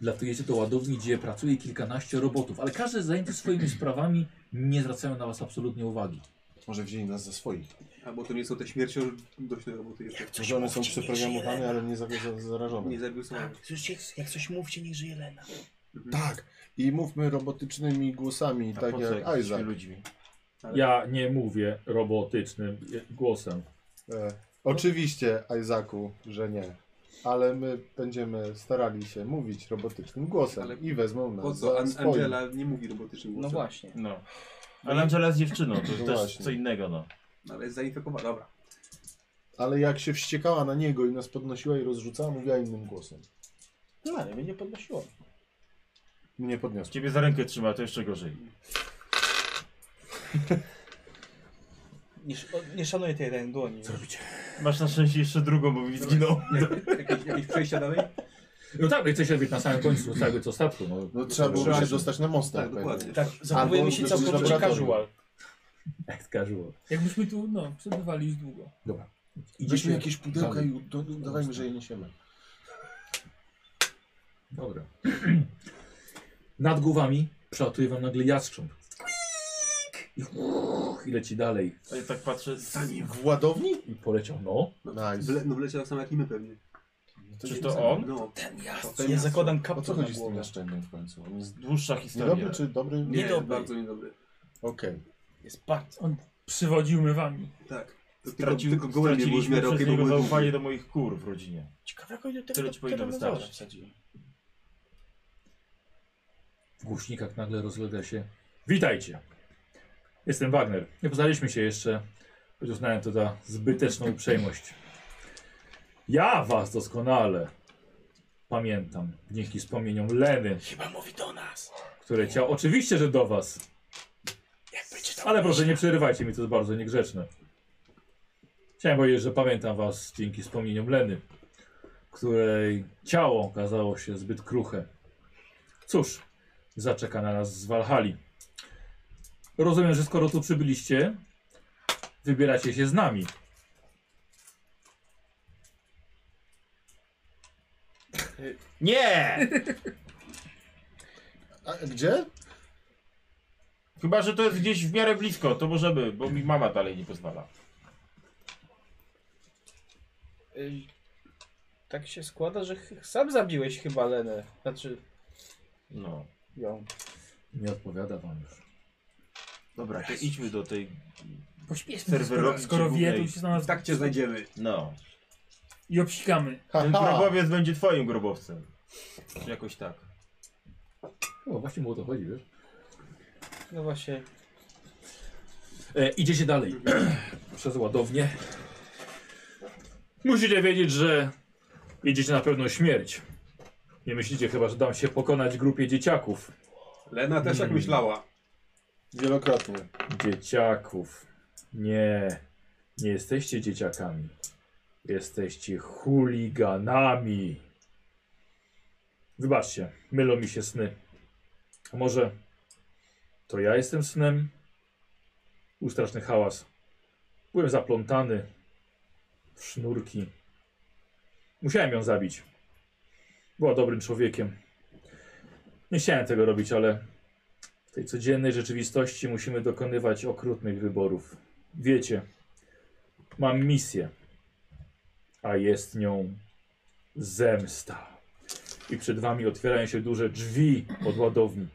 Latujecie do ładowni, gdzie pracuje kilkanaście robotów, ale każdy zajęty swoimi sprawami nie zwracają na was absolutnie uwagi. Może wzięli nas za swoich. Albo to nie są te śmiercią dośne roboty jeszcze. Może one są przeprogramowane, ale nie za- za- zarażone. Nie zabił Słyszycie, jak coś mówcie, niech żyje Lena. Tak. I mówmy robotycznymi głosami, A po tak co jak jesteśmy Isaac. ludźmi? Ja nie mówię robotycznym głosem. E, oczywiście, Isaacu, że nie. Ale my będziemy starali się mówić robotycznym głosem Ale i wezmą nas Po za co? An- swoich. Angela nie mówi robotycznym głosem. No. Ale Angela jest dziewczyną, to No jest też właśnie. co innego, no. No, Ale jest zainfekowana, dobra. Ale jak się wściekała na niego i nas podnosiła i rozrzucała, mówiła innym głosem. No, ale mnie nie podnosiło. Mnie podniosła. Ciebie za rękę trzyma, to jeszcze gorzej. Nie, sz- o- nie szanuję tej ręki dłoni. Co robicie? Masz na szczęście jeszcze drugą, bo mi zginął. Jakieś, jakieś przejścia dalej? No tak, bo jesteście na samym końcu całego co statku. No, No trzeba byłoby się dostać na most. Tak, najpierw. dokładnie. Tak, Albo zachowujemy się do- całkowicie laboratorium. casual. Casual. Jakbyśmy tu, no, przebywali już długo. Dobra. tak. Weźmy jakieś pudełka Dalej. i do- do- dawajmy, że je niesiemy. Dobra. Nad głowami przelatuje wam nagle jastrząb. I, I leci dalej. Ja tak patrzę, za nim. W ładowni? I poleciał, no. Wle, no wleciał sam jak i my pewnie. Czy to on? No. Ten To jazd. ten Ja jazd. zakładam O co kaptur na chodzi z tym głowę. jaszczędem w końcu? On jest Dłuższa historia. niedobry czy dobry? Nie, Niedobry. bardzo niedobry. Okej. Jest bardzo. On przywodził my wami. Tak. To tylko, Stracił, tylko gołem nie było straciliśmy śmiaru, przez kiedy niego był zaufanie do moich kur w rodzinie. Ciekawe jak oni do Tyle tego ci powinno termowora wystarczyć. wsadzili. W głośnikach nagle rozlega się. Witajcie. Jestem Wagner. Nie poznaliśmy się jeszcze, choć uznałem to za zbyteczną uprzejmość. Ja was doskonale pamiętam. Dzięki wspomnieniom Leny, Chyba mówi do nas. które cię oczywiście, że do was. Ale proszę, nie przerywajcie mi, to jest bardzo niegrzeczne. Chciałem powiedzieć, że pamiętam was dzięki wspomnieniom Leny, której ciało okazało się zbyt kruche. Cóż, zaczeka na nas z Walhali. Rozumiem, że skoro tu przybyliście, wybieracie się z nami. Nie! A gdzie? Chyba, że to jest gdzieś w miarę blisko, to możemy, bo mi mama dalej nie pozwala. Ej, Tak się składa, że ch- sam zabiłeś chyba Lenę. Znaczy No. ją. Nie odpowiada wam już. Dobra, to idźmy do tej... Pośpieszmy się, skoro, Serwerowi skoro ci wie, to głównej. już się na nas Tak cię znajdziemy. No. i obsikamy. Ten Haha! grobowiec będzie twoim grobowcem. Czy jakoś tak. O, właśnie mu o to chodzi, wiesz? No właśnie. E, idziecie dalej. Przez ładownię. Musicie wiedzieć, że idziecie na pewną śmierć. Nie myślicie chyba, że dam się pokonać grupie dzieciaków. Lena też tak myślała. Wielokrotnie. Dzieciaków. Nie. Nie jesteście dzieciakami. Jesteście chuliganami. Wybaczcie, mylą mi się sny. A może to ja jestem snem? Był straszny hałas. Byłem zaplątany w sznurki. Musiałem ją zabić. Była dobrym człowiekiem. Nie chciałem tego robić, ale w tej codziennej rzeczywistości musimy dokonywać okrutnych wyborów. Wiecie, mam misję, a jest nią zemsta. I przed wami otwierają się duże drzwi od ładowni.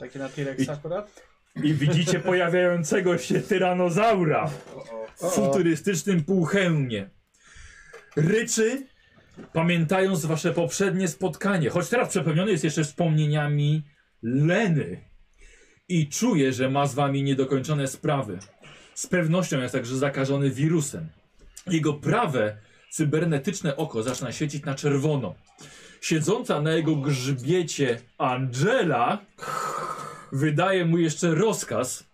Takie na T-Rex akurat? I widzicie pojawiającego się tyranozaura w futurystycznym półhełmie. Ryczy, Pamiętając wasze poprzednie spotkanie, choć teraz przepełniony jest jeszcze wspomnieniami Leny i czuje, że ma z wami niedokończone sprawy. Z pewnością jest także zakażony wirusem. Jego prawe cybernetyczne oko zaczyna świecić na czerwono. Siedząca na jego grzbiecie Angela wydaje mu jeszcze rozkaz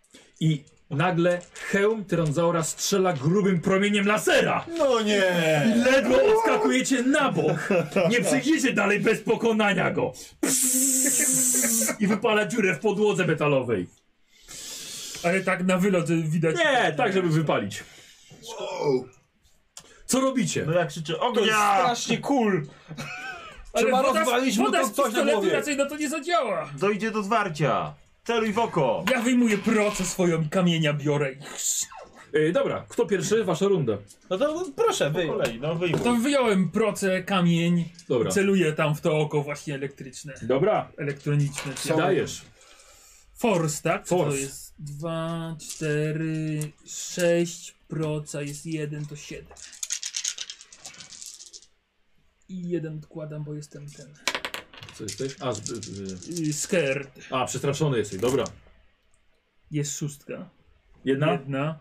i nagle hełm Tyranzaura strzela grubym promieniem lasera. No nie! I ledwo odskakujecie na bok. Nie przejdziecie dalej bez pokonania go. Psss. I wypala dziurę w podłodze metalowej. Ale tak na wylot y, widać. Nie, tak żeby wypalić. Co robicie? No ja krzyczę, To jest ognia! strasznie cool! Ale Trzeba woda, rozwalić z- mu woda to z coś na pistoletu głowie. raczej no na to nie zadziała. Dojdzie do zwarcia! Celuj w oko! Ja wyjmuję procę swoją i kamienia biorę. i- Yy, dobra, kto pierwszy? Wasza runda. No to proszę, Po wy. kolei, no wyjmuj. To wyjąłem procę, kamień. Dobra. Celuję tam w to oko właśnie elektryczne. Dobra, Elektroniczne. czy jak- dajesz. Force, tak? Co Force. To jest 2, 4, 6, proca jest 1, to 7. I jeden odkładam, bo jestem ten. Co jesteś? A, z, z, Yy, scared. a przestraszony jesteś, dobra. Jest szóstka. Jedna? Jedna.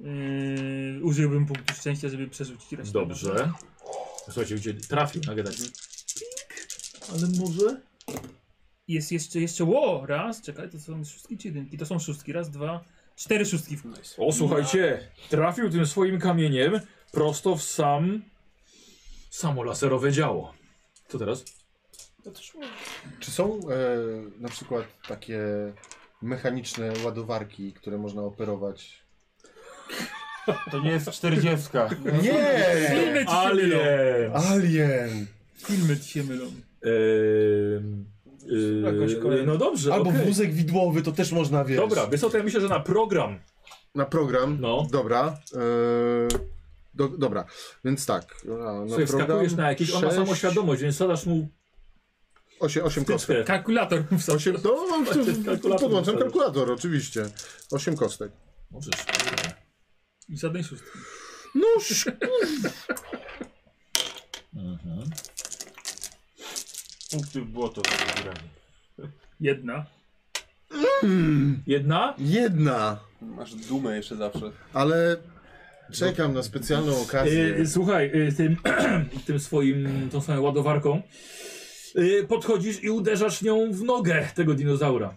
Yy, użyłbym punktu szczęścia, żeby przerzucić resztę. Dobrze. Słuchajcie, gdzie trafił na gadanie. Ale może? Jest jeszcze, jeszcze, ło, raz, czekaj, to są szóstki czy jedynki? To są szóstki, raz, dwa, cztery szóstki w ogóle. O, słuchajcie, trafił tym swoim kamieniem prosto w sam... samo laserowe działo. Co teraz? Czy są e, na przykład takie mechaniczne ładowarki, które można operować? To nie jest czterdziestka. Nie! Filmy ci się mylą. Alien! Alien! Filmy ci się mylą. Ehm, ehm, Jakąś kolejną. no dobrze, Albo okej. wózek widłowy, to też można wiesz. Dobra, wiesz co, to ja myślę, że na program. Na program. No. Dobra. E, do, dobra, więc tak. Na, na Słuchaj, wskakujesz na jakiś, on ma sześć, samoświadomość, więc zadasz mu 8, 8 kostek. wtyczkę. Kalkulator w sobie. Osiem, no, mam w tym- Kalkulator podłączam wsadzasz. kalkulator, oczywiście. 8 kostek. Możesz. I żadnej szóstki. Noż! Mhm. Punkty w błoto. Jedna. Jedna? Jedna! Masz dumę jeszcze zawsze. Ale czekam na specjalną okazję. E, słuchaj, e, tym, tym swoim, tą swoją ładowarką e, podchodzisz i uderzasz nią w nogę tego dinozaura.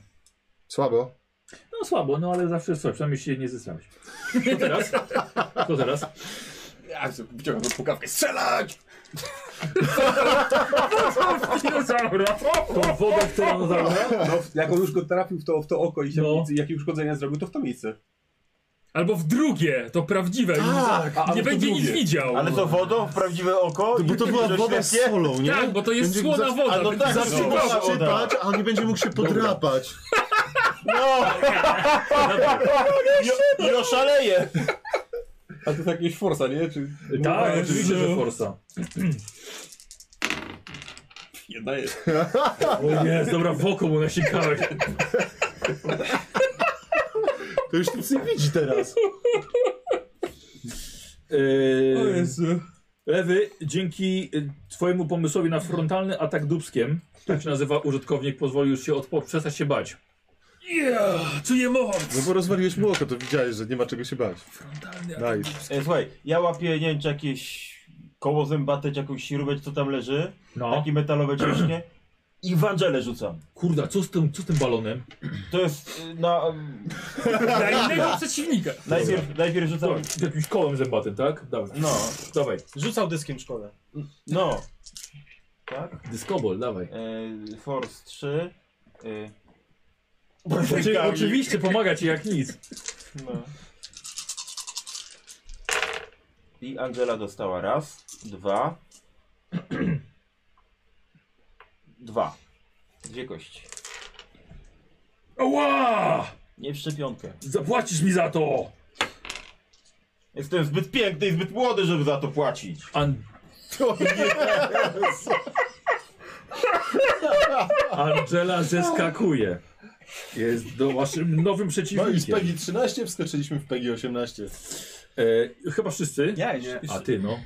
Słabo. No słabo, no ale zawsze coś, przynajmniej się nie zesrałeś. Co teraz? Co teraz? Ja sobie wyciągam tą pukawkę. Strzelać! Dinozaura! Tą wodę, którą zabrał? No, jak on już go trafił w to, w to oko i się No. nic, jakie uszkodzenia zrobił, to w to miejsce. Albo w drugie, to prawdziwe. Tak, nie nie będzie nic widział. Ale co, wodą? W prawdziwe oko? Bo to I była że woda z świetnie? solą, nie? Tak, bo to jest słona zac- woda, A no będzie tak, zacznie zasypała go woda. szczypać, a nie będzie mógł się podrapać. No! tak. No, I, I oszaleje! A to tak jakiegoś forsa, nie? Czy Tak, oczywiście, że forsa. jedna jest? O jest, dobra, wokół mu nasikałeś. To już nic nie widzi teraz. O Lewy, dzięki y, twojemu pomysłowi na frontalny atak dubskiem, tak się nazywa użytkownik, pozwolił już się odpo- przestać się bać. Yeah, czuję moc! No bo rozwaliłeś mu oko, to widziałeś, że nie ma czego się bać. Frontalny atak. Nice. E, słuchaj, ja łapię, nie wiem, czy jakieś koło zębate, czy jakąś śrubę, co tam leży. No. Takie metalowe ciśnie. I w Angelę rzucam. Kurda, co z tym, co z tym balonem? To jest y, na... em, Dla innego przeciwnika. Najpierw, najpierw rzucam... Dobra, z jakimś kołem zębatym, tak? Dobra, No, dawaj. Rzucał dyskiem w szkole. no. Tak? Dyskobol, dawaj. E, force 3. E, Oczy, oczywiście pomaga ci jak nic. no. I Angela dostała raz, dwa. dwa. Dwie kości. Ała! Nie w szczepionkę. Zapłacisz mi za to! Jestem zbyt piękny i zbyt młody, żeby za to płacić. An... Angela zeskakuje. Jest do waszym nowym No i z przeciwnikiem. PEGI 13 wskoczyliśmy w PEGI 18. E, chyba wszyscy? Ja jeszcze. A ty no.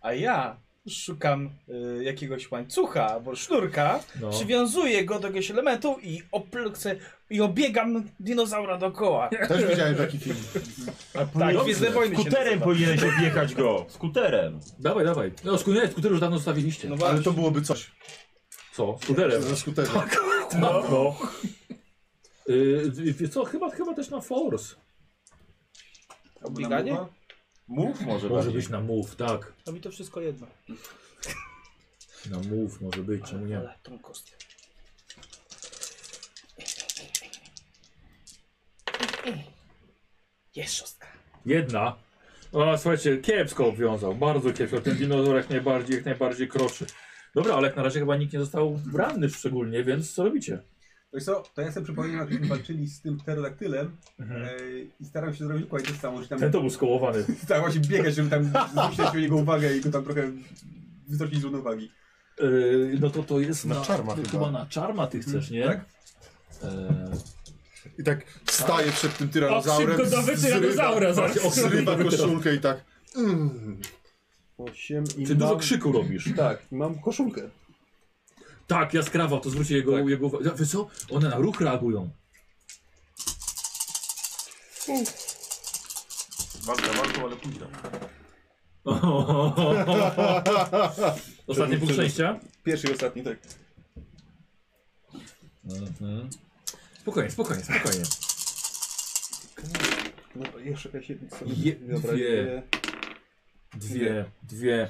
A ja Szukam y, jakiegoś łańcucha albo sznurka, No. przywiązuję go do jakiegoś elementu i oplukcę i obiegam dinozaura dookoła. Też widziałem taki film. Tak, Gwiezdne Wojny się Skuterem nazywa. powinieneś objechać go. Skuterem. Dawaj, dawaj. No, skuterek, skuter już dawno zostawiliście. No Ale właśnie. to byłoby coś. Co? Skuterem. Ze skuterem. No. no. Y, wiesz co, chyba, chyba też na Force. Obieganie? Mów może, Może bardziej. być na Move, tak. To mi to wszystko jedno. Na Move może być, czemu nie? Ale tą kostkę. Jest szóstka. Jedna. O, słuchajcie, kiepsko obwiązał, bardzo kiepsko. Ten dinozaur jak najbardziej, jak najbardziej kroczy. Dobra, ale jak na razie chyba nikt nie został ranny szczególnie, więc co robicie? Wiesz co, to ja sobie przypominam, jak żeśmy walczyli z tym pterodaktylem e, i staram się zrobić dokładnie to samo, że tam Ten to był skołowany. tak właśnie biegać, żeby tam zwrócić na jego uwagę i go tam trochę wystraszyć z równowagi. Yy, no to to jest Na czarma chyba. chyba. na czarma ty chcesz, nie? Tak. Eee, I tak staje przed tym Tak, tyranozaurem. szybko do tyranozaura zaraz. zrywa- Zrywa koszulkę i tak. Mm. 8 i mam... ty dużo krzyku robisz. Tak, i mam koszulkę. Tak, jaskrawa, to zwróci jego, Tak. jego uwagę. Wiesz co? One na ruch reagują. Walka walką, ale późno. Ostatnie punkt szczęścia? Pierwszy i ostatni, tak. Spokojnie, spokojnie, spokojnie. No jeszcze jakaś jedna sobie... Je- Dobra, dwie. dwie. Dwie, dwie.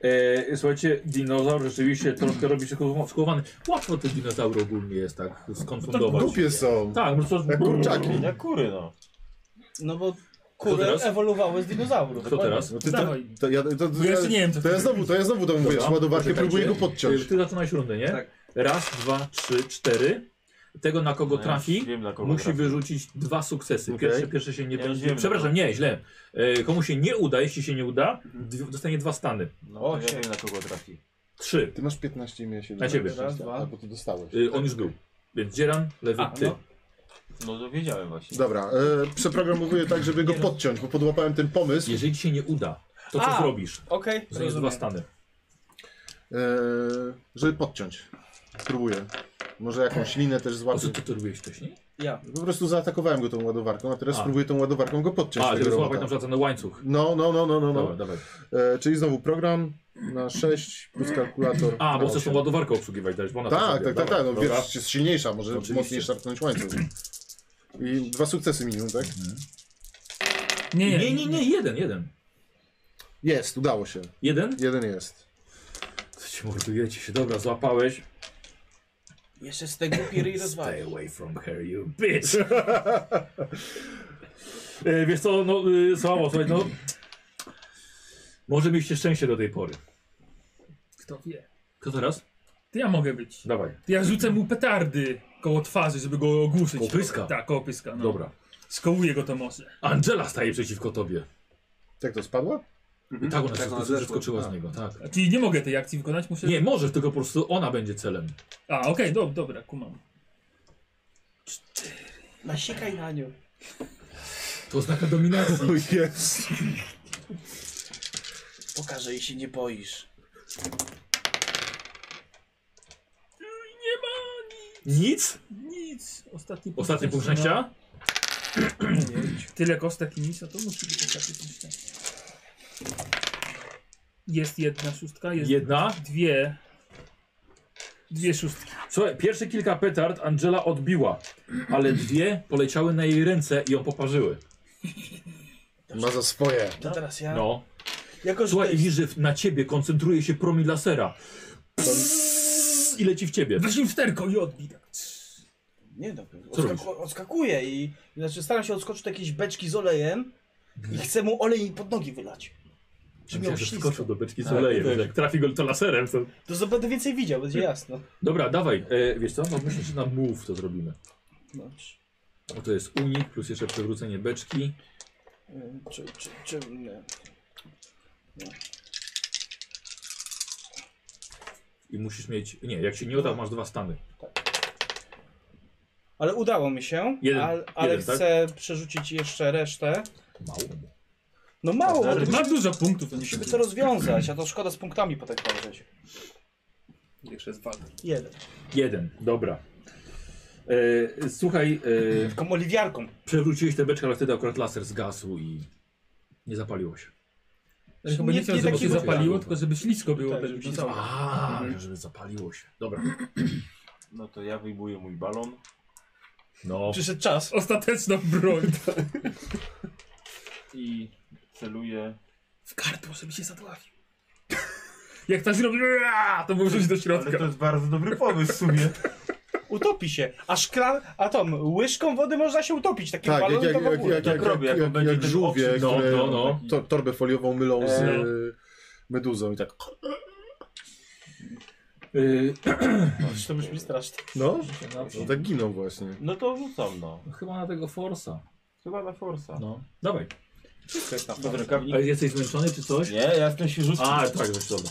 E, słuchajcie, dinozaur rzeczywiście troszkę robi się skołowa- skołowany. Łatwo te dinozaury ogólnie jest tak skonfundować. Głupie są. Tak, no to... Jak kurczaki. Na kury, no. No bo Kto kury teraz? ewoluowały z dinozaurów. Kto teraz? No ty, to, Dawaj. to, ja, to, to, Bo No ja jeszcze nie wiem, co to ja znowu, to ja znowu tam wiesz, Dobra, ładowarkę poczekajcie. próbuję go Ty, podciąć. ty zaczynałeś rundę, nie? Tak. Raz, dwa, trzy, cztery. Tego na kogo No ja już trafi, wiem, na kogo musi trafi. wyrzucić dwa sukcesy. Okej. Pierwszy, pierwszy się nie Ja już będzie. wiem, Przepraszam, no. nie, źle. E, komu się nie uda, jeśli się nie uda, dwie- dostanie dwa stany. No to ja wiem, na kogo trafi. Trzy. Ty masz 15 i ja się Na ciebie. Raz, dwa. A, bo ty dostałeś. E, on już był. Więc Dzieran, lewy, A, ty. no. No to wiedziałem właśnie. Dobra, e, przeprogramowuję tak, żeby go podciąć, bo podłapałem ten pomysł. Jeżeli ci się nie uda, to co A. zrobisz? Okej, Zdajesz dwa rozumiem. stany. E, żeby podciąć. Spróbuję. Może jakąś linę też A co złapię. ty to robiłeś wcześniej? Ja. Po prostu zaatakowałem go tą ładowarką, a teraz A. spróbuję tą ładowarką go podciąć. A, tego żeby złapać robota. na przykład ten łańcuch. No, no, no, no, no. Dobra, no. dawaj. E, czyli znowu program na 6 plus kalkulator. A, na bo chcesz tą osiem. ładowarkę obsługiwać dać, bo ona to Tak, sobie- tak, tak, dobra, tak. No, dobra. wiesz, jest silniejsza, może Oczywiście. mocniej szarpnąć łańcuch. I dwa sukcesy minimum, tak? Nie, Nie, nie, nie, jeden, jeden. Jest, udało się. Jeden? Jeden jest. Co ci mordujecie się, dobra, złapałeś. Jeszcze z tego piry i rozwali. Stay away from her, you bitch. e, wiesz co, no, y, słabo, słuchaj, no. Może mieliście szczęście do tej pory. Kto wie. Kto teraz? To ja mogę być. Dawaj. To ja rzucę mu petardy koło twarzy, żeby go ogłuszyć. Koło pyska? Tak, koło pyska. No. Dobra. Skołuję go to może. Angela staje przeciwko tobie. Tak to spadła? Tak, ona Tak, tak, ona zeszła. zeskoczyła z A. niego, tak. A czyli nie mogę tej akcji wykonać, muszę... Nie, możesz, tylko po prostu ona będzie celem. A, okej, dob- dobra, kumam. Nasikaj na nią. To oznaka dominacji. Jest. Pokażę jej się nie boisz. Nic? Nic. Ostatni punkt, Ostatni punkt szczęścia? Tyle kostek i nic, no to musi być ostatni punkt szczęścia. Jest jedna szóstka, jest Jedna. dwie. Dwie szóstki. Słuchaj, pierwsze kilka petard Angela odbiła, ale dwie poleciały na jej ręce i ją poparzyły. Ma za swoje. To teraz ja. No. Jako, że to Słuchaj, i jest... widzisz, że na ciebie koncentruje się promień lasera. I leci w ciebie. Weź im wsterką i odbij. Tak. Nie dobra. Co robisz? Odskaku... Odskakuję i... Znaczy staram się odskoczyć do jakiejś beczki z olejem i chcę mu olej pod nogi wylać. Żeby miał Myślałem, że ślisko. wskoczył do beczki z Tak, olejem. tak. Jak trafi go to laserem, to... To za- będę więcej widział, będzie jasno. Dobra, dawaj. E, wiesz co, no myślę, że na move to zrobimy. Dobrze. Bo to jest unik, plus jeszcze przewrócenie beczki. Ym, Czy, czy, czy, nie. I musisz mieć... Nie, jak się nie uda, masz dwa stany. Ale udało mi się, Jeden, al, ale jeden, tak? chcę przerzucić jeszcze resztę. Mało. No mało. Masz bo to- dużo punktów, to nie Musimy to się dzieje. rozwiązać, a to szkoda z punktami potem walczyć. Jeszcze jest walka. Jeden. Jeden, dobra. E, słuchaj. E, Taką oliwiarką. Przewróciłeś tę beczkę, ale wtedy akurat laser zgasł i nie zapaliło się. Ja chyba nie chciał, żeby się zapaliło, tylko żeby ślisko było. Tak, Tak, żeby żeby się zapaliło. A, żeby zapaliło się. Dobra. No to ja wyjmuję mój balon. No. Przyszedł czas. Ostateczną broń. I celuję. W gardło, żeby się zadławił. Jak tak zrobi, aaa, to może iść do środka. Ale to jest bardzo dobry pomysł w sumie. Utopi się. A szklan, a tą łyżką wody można się utopić. Takim Tak, jak, balonem jak, to w jak, ogóle. jak, jak, robię, jak, jak jak, będzie jak ten żółwie, okrzyk. No, które no, no. To, torbę foliową mylą E. z Eee. y, meduzą i tak. Y, To brzmi strasznie. No, no tak giną właśnie. No to rzucam, no. Chyba na tego Forsa. Chyba na forsa. No. Dawaj. Bez rękawnika. Ale jesteś zmęczony czy coś? Nie, ja jestem się rzucił. A, tak, już dobra.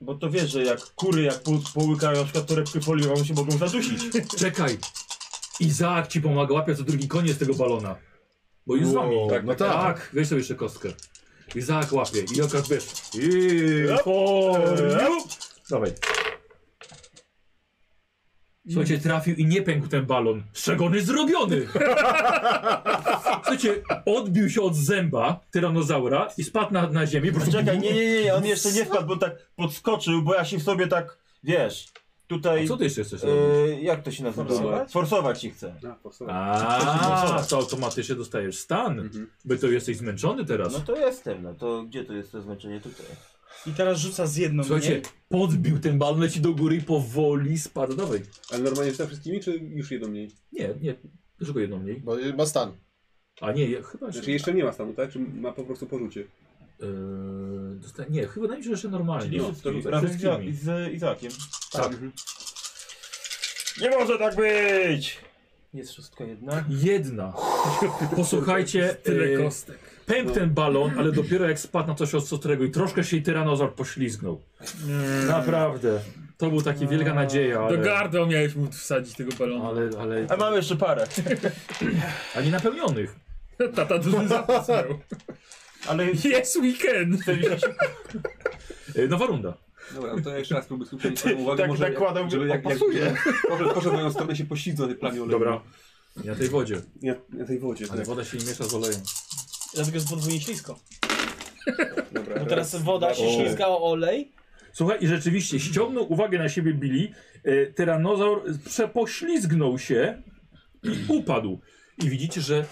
Bo to wiesz, że jak kury jak po, połykają na przykład torebkę foliową się mogą zadusić. Czekaj. Izaak ci pomaga, łapie co drugi koniec tego balona. Bo już z wami. Wow, tak, no tak. tak. tak, weź sobie jeszcze kostkę. Izaak łapie i okaz wiesz. Eee, Eee, Dawaj. Słuchajcie, trafił i nie pękł ten balon. Szczegony zrobiony! Słuchajcie, odbił się od zęba tyranozaura i spadł na, na ziemię. Po prostu- Czekaj, nie, nie, nie, nie, on jeszcze nie wpadł, bo tak podskoczył, bo ja się w sobie tak, wiesz, tutaj... A co ty jeszcze chcesz e, Jak to się nazywa? Forsować? Forsować się chce. A, to automatycznie dostajesz stan, Mhm. by to jesteś zmęczony teraz. No to jestem, no to gdzie to jest to zmęczenie tutaj? I teraz rzuca z no jedną, Słuchajcie, nie? podbił ten balon, leci do góry i powoli spadł. Dawaj. Ale normalnie za wszystkimi, czy już jedno mniej? Znaczy, Nie, nie, tylko jedną mniej. Bo ma stan. A nie, je, chyba Znaczy jeszcze nie ma stanu, tak? Czy ma po prostu porzucie? Eee, dosta- nie, chyba na że jeszcze normalnie. Czyli No, wszystko to rzucę. razem Z, z Iza- nimi. z Izakiem. Tak. Nie może tak być! Jest szóstka jedna. Jedna. Posłuchajcie, Tyle e, kostek. pękł ten balon, ale dopiero jak spadł na coś ostrego i troszkę się i tyranozaur poślizgnął. Naprawdę. To był taki wielka nadzieja, Mm. Do ale, gardła miałeś mu wsadzić tego balonu. ale, ale... A mamy jeszcze parę. A nie napełnionych. Tata duży zapas miał. Ale Jest weekend. E, Nowa runda. Dobra, no to ja jeszcze raz próbuję skupić swoją uwagę. tak może nakładam, jak, że żeby jak, jak, pasuje. Proszę, proszę w moją stronę się poślizgnąć na tej plamie oleju. Dobra. Na tej wodzie. Ja, na tej wodzie. Ale Tak. woda się nie miesza z olejem. Dlatego jest podwójnie ślisko. Dobra, Bo teraz woda się O. ślizga o olej. Słuchaj, i rzeczywiście ściągnął uwagę na siebie Billy. E, tyranozaur przepoślizgnął się i upadł. I widzicie, że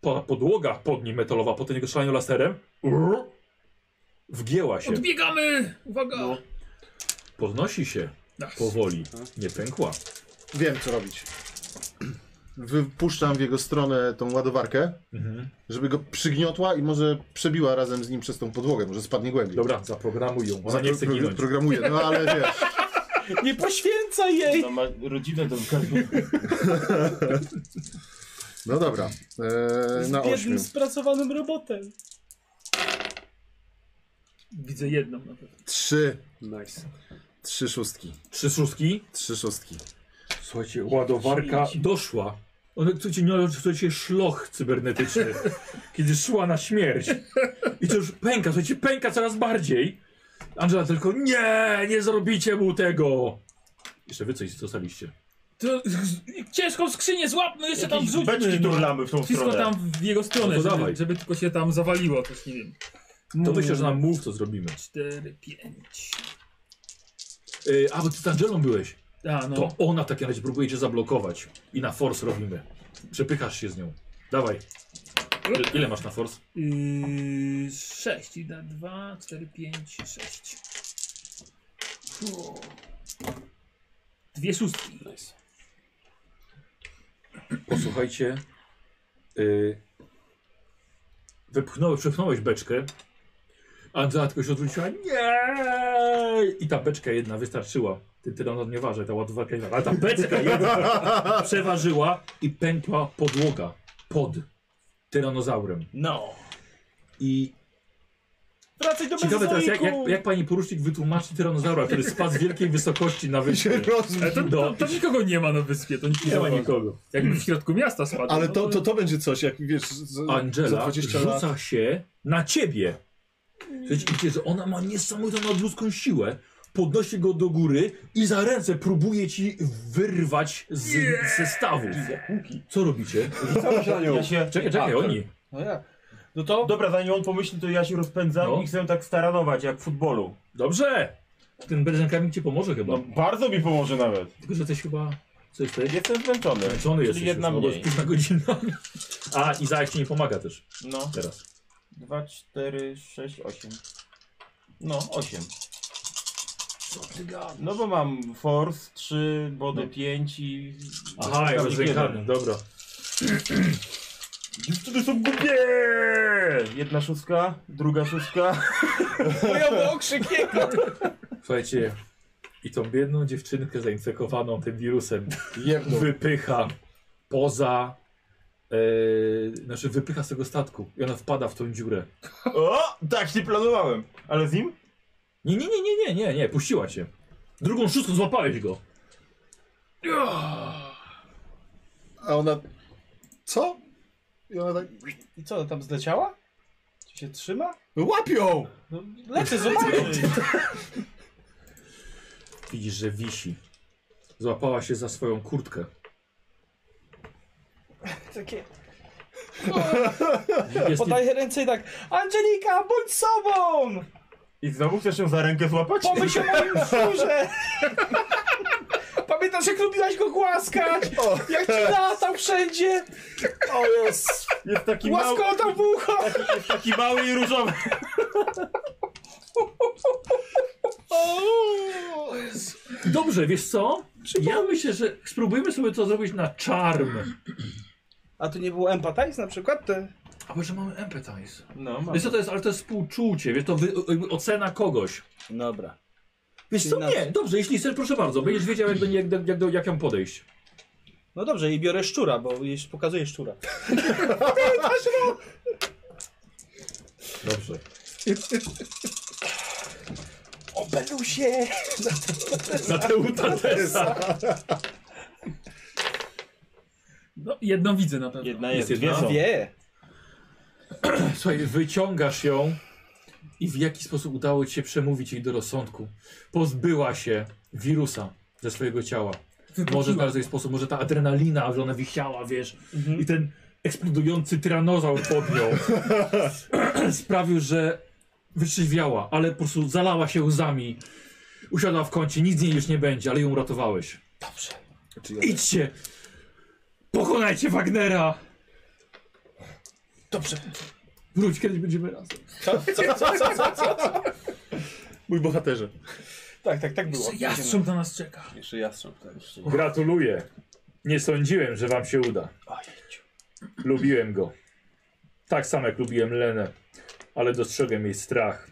po, podłoga pod nim metalowa, po tym jego szalaniu laserem, rrr, wgięła się. Odbiegamy! Uwaga! Podnosi się powoli. Nie pękła. Wiem, co robić. Wypuszczam w jego stronę tą ładowarkę, Mhm. żeby go przygniotła i może przebiła razem z nim przez tą podłogę, może spadnie głębiej. Dobra, zaprogramuj ją. Ona Ona nie pro, chce pro, ginąć. programuje, no ale wiesz. Nie poświęcaj jej! No ma rodzinę do No dobra, eee, na Z biednym, ośmiu. spracowanym robotem. Widzę jedną na pewno. Trzy, Nice. trzy szóstki, Trzy szóstki. trzy szóstki. Słuchajcie, ładowarka doszła. One, słuchajcie, nie, słuchajcie, szloch cybernetyczny, kiedy szła na śmierć. I to już pęka, słuchajcie, pęka coraz bardziej. Angela tylko, nie, nie zrobicie mu tego. Jeszcze wy coś zostaliście. To, ciężką skrzynię złapmy, jeszcze tam Jakieś wrzućmy. beczki no. turlamy w tą Wszystko stronę. tam w jego stronę, No to żeby, dawaj. żeby tylko się tam zawaliło, też nie wiem. To Mm. myślę, że nam mów, co zrobimy. 4, 5. Yy, a, bo ty z Angelą byłeś. A, no. To ona w takim razie próbuje cię zablokować. I na force robimy. Przepychasz się z nią. Dawaj. Ile, ile masz na force? Yy, 6 i na 2, 4, 5, 6. Dwie szóstki. Posłuchajcie. Yy, wypchnąłeś, przepchnąłeś beczkę. Andrzej tylko się odwróciła. Nie! I ta beczka jedna wystarczyła. Ty tyranot nie waży, ta ładowarka nie waży. Ale ta beczka jedna przeważyła i pękła No. podłoga pod tyranozaurem. No. I Wracaj do Ciekawe teraz, jak, jak, Mezozoiku! jak pani porucznik wytłumaczy tyranozaura, który spadł z wielkiej wysokości na wyspę. Ale to, to, to nikogo nie ma na wyspie, to nie, Nie ma ma nikogo. Jakby w środku miasta spadł. Ale to, no to, to będzie coś, jak wiesz, za, za Angela 20 lat. rzuca się na ciebie. Słuchajcie, widzicie, że ona ma niesamowitą nadludzką siłę. Podnosi go do góry i za ręce próbuje ci wyrwać z zestawu. Co robicie? Rzucamy się na nią. Ja się... Czekaj, czekaj, A, oni. No ja. No to? Dobra, zanim on pomyśli, to ja się rozpędzam No. i chcę tak staranować, jak w futbolu. Dobrze! Ten berzenkami ci pomoże chyba. No bardzo mi pomoże nawet. Tylko, że jesteś chyba... Co jesteś? Jestem zmęczony. Zmęczony Czyli jesteś jedna już, no, bo mniej. jest późna godzina. A, Izaak ci nie pomaga też. No. Teraz. 2, 4, 6, 8. No, 8. Co ty gadasz? No bo mam force 3, body 5 i... Aha, ja Skarbnik bez jeden. rękawy, dobra. Dziewczyny są głupie! Jedna szóstka, druga szóstka. Moja okrzyk jego! Słuchajcie, i tą biedną dziewczynkę zainfekowaną tym wirusem wypycha poza. E, znaczy, wypycha z tego statku i ona wpada w tą dziurę. O, tak nie planowałem. Ale z nim? Nie, nie, nie, nie, nie, nie, nie, puściła cię. Drugą szóstką złapałeś go. A ona... Co? I ona tak... I co, tam zleciała? Czy się trzyma? Łapią! No, lecę, zobaczyć. Widzisz, że wisi. Złapała się za swoją kurtkę. Takie... Jest Podaję ręce i tak, Angelika, bądź sobą! I znowu chcesz ją za rękę złapać? Pomyśl o moim wzórze! Pamiętasz, jak lubiłaś go głaskać? Jak ci latał wszędzie? O jest! Jest taki mały, Łaskota w ucho! jest taki mały i różowy. Dobrze, wiesz co? Ja myślę, że spróbujmy sobie to zrobić na czarm. A tu nie było empathize na przykład? Te... A bo że mamy empathize. No, mam. Wiesz co to jest, ale to jest współczucie, wiesz, to wy, jakby ocena kogoś. Dobra. Wiesz co, nie, dobrze, jeśli chcesz, proszę bardzo, będziesz wiedział jak do, niej- jak, do- jak, do, jak ją podejść. No dobrze, i biorę szczura, bo jeś- pokazuję szczura. Dobrze. O, Belusie! Na tę utatesa. No, jedną widzę na pewno. Jedna Jest jest, jedna? dwie są. Wie! Słuchaj, wyciągasz ją i w jaki sposób udało ci się przemówić jej do rozsądku. Pozbyła się wirusa ze swojego ciała. Może w bardzo sposób, może ta adrenalina, że ona wisiała, wiesz, i ten eksplodujący tyranozaur pod nią sprawił, że wytrzeźwiała, ale po prostu zalała się łzami, usiadła w kącie, nic z niej już nie będzie, ale ją uratowałeś. Dobrze. Idźcie! Pokonajcie Wagnera! Dobrze. Wróć, kiedyś będziemy razem. Mój bohaterze. Tak, tak, tak było. Jastrząb na nas czeka. Jeszcze jastrząb tak, też. Gratuluję. Nie sądziłem, że wam się uda. Lubiłem go. Tak samo jak lubiłem Lenę, ale dostrzegłem jej strach.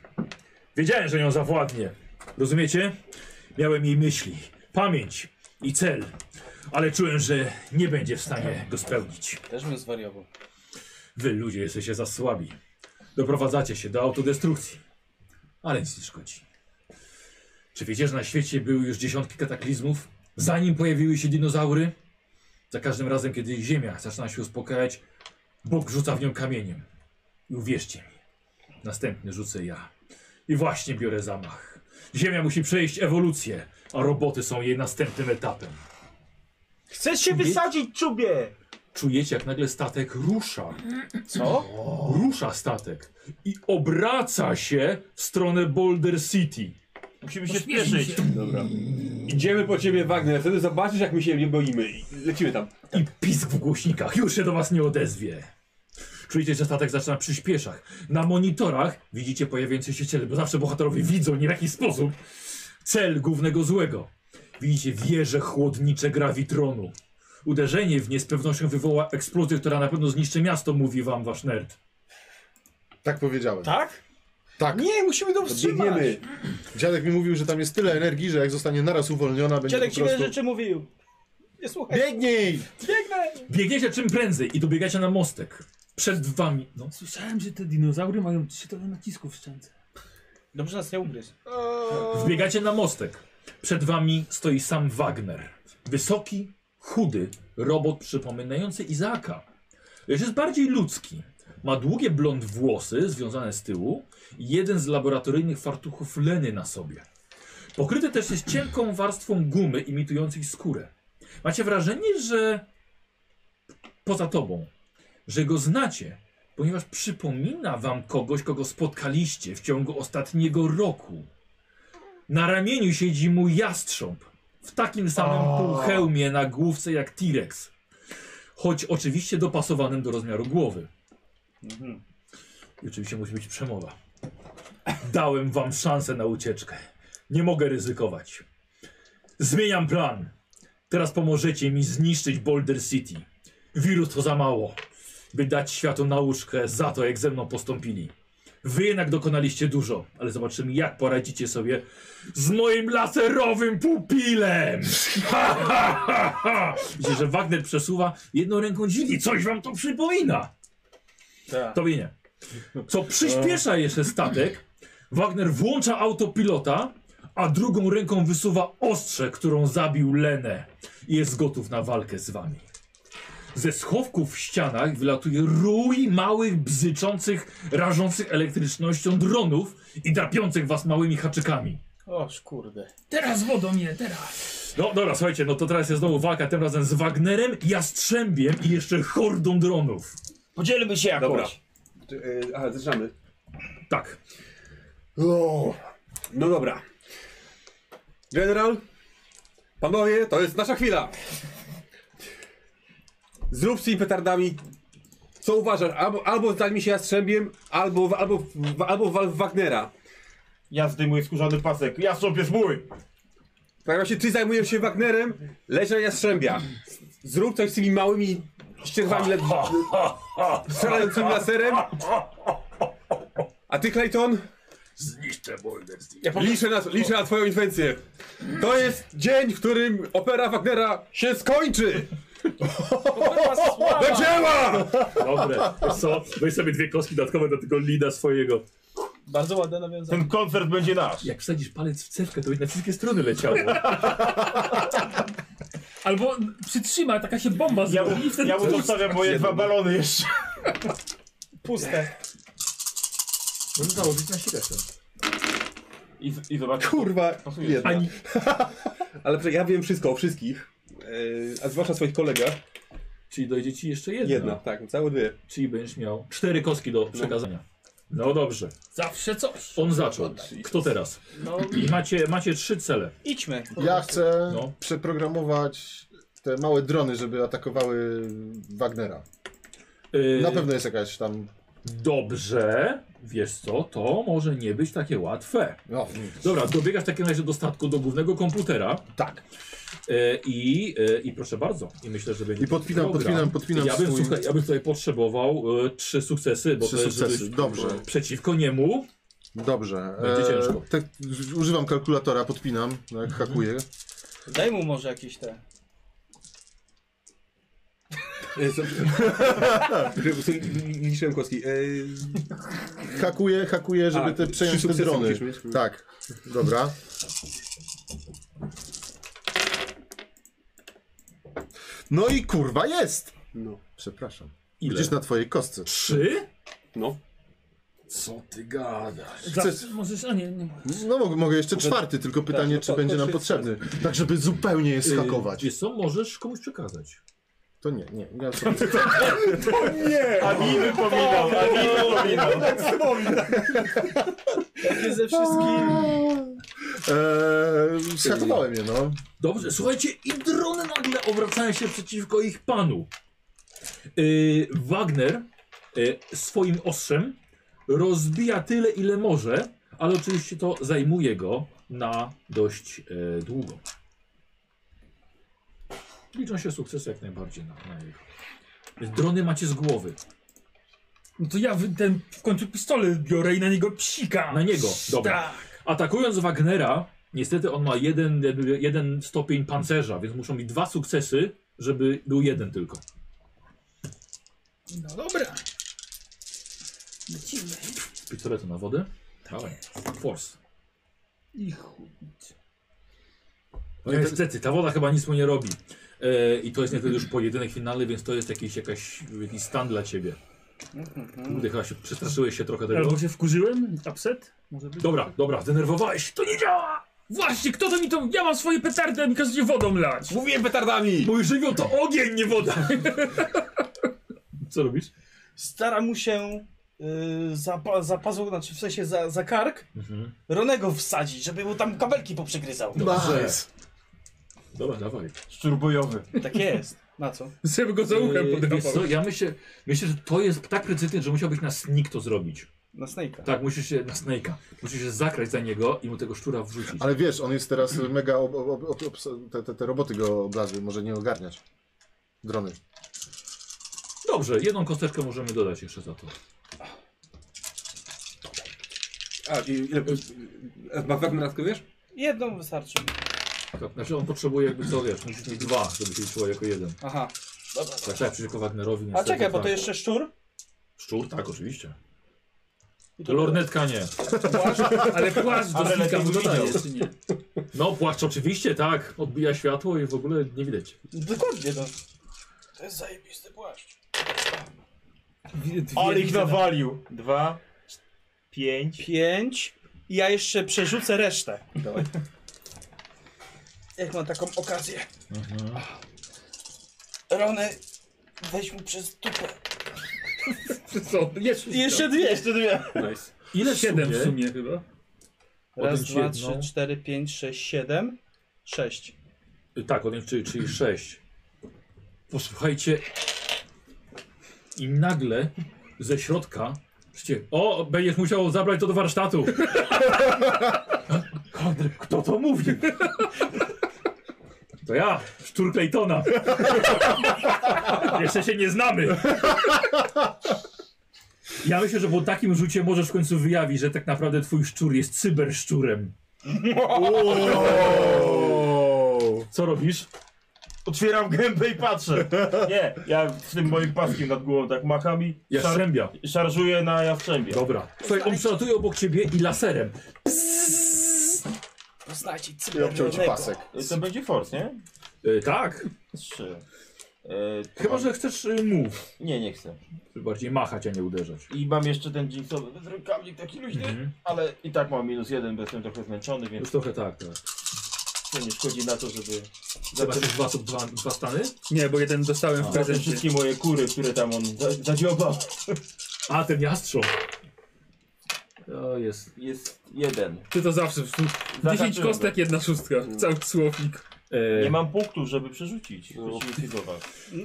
Wiedziałem, że nią zawładnie. Rozumiecie? Miałem jej myśli, pamięć i cel, ale czułem, że nie będzie w stanie go spełnić. Też bym zwariował. Wy ludzie jesteście za słabi. Doprowadzacie się do autodestrukcji. Ale nic nie szkodzi. Czy wiecie, że na świecie były już dziesiątki kataklizmów? Zanim pojawiły się dinozaury? Za każdym razem, kiedy Ziemia zaczyna się uspokajać, Bóg rzuca w nią kamieniem. I uwierzcie mi, następny rzucę ja. I właśnie biorę zamach. Ziemia musi przejść ewolucję, a roboty są jej następnym etapem. Chcesz się wysadzić, czubie! Czujecie, jak nagle statek rusza. Co? Rusza statek i obraca się w stronę Boulder City. Musimy się spieszyć. Dobra. Idziemy po ciebie, Wagner. Wtedy zobaczysz, jak my się nie boimy. I Lecimy tam. I pisk w głośnikach już się do was nie odezwie. Czujecie, że statek zaczyna przyspieszać. Na monitorach widzicie pojawiające się ciele, bo zawsze bohaterowie widzą nie w jakiś sposób cel głównego złego. Widzicie wieże chłodnicze grawitronu. Uderzenie w nie z pewnością wywoła eksplozję, która na pewno zniszczy miasto, mówi wam wasz nerd. Tak powiedziałem. Tak? Tak. Nie, musimy to wstrzymać! Biegniemy. Dziadek mi mówił, że tam jest tyle energii, że jak zostanie naraz uwolniona, będzie Dziadek po ci wiele prostu... rzeczy mówił. Nie słuchaj. Biegnij! Biegnę! Biegniecie czym prędzej i dobiegacie na mostek. Przed wami... No. Słyszałem, że te dinozaury mają 3 tony nacisku w szczęce. Dobrze nas nie ugryzł. Wbiegacie na mostek. Przed wami stoi sam Wagner. Wysoki, chudy robot przypominający Izaaka. Lecz jest bardziej ludzki. Ma długie blond włosy związane z tyłu i jeden z laboratoryjnych fartuchów Leny na sobie. Pokryty też jest cienką warstwą gumy imitującej skórę. Macie wrażenie, że poza tobą, że go znacie, ponieważ przypomina wam kogoś, kogo spotkaliście w ciągu ostatniego roku. Na ramieniu siedzi mu jastrząb w takim samym półhełmie na główce jak T-Rex. Choć oczywiście dopasowanym do rozmiaru głowy. I oczywiście musi być przemowa. Dałem wam szansę na ucieczkę. Nie mogę ryzykować. Zmieniam plan. Teraz pomożecie mi zniszczyć Boulder City. Wirus to za mało, by dać światu nauczkę za to, jak ze mną postąpili. Wy jednak dokonaliście dużo, ale zobaczymy, jak poradzicie sobie z moim laserowym pupilem. Ha, ha, ha, ha. Widzicie, że Wagner przesuwa jedną ręką dziwi. Coś wam to przypomina. Tobie nie. Co przyspiesza jeszcze statek, Wagner włącza autopilota, a drugą ręką wysuwa ostrze, którą zabił Lenę i jest gotów na walkę z wami. Ze schowków w ścianach wylatuje rój małych, bzyczących, rażących elektrycznością dronów i drapiących was małymi haczykami. O, kurde. Teraz wodą je, teraz. No dobra, słuchajcie, no to teraz jest znowu walka, tym razem z Wagnerem, Jastrzębiem i jeszcze hordą dronów. Podzielmy się jakoś. Dobra. Czy, e, aha, zaczynamy. Tak. O, no dobra. General, panowie, to jest nasza chwila. Zrób z tymi petardami, co uważasz, albo, albo zdań mi się jastrzębiem, albo, albo, albo wal w Wagnera. Ja zdejmuję skórzany pasek. Ja sobie mój! Tak właśnie ty zajmujesz się Wagnerem, leżę jastrzębia. Zrób coś z tymi małymi ścierwami le- strzelającymi laserem. A ty, Clayton? Zniszczę Boulder City. Liczę na, liczę na twoją inwencję. To jest dzień, w którym opera Wagnera się skończy! Do dzieła! Dobre, Wiesz co? Weź sobie dwie kostki dodatkowe do tego lida swojego. Bardzo ładne nawiązanie. Ten koncert będzie nasz. Jak wsadzisz palec w cewkę, to będzie na wszystkie strony leciało. No Albo przytrzyma, taka się bomba Ja, zrobi i wtedy ja mu zostawiam moje dwa balony jeszcze. Puste. Możesz założyć na siłę. I, z- i zobacz. Kurwa, Pasuje. jedna. Ani- Ale przecież ja wiem wszystko o wszystkich, yy, a zwłaszcza o swoich kolegach. Czyli dojdzie ci jeszcze jedna. Jedna, tak, całe dwie. Czyli będziesz miał cztery kostki do przekazania. No, dobrze. Zawsze coś. On zaczął. Kto teraz? No, I macie, macie trzy cele. idźmy. Ja chcę No. przeprogramować te małe drony, żeby atakowały Wagnera. Yy, Na pewno jest jakaś tam... Dobrze. Wiesz co, to może nie być takie łatwe. No, Dobra, dobiegasz w takim razie do statku, do głównego komputera. tak. E, I, e, I proszę bardzo. I myślę, że będzie. I podpinam, program. podpinam, podpinam Ja bym, swój- słuchaj, ja bym tutaj potrzebował e, trzy sukcesy, bo Trzy to jest sukcesy, żebyś- dobrze. przeciwko niemu. Dobrze. Będzie ciężko. tak, używam kalkulatora, podpinam, jak hakuję. Daj mu może jakieś te. Yy, co- Gry- są- Liczyłem kostki. Yy, Hakuję, hakuję, żeby A, te trzy przejąć te sukcesy drony. musisz mieć. Tak, dobra. No i kurwa jest! no. Przepraszam. Ile? Widzisz na twojej kostce. Trzy? No. Co ty gadasz? Chcesz... Możesz, a nie, nie ma. No mogę, mogę jeszcze czwarty, tylko pytanie, czy no to- będzie to nam się- potrzebny. Tak, żeby zupełnie je schakować. Yy, wiesz co, możesz komuś przekazać. To nie, nie. Ja A mi wypominał, a mi wypominał. Takie ze wszystkim. eee, schakowałem je, no. Dobrze, słuchajcie, i drony nagle obracają się przeciwko ich panu. Yy, Wagner yy, swoim ostrzem rozbija tyle, ile może, ale oczywiście to zajmuje go na dość yy, długo. Liczą się sukcesy jak najbardziej na, na jego. Więc Drony macie z głowy. No to ja wy- ten w końcu pistolet biorę i na niego psika. Na niego, dobra. Tak. Atakując Wagnera, niestety on ma jeden, jeden stopień pancerza, więc muszą mieć dwa sukcesy, żeby był jeden tylko. No dobra. Lecimy. Pistoletu na wodę. Dawaj. Force. Tak. I chuj. No niestety, ta woda chyba nic mu nie robi. E, I to jest niestety już pojedynek finalny, więc to jest jakiś, jakaś, jakiś stan dla ciebie. Mhm. Kurde, chyba się przestraszyłeś się trochę tego. Albo się wkurzyłem? Upset? Może być? Dobra, dobra, zdenerwowałeś się, to nie działa! Właśnie, kto to mi to... Ja mam swoje petardy, a mi każecie wodą lać. Mówiłem petardami! Mój żywioł to ogień, nie woda! Co robisz? Stara mu się y, za, pa- za pazur, znaczy w sensie za, za kark, Mhm. No. Ronego wsadzić, żeby mu tam kabelki poprzegryzał. Dobrze. Dobra, dawaj. Szczur bojowy. Tak jest. Na co? Żeby go za Eee, uchem wiesz co, podrapał. ja myślę, myślę, że to jest tak precyzyjne, że musiałbyś na snik to zrobić. Na Snake'a. Tak, musisz się na snake'a. Musisz się zakrać za niego i mu tego szczura wrzucić. Ale wiesz, on jest teraz mega. Ob, ob, ob, obs- te, te, te roboty go oblazły, może nie ogarniać. Drony. Dobrze, jedną kosteczkę możemy dodać jeszcze za to. A, i ile... e, a Ma wagneratkę, wiesz? Jedną wystarczy. Tak, znaczy on potrzebuje jakby co, wiesz, musisz mieć dwa, żeby się liczyło jako jeden. Aha. Dobra. Tak, tak, przeciwko Wagnerowi A niestety, czekaj, bo tak. to jeszcze szczur? Szczur, tak, oczywiście. Lornetka nie. Płaszcz? Ale płaszcz do Ale snika lepiej mu dodaje, widział. czy nie? No, płaszcz oczywiście, tak. Odbija światło i w ogóle nie widać. Dokładnie no. To jest zajebisty płaszcz. Ale ich nawalił. Dwa, pięć. Pięć. I ja jeszcze przerzucę resztę. Jak mam taką okazję. Mhm. Rony, weź mu przez dupę. Co? Jeszcze, Jeszcze dwie, jeszcze dwie. Nice. Ile Siedem w sumie? sumie chyba. Raz, Odjąć dwa, jedną. trzy, cztery, pięć, sześć, siedem. Sześć. Y, Tak, odjąć, czyli, czyli 6. Posłuchajcie. I nagle ze środka. Przecie, o, będziesz musiał zabrać to do warsztatu. Kondry, Kto to mówił? To ja, szczur Claytona. Jeszcze się nie znamy. Ja myślę, że po takim rzucie możesz w końcu wyjawić, że tak naprawdę twój szczur jest cyberszczurem. Co robisz? Otwieram gębę i patrzę. Nie, ja w tym moim paskiem nad głową tak macham i szar Jastrzębia. szarżuję na jawczębie. Dobra. Słuchaj, on przelatuje obok ciebie i laserem. Poznajcie I obciął ci cybernego. pasek. Y, To będzie force, nie? Y, tak. Trzy. E, Chyba, że chcesz y, move. Nie, nie chcę. Żeby Bardziej machać, a nie uderzać. I mam jeszcze ten jeansowy bez rękawnik taki luźny, Mhm. ale i tak mam minus jeden, bo jestem trochę zmęczony, Już więc trochę tak, tak. to nie szkodzi na to, żeby Zobaczysz dwa, dwa, dwa stany? Nie, bo jeden dostałem w za te prezencie. wszystkie moje kury, które tam on za- zadziobał. A, ten jastrząb. To jest. Jest jeden. Ty to zawsze. w sum- 10 Zahaczyłem kostek, jedna szóstka. Cały słownik. go. E, Nie mam punktów, żeby przerzucić. No.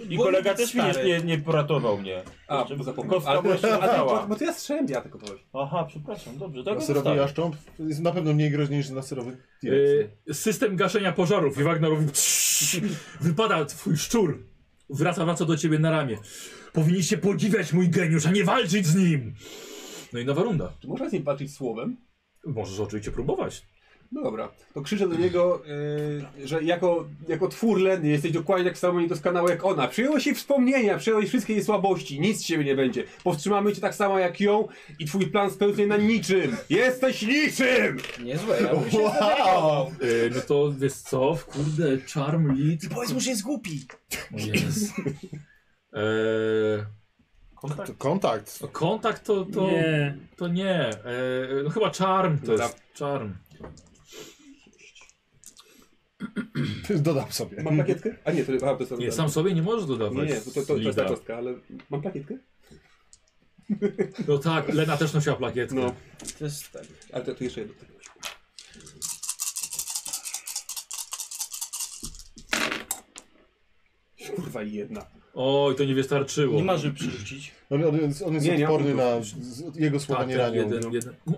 I Bo kolega nikt też mi nie, stary. nie, nie poratował mnie. A, żeby zapomniałem. Kostka mu jeszcze Bo, została. bo to ja strzębia tylko powiem. Aha, przepraszam, dobrze, tak Laserowy jaszcząb jest na pewno mniej groźny niż laserowy Yy, T-Rex. e, system gaszenia pożarów i Wagnerowi. Wypada twój szczur. Wraca, wraca do ciebie na ramię. Powinniście podziwiać mój geniusz, a nie walczyć z nim. No i nowa runda. Czy można z nim walczyć słowem? Możesz oczywiście próbować. No dobra, to krzyczę do niego, y, że jako, jako twór lenny jesteś dokładnie tak samo niedoskonały jak ona. Przyjąłeś jej wspomnienia, przyjąłeś wszystkie jej słabości, nic z ciebie nie będzie. Powstrzymamy cię tak samo jak ją i twój plan spełznie na niczym. Jesteś niczym! Niezłe, ja bym się Wow! E, no to wiesz co? Kurde, charm lead. Powiedz mu, że jest głupi. Jest. Eee, To kontakt. no kontakt to, to nie. Nie. To nie. Eee, no chyba charm to Dobra. jest. Charm. Dodam sobie. Mam plakietkę? A nie, to, aha, to jest Nie, sam sobie nie możesz Nie, dodawać. nie, to, to, to jest ta lida. kostka, ale mam plakietkę? No tak, Lena też nosiła plakietkę. No, To jest tak. ale to, to jeszcze jedno. Kurwa jedna. Oj, to nie wystarczyło. Tak, Nie ma, żeby przerzucić. On, on jest, on jest Nie, nie, odporny on- na. z- Jego słowa tak, nie tak, ranią. jeden, jeden. No.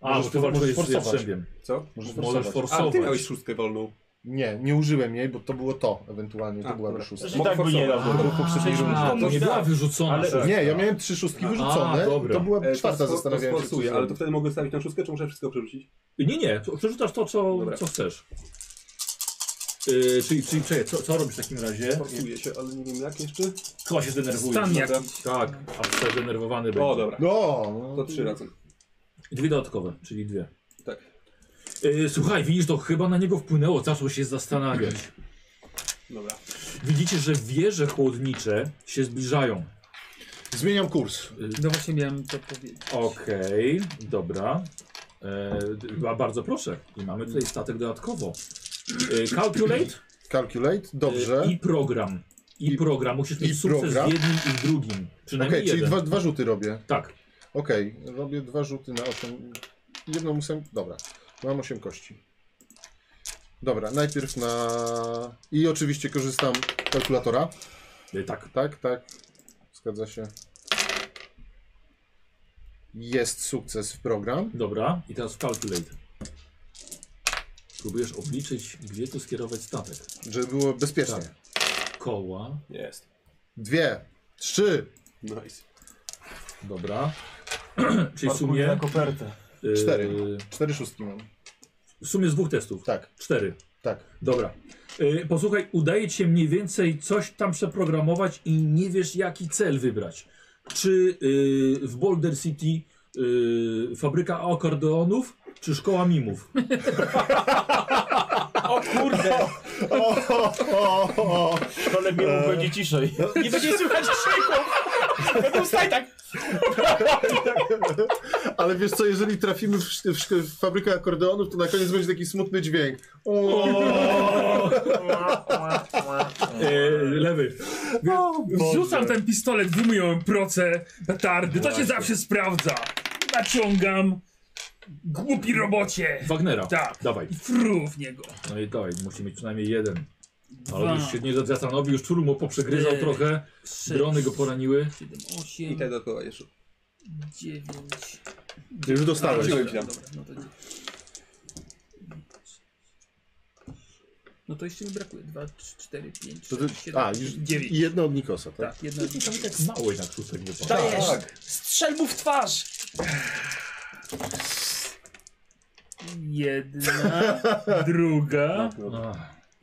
A, Możesz bo ty for- walczyłeś możesz z forsować. Jastrzębiem. Co? Możesz Możesz forsować. A, ty miałeś forsować. szóstkę wolną. Nie, nie użyłem jej, bo to było to ewentualnie. To A, byłaby dobra. szóstka. Że tak by nie dał. Bo po poprzedniej A, rundzie. to nie tak. E, była wyrzucona. Ale- szóstka. Nie, ja miałem trzy szóstki wyrzucone. A, dobra. to była E, to czwarta, spo- to zastanawiałem się. co sporsuję, ale to zrobić. wtedy mogę stawić na szóstkę, czy muszę wszystko przerzucić? Nie, nie, to przerzucasz to, co, Dobra. co chcesz. Yy, czyli, czyli czekaj, co, co robisz w takim razie? Forsuję się, ale nie wiem jak jeszcze. Chyba się no zdenerwujesz. Stan prawda? jakiś. Tak, a zdenerwowany będzie. O, dobra. No, To trzy razem. Dwie dodatkowe, czyli dwie. Tak. E, słuchaj, widzisz, to chyba na niego wpłynęło, zaczął się zastanawiać. Dobra. Widzicie, że wieże chłodnicze się zbliżają. Zmieniam kurs. No właśnie miałem to powiedzieć. Okej, dobra. E, d- a bardzo proszę. I mamy tutaj statek dodatkowo. E, calculate. Calculate, dobrze. E, I program. I, program. Musisz mieć sukces program. w jednym i w drugim. Okej, Przynajmniej czyli jeden. dwa, dwa rzuty robię. Tak. Okej, robię dwa rzuty na osiem. Jedną muszę. Dobra, mam osiem kości. Dobra, najpierw na. I oczywiście korzystam z kalkulatora. Tak. Tak, tak. Zgadza się. Jest sukces w program. Dobra, i teraz w calculate. Próbujesz obliczyć, gdzie tu skierować statek. Żeby było bezpiecznie. Koła. Jest. Tak. Dwie, trzy. Nice. Dobra. Czyli w Parkuj sumie... na kopertę. y, Cztery. Cztery szóstki mam. W sumie z dwóch testów. Tak. Cztery. Tak. Dobra. Y, posłuchaj, udaje ci się mniej więcej coś tam przeprogramować i nie wiesz jaki cel wybrać. Czy y, w Boulder City y, fabryka akordeonów, czy szkoła mimów? O kurde! tak. Ale miło będzie ciszej. Nie będzie słychać krzyków! Będą stać tak! Ale wiesz co, jeżeli trafimy w, sz- w, szk- w fabrykę akordeonów, to na koniec będzie taki smutny dźwięk. O! E, lewy. Wrzucam ten pistolet, wyjmuję proce, petardy, to się Właśnie. zawsze sprawdza. Naciągam. Głupi robocie. Wagnera. Tak. Dawaj. I fru w niego. No i dawaj, musi mieć przynajmniej jeden. Ale Dwa. już się nie zastanowił, już czur mu poprzegryzał Eee, trochę. sześć, Drony go poraniły. 7, I 8, tak dodatkowo jeszcze. 9. Ty już dostałeś. Wróciłem ci Dobra, tam. dobra, no, to... no to jeszcze mi brakuje. 2, 4, 5, To ty, 6, 7, a, już 9. i jedno od Nikosa, tak? Tak, jedna. Tak mało jednak szóstek wypadło. Dajesz! Strzel mu w twarz! Jedna, druga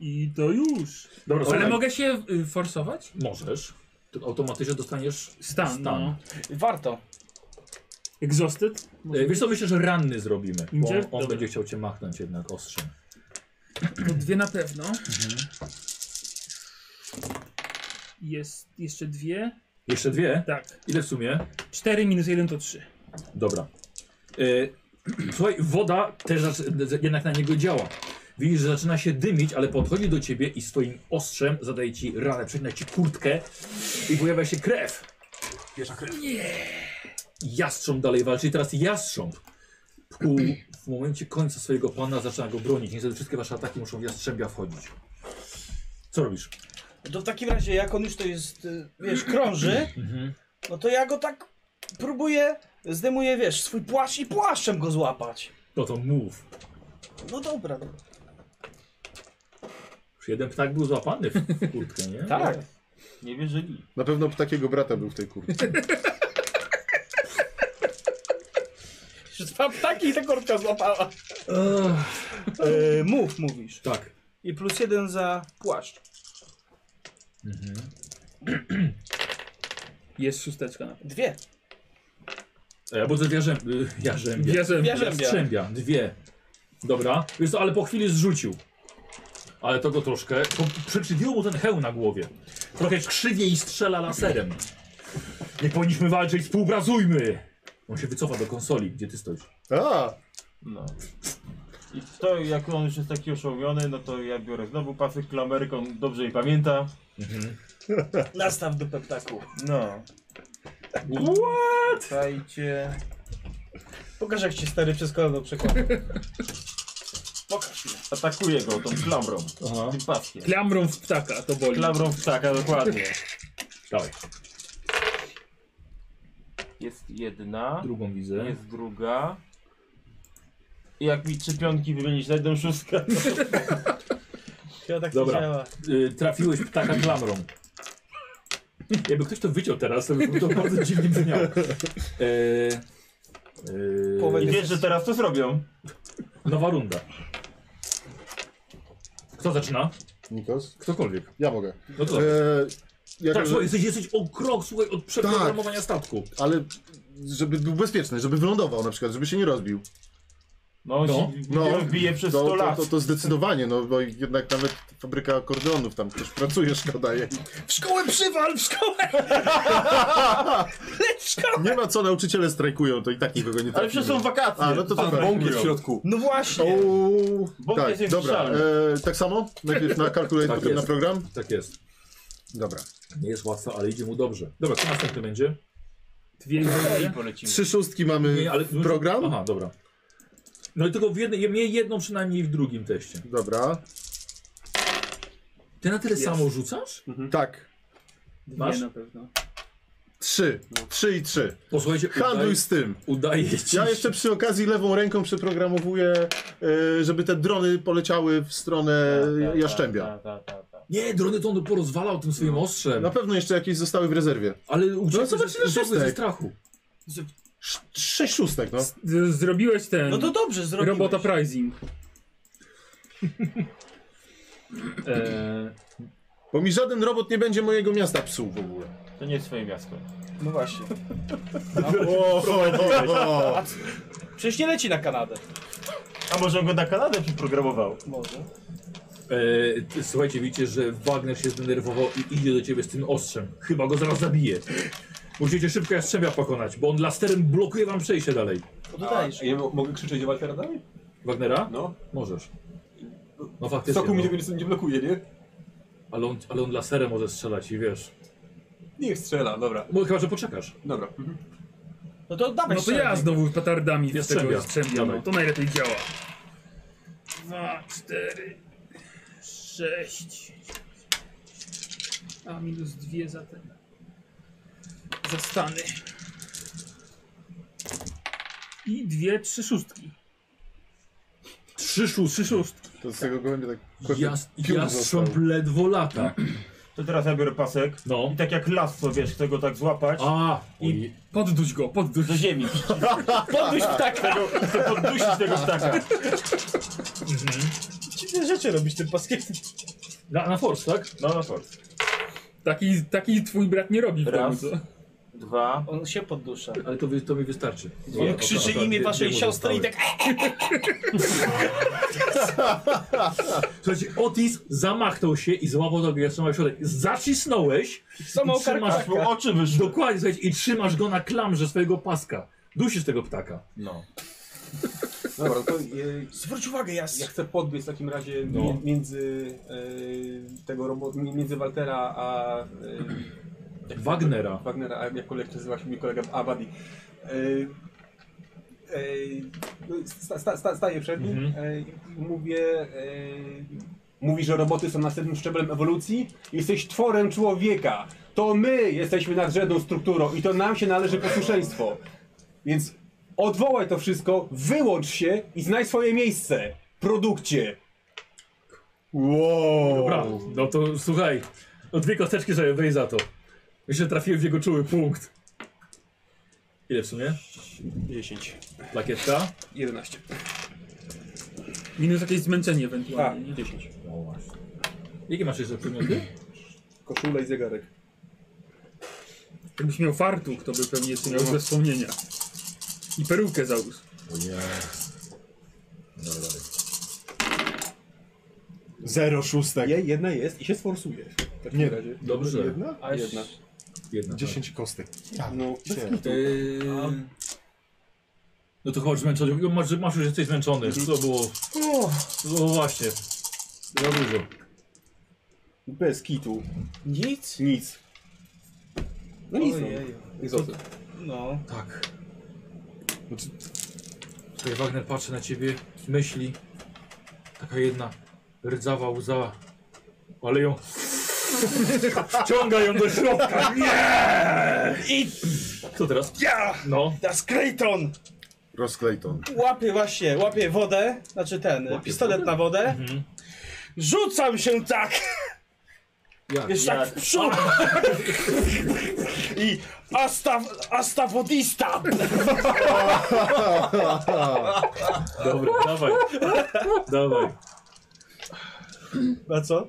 i to już. Dobra, Ale słuchaj. mogę się y, forsować? Możesz. To automatycznie dostaniesz Stan, no. Warto. Exhausted? E, Wiesz co, myślę, że ranny zrobimy. Bo on Injured? Dobra. będzie chciał cię machnąć jednak ostrzem. To dwie na pewno. Jest jeszcze dwie. Jeszcze dwie? Tak. Ile w sumie? 4 minus 1 to 3. Dobra. E, słuchaj, woda też zac- jednak na niego działa. Widzisz, że zaczyna się dymić, ale podchodzi do ciebie i swoim ostrzem zadaje ci ranę, przecina ci kurtkę i pojawia się krew. Pierwsza krew. Jastrząb dalej walczy i teraz jastrząb ku, w momencie końca swojego pana zaczyna go bronić. Niestety wszystkie wasze ataki muszą w jastrzębia wchodzić. Co robisz? To w takim razie, jak on już to jest, y, wiesz, krąży, Mhm. no to ja go tak próbuję, zdejmuję, wiesz, swój płaszcz i płaszczem go złapać. No to mów. No dobra, no. Już jeden ptak był złapany w w kurtkę, nie? Tak. Nie wierzyli. Na pewno ptakiego brata był w tej kurtce. Że dwa ptaki i ta korbka złapała. E, mów, mówisz. Tak. I plus jeden za płaszcz. Jest szósteczka na Dwie. E, bo to jarzę, y, jarzębia. Jarzębia. Jarzębia. Jastrzębia, Dwie. Dobra. Wiesz co, ale po chwili zrzucił. Ale to go troszkę. Bo przyczyniło mu ten heł na głowie. Trochę krzywie i strzela laserem. Nie powinniśmy walczyć, współpracujmy! On się wycofa do konsoli, gdzie ty stoisz. A! No. I to jak on już jest taki oszołomiony, no to ja biorę znowu pasek klamerek, on dobrze jej pamięta. Nastaw do peptaku. No. What? Słuchajcie. Pokaż jak cię stary przez kolano przekona. Pokaż mi. Atakuje go tą klamrą. Tym paskiem. Klamrą w ptaka, to boli. Klamrą ptaka, dokładnie. Dawaj. Jest jedna. Drugą widzę. Jest druga. I jak mi trzy piątki wymienić na jedną szóstkę. Ja tak nie Dobra. działa. Y, trafiłeś ptaka klamrą. Jakby ktoś to wyciął teraz, to by to bardzo dziwnie brzmiało. E, I e, wiesz, że teraz to zrobią. nowa runda. Kto zaczyna? Nikos? Ktokolwiek. Ja mogę. No to- E, tak, jak- Tak. słuchaj, jesteś, jesteś o krok, słuchaj, od przeprogramowania statku. Ale żeby był bezpieczny, żeby wylądował na przykład, żeby się nie rozbił. No, się wbije przez 100 No, to, lat. To, to, to zdecydowanie, no bo jednak nawet fabryka akordonów, tam ktoś pracuje, szkoda jej. W szkołę przywal, w szkołę! Leć w szkołę! Nie ma co, nauczyciele strajkują, to i tak nikogo nie trafimy. Ale przecież są wakacje. A, no to Pan super. Bąk jest w środku. No właśnie. Bąk tak, jest dobra. niewyszczalny. E, tak samo? Najpierw na kalkulację, Tak potem na jest. program? Tak jest. Dobra. Nie jest łatwo, ale idzie mu dobrze. Dobra, co następny będzie? Dwie Ej, Trzy szóstki mamy w Y, program. Aha, dobra. No i tylko w jednej, mniej jedną przynajmniej w drugim teście. Dobra. Ty na tyle Jest. samo rzucasz? Hmm? Tak. Masz? na pewno. Trzy. Trzy i trzy. Posłuchajcie, Handluj udaje- z tym. udaje ci Ja się. jeszcze przy okazji lewą ręką przeprogramowuję, e, żeby te drony poleciały w stronę jaszczębia. Nie, drony to on porozwalał tym swoim ostrzem. Na pewno jeszcze jakieś zostały w rezerwie. Ale no, uciekłeś zobacz, ze- ile uciekłeś ze szóstek. strachu. Sz- Sześć szóstek, no. Z- Zrobiłeś ten. No to dobrze, zrobiłeś. Robota pricing. E, Eee, Bo mi żaden robot nie będzie mojego miasta psuł w ogóle. To nie jest twoje miasto. No właśnie. O, o, o, o. Przecież nie leci na Kanadę. A może on go na Kanadę przyprogramował? Może. Eee, ty- słuchajcie, widzicie, że Wagner się zdenerwował i idzie do ciebie z tym ostrzem. Chyba go zaraz zabije. Musicie szybko Jastrzębia pokonać, bo on lasterem blokuje wam przejście dalej. No A ja mo- mogę krzyczeć o walkę radami? Wagnera? No. Możesz. No faktycznie. Soku mi no. nie, nie blokuje, nie? Ale, on, ale on laserem może strzelać i wiesz. Niech strzela, dobra. Bo chyba, że poczekać. Dobra. No to No dawaj to strzelaj. ja znowu petardami w Jastrzębia. tego strzębia. No, Dawaj. to najlepiej działa. Dwa, cztery, sześć. A minus dwie za ten. Za stany. I dwie, trzy szóstki. Trzy szóstki. Trzy szóstki. To z tego gołębia tak Jas, piór jastrząb został. ledwo lata. To teraz ja biorę pasek no. i tak jak lasso, wiesz, chcę go tak złapać A, i podduś go, podduś. do ziemi. Podduś ptaka. Tego, chcę poddusić tego ptaka. Dziwne rzeczy robisz tym paskiem. Na, na force, tak? No, na force. Taki, taki twój brat nie robi w domu, Raz. co? Dwa. On się poddusza. Ale to, wy- to mi wystarczy. On Nie, krzyczy akurat imię dwie- waszej dwie siostry i zostały. tak... Słuchajcie, Otis zamachnął się i złapał tego jastrząba w środek. Zacisnąłeś. Samą i trzymasz karkawkę. Oczy wyszły. Dokładnie, słuchajcie, i trzymasz go na klamrze swojego paska. Dusisz tego ptaka. No. Dobra, no to e, Zwróć uwagę, ja... ja chcę podbiec w takim razie No. mi- między e, tego robota, między Waltera a... E, jak- Wagnera. Wagnera, a jak kolega nazywa się mój kolega, a Buddy. E, e, no i sta, sta, sta, staję przed nim Mhm. e, i mówię... E, Mówi, że roboty są następnym szczeblem ewolucji. Jesteś tworem człowieka. To my jesteśmy nadrzędną strukturą i to nam się należy posłuszeństwo. Więc odwołaj to wszystko, wyłącz się i znajdź swoje miejsce. Produkcie. Wow. Dobra, no to słuchaj. No dwie kosteczki sobie weź za to. Myślę, że trafiłem w jego czuły punkt. Ile w sumie? 10. Plakietka? 11. Minus jakieś zmęczenie A, ewentualnie. nie? 10. Jakie masz jeszcze przedmioty? Koszula i zegarek. Jakbyś miał fartuch, to by pewnie jeszcze miał No. ze wspomnienia. I perukę załóż. Zero szóstek. Je, jedna jest i się sforsuje. W takim Nie, razie. dobrze. Jedna? A jedna. Jedna. No, Dziesięć kostek. No, tak. Yy, No to chodź zmęczony. Masz, masz już jesteś zmęczony. To było. No właśnie. Za dużo. E, bez kitu. Nic? Nic. No nic. no. Ojeju. Egzoty. No. Tak. Znaczy, tutaj Wagner patrzy na ciebie, myśli. Taka jedna rdzawa łza. Ale ją. Wciąga ją do środka. Nie! I Co teraz? ja! No. Das Clayton! Rozklejton. Łapie właśnie, łapie wodę, znaczy ten, pistolet na wodę. Mhm. Rzucam się tak! Jak? Wiesz, tak w przód! I asta, asta wodista! Dobra, dawaj. Dawaj. Na co?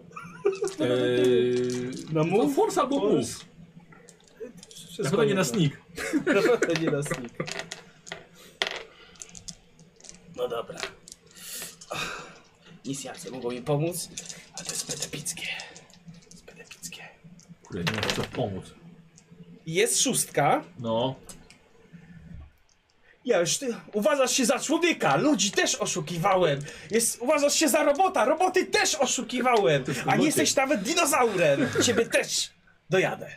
Eee, Na no mów? force albo move. Na pewno nie na sneak. Na pewno nie na sneak. No dobra. Ach, Nisjacy mogą mi pomóc, ale to jest pedepickie. Jest pedepickie. Kurde, nie ma co pomóc. Jest szóstka. No. Ja już ty uważasz się za człowieka, ludzi też oszukiwałem. Jest, uważasz się za robota, roboty też oszukiwałem. A nie jesteś nawet dinozaurem. Ciebie też dojadę.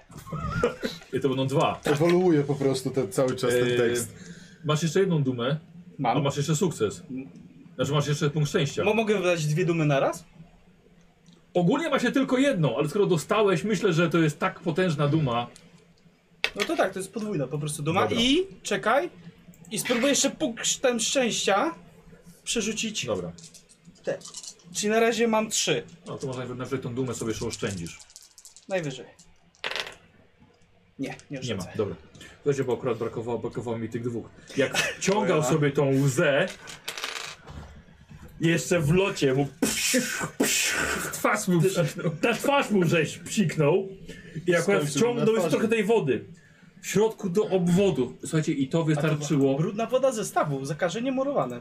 I to będą dwa. Ewoluuje po prostu ten, cały czas ten Eee, tekst. Masz jeszcze jedną dumę, Mam. a masz jeszcze sukces. Znaczy masz jeszcze punkt szczęścia. Mo- mogę wydać dwie dumy naraz? Ogólnie ma się tylko jedną, ale skoro dostałeś, myślę, że to jest tak potężna duma. No to tak, to jest podwójna po prostu duma. Dobra. I czekaj. I spróbuję jeszcze punktem szczęścia przerzucić. Dobra. Te. Czyli na razie mam trzy. No to może nawet nawet tą dumę sobie jeszcze oszczędzisz. Najwyżej. Nie, nie Nie ma, oszczędzę. dobra. Słuchajcie, bo akurat brakowało, brakowało mi tych dwóch. Jak wciągał sobie tą łzę, jeszcze w locie mu twarz mu ta twarz mu żeś psiknął i akurat Skończył na wciągnął jeszcze twarzy. trochę tej wody. W środku do obwodu. Słuchajcie, i to wystarczyło. Brudna woda ze stawu, zakażenie murowane.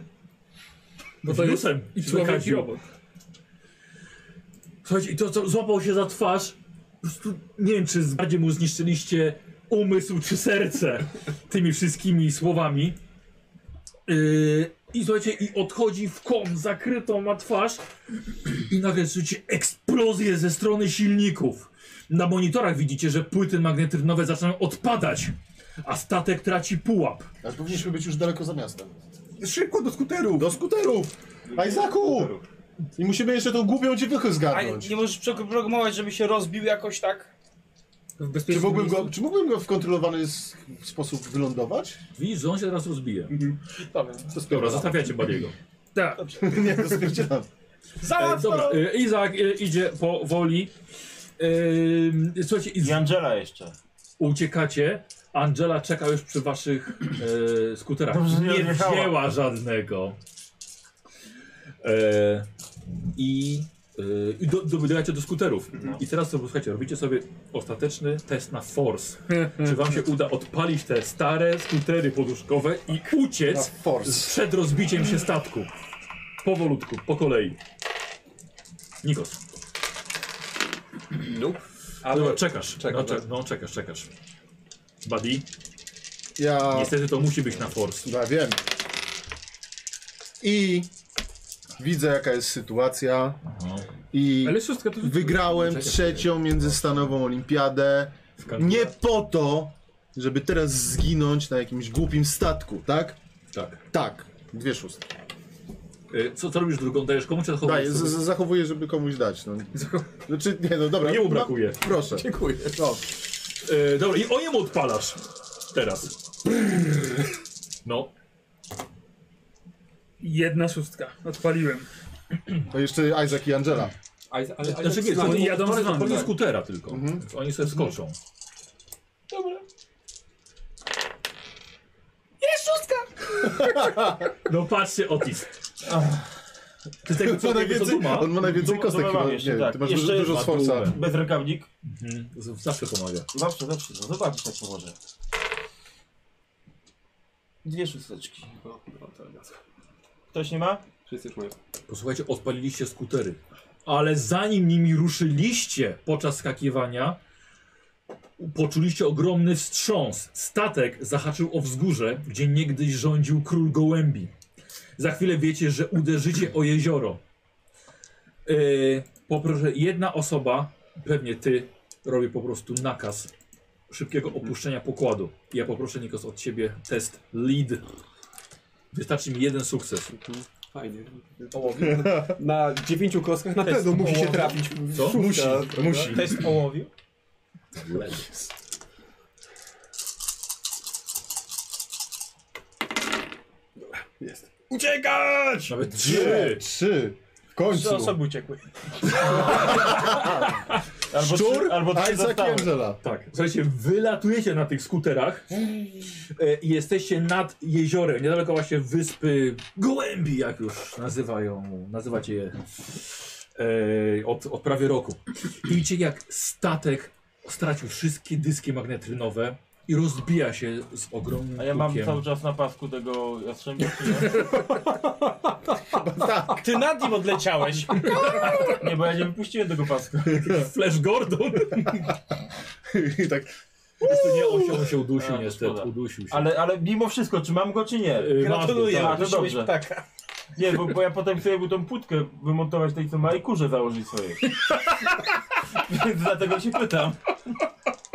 Bo to jest i człowiek i robot. Słuchajcie, i to co złapał się za twarz, po prostu nie wiem, czy bardziej mu zniszczyliście umysł czy serce tymi wszystkimi słowami. Yy, I słuchajcie, i odchodzi w kąt, zakrytą ma twarz i nagle słyszycie eksplozję ze strony silników. Na monitorach widzicie, że płyty magnetyczne zaczynają odpadać, a statek traci pułap. Ale powinniśmy być już daleko za miastem. Szybko do skuterów! Do skuterów! Ajzaku! I musimy jeszcze tą głupią dziewuchę A Tak zgarnąć. nie możesz przeprogramować, żeby się rozbił jakoś tak? Czy mógłbym, go, czy mógłbym go w kontrolowany s- sposób wylądować? Widzisz, że on się teraz rozbije. Dobra, Dobra, zostawiacie Badiego. Tak. nie, to spierdzielam. E, dobra, e, Izak e, idzie powoli. E, słuchajcie, I Angela jeszcze. Uciekacie. Angela czeka już przy waszych e, skuterach. Dobrze, nie nie odjechała. wzięła żadnego. E, I e, i do, dobiegacie do skuterów. I teraz sobie, słuchajcie, robicie sobie ostateczny test na force. Czy wam się uda odpalić te stare skutery poduszkowe i uciec Na force. przed rozbiciem się statku. Powolutku, po kolei. Nikos. Nope. Ale czekasz. Czekam, no, cze- tak. no czekasz, czekasz. Buddy. Ja... Niestety to musi być na force. Ja wiem. I widzę jaka jest sytuacja. I wygrałem trzecią międzystanową olimpiadę. Nie po to, żeby teraz zginąć na jakimś głupim statku, tak? Tak. Tak. Dwie szóstki. Y, Co, co robisz drugą? Dajesz komuś czy Daję, z- sobie? z- zachowuję, żeby komuś dać. No. Znaczy, nie, no dobra. Nie mu no, brakuje. proszę. Dziękuję. No. Y, dobra, i o jemu odpalasz. Teraz. No. Jedna szóstka. Odpaliłem. To jeszcze Isaac i Angela. ale- znaczy, nie, ale- to, jadą jadą to, z to, nami, to nie tak. skutera tylko. Mhm. Więc Oni sobie skoczą. Dobra. Jest szóstka! No patrzcie, Otis. Ty z tego On co ma nie wiesz, co najwięcej- duma. on ma najwięcej Duma- kostek duma chyba, mam nie, jeszcze, ty tak. masz Jeszcze dużo jest- sforca. ma dumę. Bezrękawnik. Mhm. z- Zawsze pomaga. Zawsze, zawsze. No zobaczysz, jak pomoże. Dwie szósteczki. Ktoś nie ma? Wszyscy już mają. Posłuchajcie, No odpaliliście skutery. Ale zanim nimi ruszyliście podczas skakiwania, poczuliście ogromny wstrząs. Statek zahaczył o wzgórze, gdzie niegdyś rządził król gołębi. Za chwilę wiecie, że uderzycie o jezioro. Yy, poproszę, jedna osoba, pewnie ty, robi po prostu nakaz szybkiego opuszczenia pokładu. Ja poproszę, Nikos, od ciebie test lead. Wystarczy mi jeden sukces. Fajnie. Na dziewięciu kostkach na Test pewno musi się połowy. trafić. Co? Szóstka, Musi, prawda? musi. Test ołowiu. Jest. Uciekać! Nawet Trzy! Trzy! W końcu! Trzy osoby uciekły. Albo Szczur, trzy- albo trzy Isaac i zostały. Angela. Tak. Słuchajcie, wylatujecie na tych skuterach e, i jesteście nad jeziorem, niedaleko właśnie wyspy Gołębi, jak już nazywają, nazywacie je e, od, od prawie roku. I widzicie, jak statek stracił wszystkie dyski magnetrynowe, I rozbija się z ogromnym A ja mam tłukiem. cały czas na pasku tego jastrzębia, czy tak. Ty nad nim odleciałeś. Nie, bo ja nie wypuściłem tego pasku. Flash Gordon. I tak. Jeszcze nie osioł się udusił A, niestety, szkoda. udusił się. Ale, ale mimo wszystko, czy mam go, czy nie? Yy, masz go, Gratuluję, tak. A, to udusiłeś No dobrze. Nie, bo, bo ja potem chcę mu tą płytkę wymontować tej, co ma i kurze założyć swoje. Więc dlatego się pytam.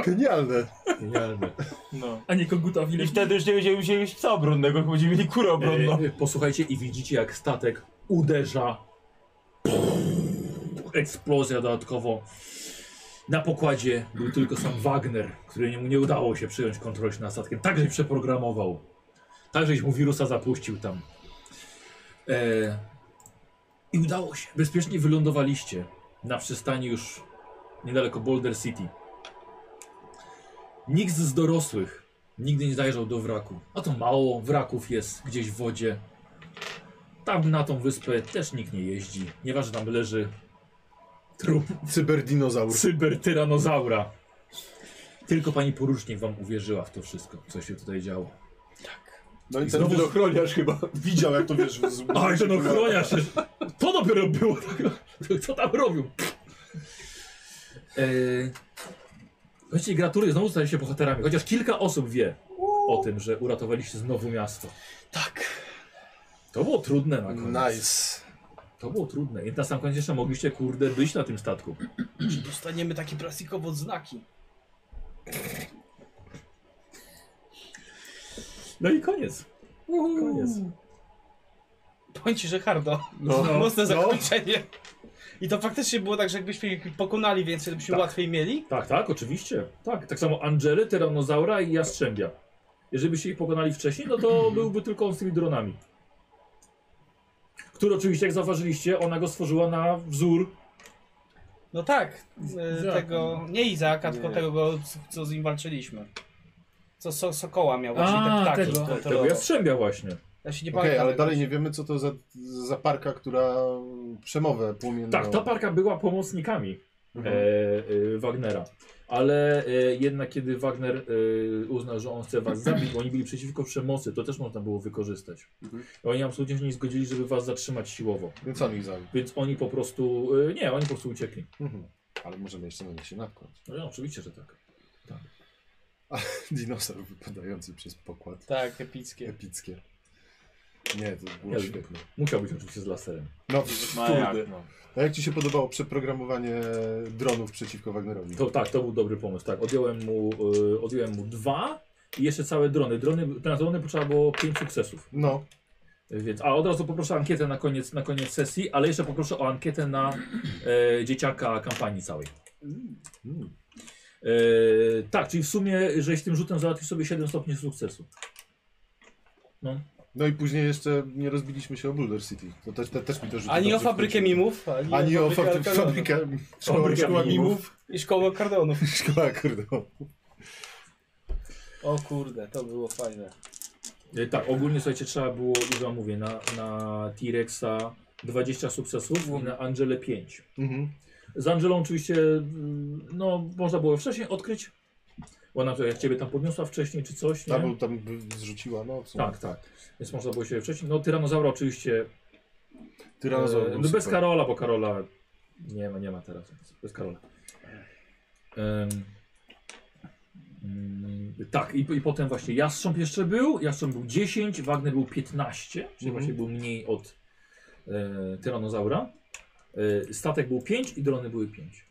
Genialne. Genialne. No. A nie kogutowi. I wtedy już nie będziemy się mieć psa obronnego, tylko będziemy mieli kurę obronną. E, posłuchajcie i widzicie jak statek uderza. Eksplozja dodatkowo. Na pokładzie był tylko sam Wagner, któremu nie udało się przyjąć kontroli nad statkiem. Także ich przeprogramował. Także mu wirusa zapuścił tam. E, I udało się. Bezpiecznie wylądowaliście na przystani już niedaleko Boulder City. Nikt z dorosłych nigdy nie zajrzał do wraku. A to mało wraków jest gdzieś w wodzie. Tam na tą wyspę też nikt nie jeździ. Nieważne tam leży trup Cyberdinozaur. cybertyranozaura. Tylko pani porucznik wam uwierzyła w to wszystko, co się tutaj działo. No i I ten znowu- ochroniarz chyba widział, jak to wiesz. Z... Aj, ten ochroniarz! jest- no To dopiero było! tak. Co tam robił? Eee, Słuchajcie, gratuluję, znowu staliście bohaterami. Chociaż kilka osób wie o tym, że uratowaliście znowu miasto. Tak. To było trudne na koniec. Nice. To było trudne. I na sam koniec jeszcze mogliście, kurde, być na tym statku. Dostaniemy takie plastikowe odznaki. No i koniec. Koniec. Powiem ci, że hardo. No. Mocne No. zakończenie. I to faktycznie było tak, że jakbyśmy ich pokonali więcej, to byśmy Tak. łatwiej mieli. Tak, tak, oczywiście. Tak, tak samo Angele, Tyranozaura i Jastrzębia. Jeżeli byście ich pokonali wcześniej, no to byłby tylko on z tymi dronami. Który oczywiście, jak zauważyliście, ona go stworzyła na wzór. No tak, e, Izaaka. tego, nie Izaka, tylko Nie. tego, co- co z nim walczyliśmy. Co so, Sokoła miał właśnie, te A, ptaki. tego. kontrolował. Tego Jastrzębia właśnie. Ja się nie Okej, pamiętam. ale tego. dalej nie wiemy, co to za, za parka, która przemowę płomienną. Tak, ta parka była pomocnikami e, e, Wagnera. Ale e, jednak kiedy Wagner e, uznał, że on chce was zabić, bo oni byli przeciwko przemocy, to też można było wykorzystać. Mhm. Oni absolutnie się nie zgodzili, żeby was zatrzymać siłowo. Więc on ich zabił. Więc oni po prostu, e, nie, oni po prostu uciekli. Mhm. Ale możemy jeszcze na nich się natknąć. No, oczywiście, że tak. Dinosaur wypadający przez pokład. Tak, epickie. Epickie. Nie, to było Ja- świetne. Musiał być oczywiście z laserem. No, Ma kurde. jak, no. A jak ci się podobało przeprogramowanie dronów przeciwko Wagnerowi? To, tak, to był dobry pomysł, tak. Odjąłem mu, y, odjąłem mu dwa i jeszcze całe drony. drony na drony potrzeba było pięć sukcesów. No. Y, Więc, a od razu poproszę ankietę na koniec, na koniec sesji, ale jeszcze poproszę o ankietę na e, dzieciaka kampanii całej. Mm. E, tak, czyli w sumie, żeś tym rzutem załatwił sobie 7 stopni sukcesu. No i później jeszcze nie rozbiliśmy się o Boulder City. To też, te, też mi to rzuciło. Ani o dobrze w fabrykę końcu. mimów, Ani o fabrykę fabrykę, Alkanonu. fabrykę szkoła, Fabrykę szkoła mimów. mimów. I szkołę kardonów. Szkoła kurde. no. O kurde, to było fajne. E, tak, ogólnie słuchajcie, trzeba było, już wam mówię, na, na T-Rexa 20 sukcesów i na Angele 5. Mhm. Z Angelą oczywiście, mm, no, można było wcześniej odkryć. Bo ona to jak ciebie tam podniosła wcześniej czy coś, nie? Tam, tam by zrzuciła, no. w sumie. Tak, tak. Więc można było się wcześniej. No, Tyranozaura oczywiście. Tyranozaur e, był no, bez super. Karola, bo Karola nie ma, nie ma teraz. więc Bez Karola. Em, mm, tak, i, i potem właśnie Jastrząb jeszcze był. Jastrząb był 10, Wagner był 15, czyli Mhm. właśnie był mniej od e, Tyranozaura. E, statek był 5 i drony były 5.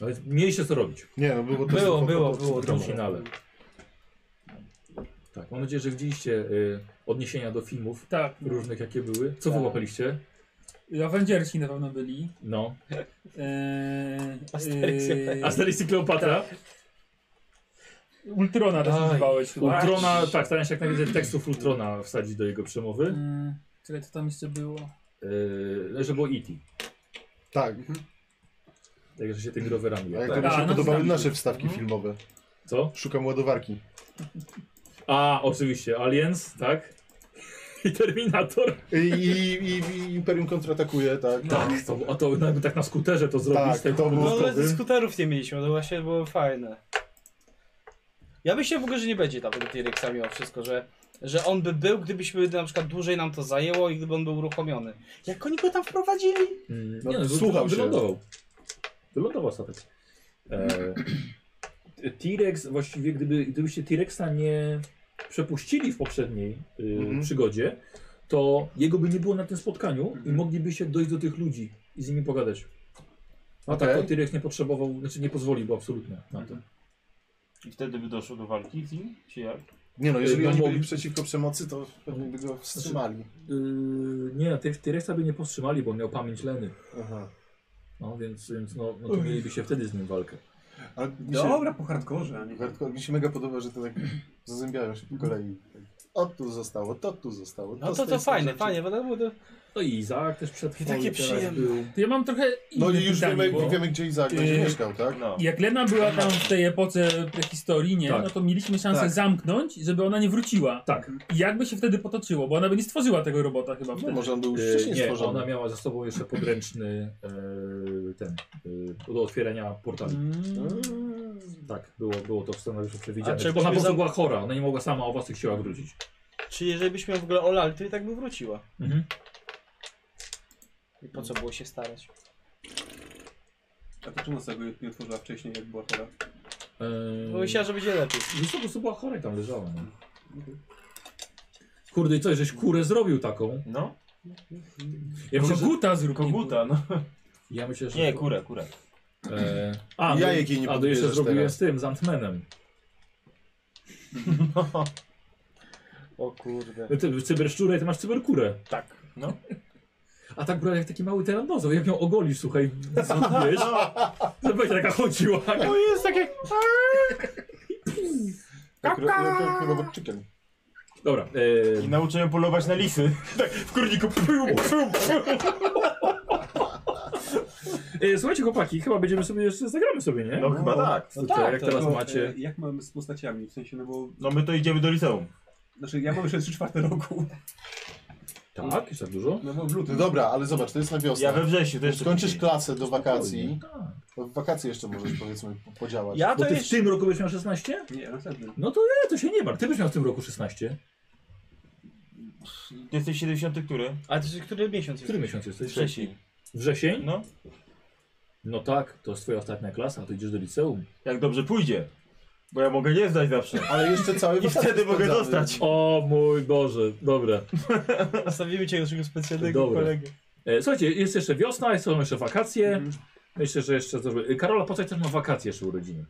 No więc mieliście co robić Nie, no było to Było, to- było, to- to- było, to- w Dobra. finale. Tak, mam nadzieję, że widzieliście y, odniesienia do filmów Tak. różnych, jakie były. Co Tak. wyłapaliście? Avengersi na pewno byli. No. Eee, Asterix i eee, Asterix i Kleopatra. Tak. Ultrona też Aj, używałeś chyba. Ultrona, tak, starałem się jak najwięcej tekstów Ultrona wsadzić do jego przemowy. Eee, Czekaj, co tam jeszcze było? Yy, że było E.T. Tak, Także Tak, się tymi rowerami a jak jadł. to mi A, się no podobały znam. nasze wstawki Mhm. filmowe. Co? Szukam ładowarki. A, oczywiście, Aliens, tak? I Terminator. I, i, i, i Imperium kontratakuje, tak. Tak, to, a to nawet tak na skuterze to zrobić. Tak, z tego to było- No ale lustrowym. skuterów nie mieliśmy, to właśnie było fajne. Ja myślę w ogóle, że nie będzie tam tego T-Rexa mimo wszystko, że, że on by był, gdybyśmy na przykład dłużej nam to zajęło i gdyby on był uruchomiony. Jak oni go tam wprowadzili? No, nie, no, słuchał słuchał się. wylądował. Wylądował ostatecznie. E, T-Rex właściwie, gdyby, gdybyście T-Rexa nie przepuścili w poprzedniej y, Mhm. przygodzie, to jego by nie było na tym spotkaniu i Mhm. moglibyście dojść do tych ludzi i z nimi pogadać. A tak Okej. to T-Rex nie potrzebował, znaczy nie pozwolił absolutnie na Mhm. to. I wtedy by doszło do walki z nim? Czy jak? Nie no, jeżeli No, oni byli mogli- przeciwko przemocy, to pewnie by go wstrzymali. Yy, nie, tych T-Rexa by nie powstrzymali, bo on miał pamięć Leny. No więc, więc no, no to Uff. mieliby się wtedy z nim walkę. Ale mi Dobra, po hardkorze, a nie- Hardcore, mi się mega podoba, że to tak zazębiają się po kolei. Tak, O tu zostało, to tu zostało. No z to tej to fajne, strony. fajnie, bo to było to... No i Izaak też przed I takie przyjemne. To ja mam trochę No inne i już pytanie, wiemy, bo- wiemy gdzie Izaak będzie Yy, mieszkał, tak? No. Jak Lena była tam w tej epoce prehistorii, nie, Tak. no to mieliśmy szansę Tak. zamknąć, żeby ona nie wróciła. Tak. I jakby się wtedy potoczyło, bo ona by nie stworzyła tego robota chyba wtedy. No może on był już E, wcześniej nie, stworzony. ona miała ze sobą jeszcze podręczny e, ten e, do otwierania portali. Mm. Tak, było, było to w scenariuszu A przewidziane. czy Ona po byśmy prostu za- była chora, ona nie mogła sama o własnych siłach wrócić. Czy jeżeli byśmy ją w ogóle olali, to i tak by wróciła. Mhm. I po co było się starać? A to czemu sobie nie otworzyła wcześniej, jak była chora? Bo myślała, że będzie lepiej. Wiesz co, E, no po prostu była chora i tam leżała. No. Mhm. Kurde, i coś, żeś kurę zrobił taką. No. Ja myślę, że... Koguta zrób. Koguta, no. Ja myślę, że... Nie, kurę, kurę. E, a, Ja no, jej nie a to jeszcze podbierzesz zrobiłem teraz. z tym, z Antmenem. O kurde. No Ty, cyberszczurę, ty masz cyberkurę. Tak, no. A tak brała jak taki mały tyranozaur, jak ją ogolisz, słuchaj, wiesz? To będzie taka chodziła. To jest takie... Jak, ro- jak, jak robotczykiem. Dobra. e, I nauczę ją polować na lisy. Tak, w kurniku. Pum, pum, pum. E, słuchajcie chłopaki, chyba będziemy sobie jeszcze, zagramy sobie, nie? No chyba tak. To co, jak teraz macie... E, jak mamy z postaciami? W sensie, no bo... No my to idziemy do liceum. Znaczy, ja mam jeszcze 3 czwarte roku. Tak, jest za dużo? No bo w lutym. No dobra, ale zobacz, to jest na wiosnę. Ja we wrześniu też. Skończysz klasę do wakacji. Tak. To w wakacje jeszcze możesz powiedzmy po- podziałać. Ja Bo to ty w jeszcze... tym roku byś miał 16? Nie, następnym. No to nie, to się nie martw. Ty byś miał w tym roku 16. Ty jesteś 70 który? A ty, który miesiąc jest? Który miesiąc jesteś? Wrzesień. Wrzesień? No. No tak, to jest twoja ostatnia klasa, ty idziesz do liceum. Jak dobrze pójdzie. Bo ja mogę nie zdać zawsze. Ale jeszcze cały I wtedy mogę dostać. O mój Boże, dobra. Zostawimy cię naszego specjalnego Dobra. kolegę. E, słuchajcie, jest jeszcze wiosna, są jeszcze wakacje. Myślę, że jeszcze zrobię. e, Karola Pocaj też ma wakacje jeszcze urodziny.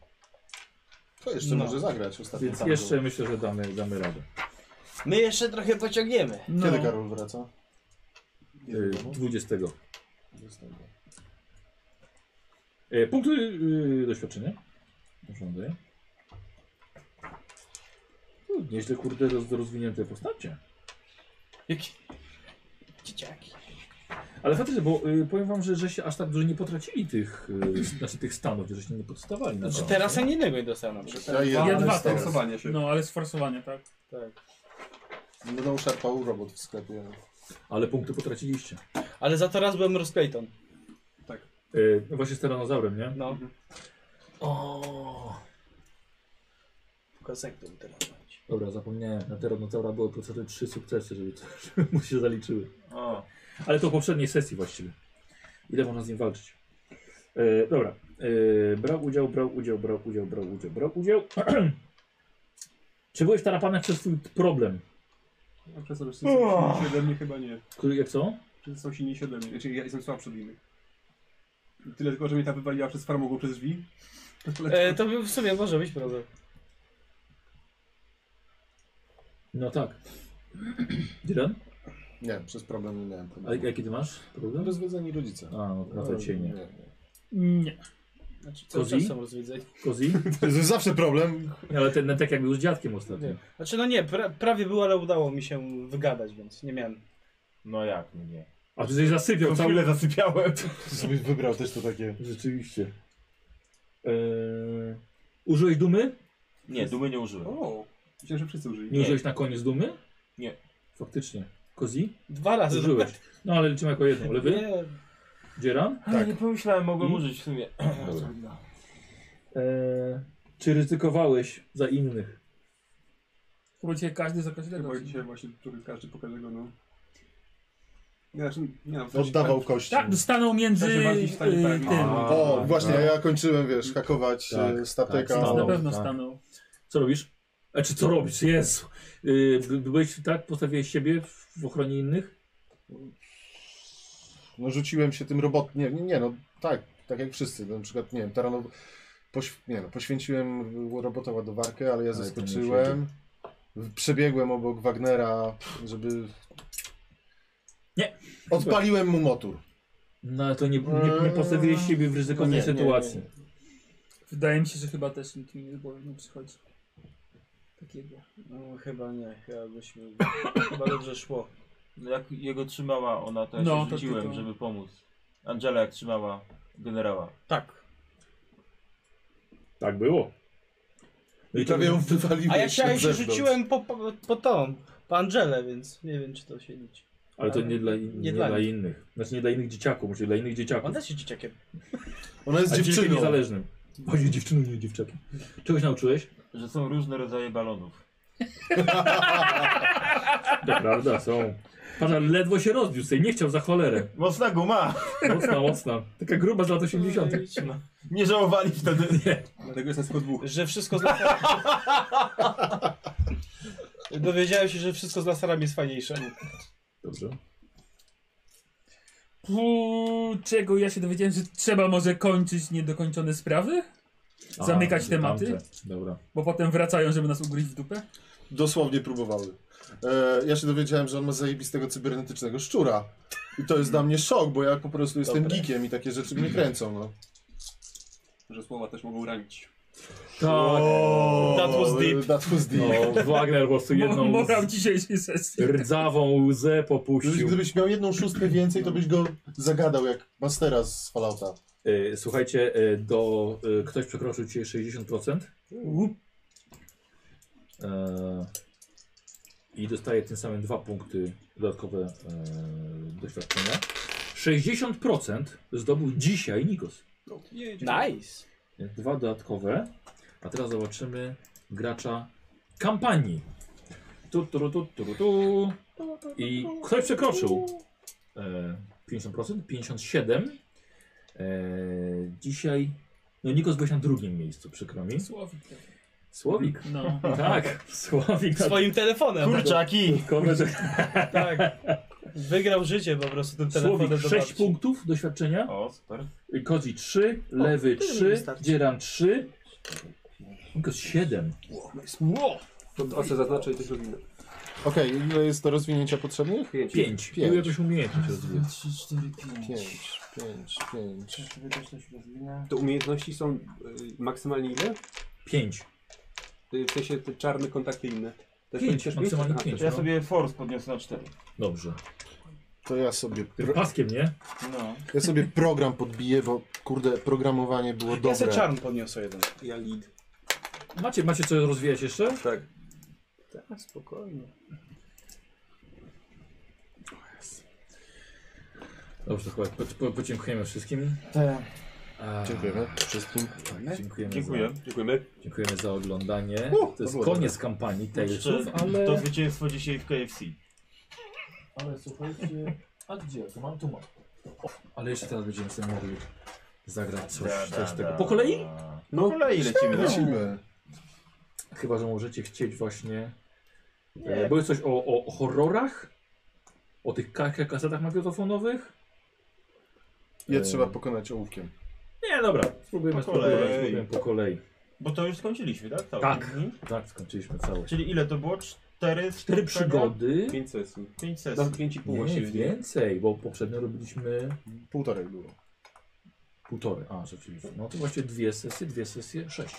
To jeszcze No. może zagrać ostatnio. Więc jeszcze myślę, że damy, damy radę. My jeszcze trochę pociągniemy. No. Kiedy Karol wraca? E, 20. E, punkty e, doświadczenia. Urządzę. U, Nieźle kurde roz, rozwinięte postacie. Jakie... Dzieciaki. Ale faktycznie, bo y, powiem wam, że, że się aż tak dużo nie potracili tych, y, znaczy tych stanów, że się nie podstawali. Znaczy teraz ani innego nie dostałem na przykład. Ja, Ja dwa stałem. teraz. Stosowanie się. No, ale sforsowanie, tak. Tak. Będą No, szarpał robot w sklepie. Ale punkty potraciliście. Ale za to raz byłem Ross Clayton. Y, no właśnie z tyranozaurem, nie? No. O. Pokazek to teraz będzie. Dobra, zapomniałem. Na tyranozaura były potrzebne trzy sukcesy, żeby, to, żeby mu się zaliczyły. O. Ale to w poprzedniej sesji właściwie. Ile można z nim walczyć? E, dobra. E, brał udział, brał udział, brał udział, brał udział, brał udział. Czy byłeś tarapanem przez swój problem? A przez to, że są silniejsi ode mnie chyba nie. Który, jak co? Przez są silniejsi ode mnie. Znaczy, ja jestem słabszy od innych. Tyle tylko, że mnie ta wywaliła przez farmogą przez drzwi. E, to by w sumie może być problem. No tak. Dylan? Nie, przez problem nie miałem A problemu. jaki ty masz problem? Rozwiedzeni rodzice. A, no, no to cię nie. Nie. Znaczy, cały Kozi? czas są rozwiedzeni. Kozi? To jest zawsze problem. Ale ten, tak jak był z dziadkiem ostatnio. Nie. Znaczy no nie, pra, prawie było, ale udało mi się wygadać, więc nie miałem. No jak mnie? A ty coś zasypiał To cały... chwilę zasypiałem. Ty sobie wybrał też to takie. Rzeczywiście. Eee... E, Użyłeś dumy? Nie, dumy nie użyłem. O! Myślę, że wszyscy użyli. Nie, użyłeś na koniec dumy? Nie. Faktycznie. Kozi? Dwa razy. Użyłeś. No ale liczymy jako jedną. Lewy? Nie, Dzieran? Tak. Hmm? Ale nie pomyślałem, mogłem I? użyć w sumie. Eee... Czy ryzykowałeś za innych? Chyba dzisiaj każdy za każdego. Chyba dzisiaj właśnie trochę każdy po każdego, no. Nie, znaczy, nie, no, w sensie- Oddawał kości. Tak, no stanął między Też walki w stanie y, pewnym. No. tym. O, właśnie, tak. ja kończyłem, wiesz, hakować Tak, e, statek, tak, a stanął. Na pewno tak. stanął. Co robisz? A czy co robisz? Jezu. Yy, by- byłeś tak, postawiłeś siebie w w ochronie innych? no, rzuciłem się tym robot... Nie, nie, nie, no tak, tak jak wszyscy, na przykład, nie wiem, taranow... Poś... Nie, no, poświęciłem w- robota ładowarkę, ale ja Ale to nie zaskoczyłem, W- przebiegłem obok Wagnera, żeby... Nie. Odpaliłem mu motor. No ale to nie, nie, nie postawiłeś siebie w ryzykownej No nie, nie, sytuacji. nie, Wydaje mi się, że chyba też nikt mi do głowy nie przychodzi. Takiego. No, chyba nie, chyba byśmy... Chyba dobrze szło. No Jak jego trzymała ona, to ja No, się to rzuciłem, tylko- żeby pomóc. Angela jak trzymała generała. Tak. Tak było. I prawie ją wywaliłem A ja się, ja się rzuciłem po, po, po tą, po Angelę, więc nie wiem, czy to się liczy. Ale to nie dla, in, Nie nie dla dla, innych. Znaczy nie dla innych dzieciaków, może dla innych dzieciaków. On też jest dzieciakiem. Ona jest A dzieciakiem dziewczyną. niezależnym. Chodzi dziewczyną, nie dziewczakiem. Czegoś nauczyłeś? Że są różne rodzaje balonów. To prawda, są. Pana ledwo się rozbił sobie, nie chciał za cholerę. Mocna guma! Mocna, mocna. Taka gruba z lat 80. Nie żałowali wtedy. Dlatego jest nas tylko dwóch. Że wszystko z laserem... Dowiedziałem się, że wszystko z laserem jest fajniejsze. Dobrze. Puu, czego ja się dowiedziałem, że trzeba może kończyć niedokończone sprawy? A, Zamykać że tematy? tamte. Dobra. Bo potem wracają, żeby nas ugryźć w dupę? Dosłownie próbowały. E, ja się dowiedziałem, że on ma zajebistego cybernetycznego szczura. I to jest dla mnie szok, bo ja po prostu jestem Dobre. geekiem i takie rzeczy mnie kręcą. No. Że słowa też mogą ranić. Tak. O, That was deep. That was deep. No, Wagner po prostu Mo- jedną Morał z dzisiejszej sesji. rdzawą łzę Gdybyś, popuścił. gdybyś miał jedną szóstkę więcej, to byś go zagadał jak Mastera z Fallouta. E, Słuchajcie, e, do, e, ktoś przekroczył cię 60%. E, I dostaje tym samym dwa punkty dodatkowe e, doświadczenia. 60% zdobył dzisiaj Nikos. Nice. Dwa dodatkowe. A teraz zobaczymy gracza kampanii. Tu, tu, tu, tu, tu. I ktoś przekroczył e, 50%, 57%. E, dzisiaj, no Nikos byłeś na drugim miejscu, przykro mi. Słowik. Słowik. No. Tak, Słowik. na- Swoim telefonem. Kurczaki! Konrad- Tak. Wygrał życie po prostu tym telefonem. Słowik do 6 babci. punktów doświadczenia. O, super. Kozi 3, lewy tyle mi 3, wystarczy. dzieran 3. Nikos 7. To oczy zaznaczę i też robimy. Okej, ile jest do rozwinięcia potrzebnych? 5. Pięć. Były jakieś umiejętności rozwijać. 3, 4, 5. 5, 5, 5. Czy wydajność rozwija? To umiejętności są y, maksymalnie ile? 5. Y, W sensie te czarne kontakty inne. Też Pięć, będziesz mieć? maksymalnie Aha, pięć. no. też- Ja sobie force podniosę na 4. Dobrze. To ja sobie, Tym pro, paskiem, nie? No. ja sobie program podbiję, bo kurde, programowanie było Ja se dobre. czarn podniosę jeden. Ja lead. Macie, macie co rozwijać jeszcze? Tak. Tak, spokojnie. Dobrze, to chyba po, po, podziękujemy wszystkim. A, Dziękujemy wszystkim. Dziękujemy, Dziękuję. Dziękujemy. Za, dziękujemy za oglądanie. to jest było koniec kampanii Talesów, Jeszcze ale... To zwycięstwo dzisiaj w KFC. Ale słuchajcie, a gdzie? To mam, tu mam. O, ale jeszcze teraz będziemy sobie mogli zagrać coś, coś tego. Po kolei? No, po kolei lecimy. no. Lecimy. Chyba, że możecie chcieć właśnie... E, Było coś o, o, o horrorach? O tych ka- ka- kasetach magnetofonowych? Je E, trzeba pokonać ołówkiem. Nie, dobra, spróbujemy, Po spróbujemy, kolei. spróbujemy po kolei. Bo to już skończyliśmy, tak? Cały. Tak. Mhm. Tak, skończyliśmy całość. Czyli ile to było? Cztery Cztery spotkania? przygody. No, 5 sesji. Pięć sesji. Nawet 5,5 Nie, właściwie. więcej, bo poprzednio robiliśmy Półtorej było. półtorej. A, rzeczywiście. No to właśnie dwie sesje, dwie sesje, sześć.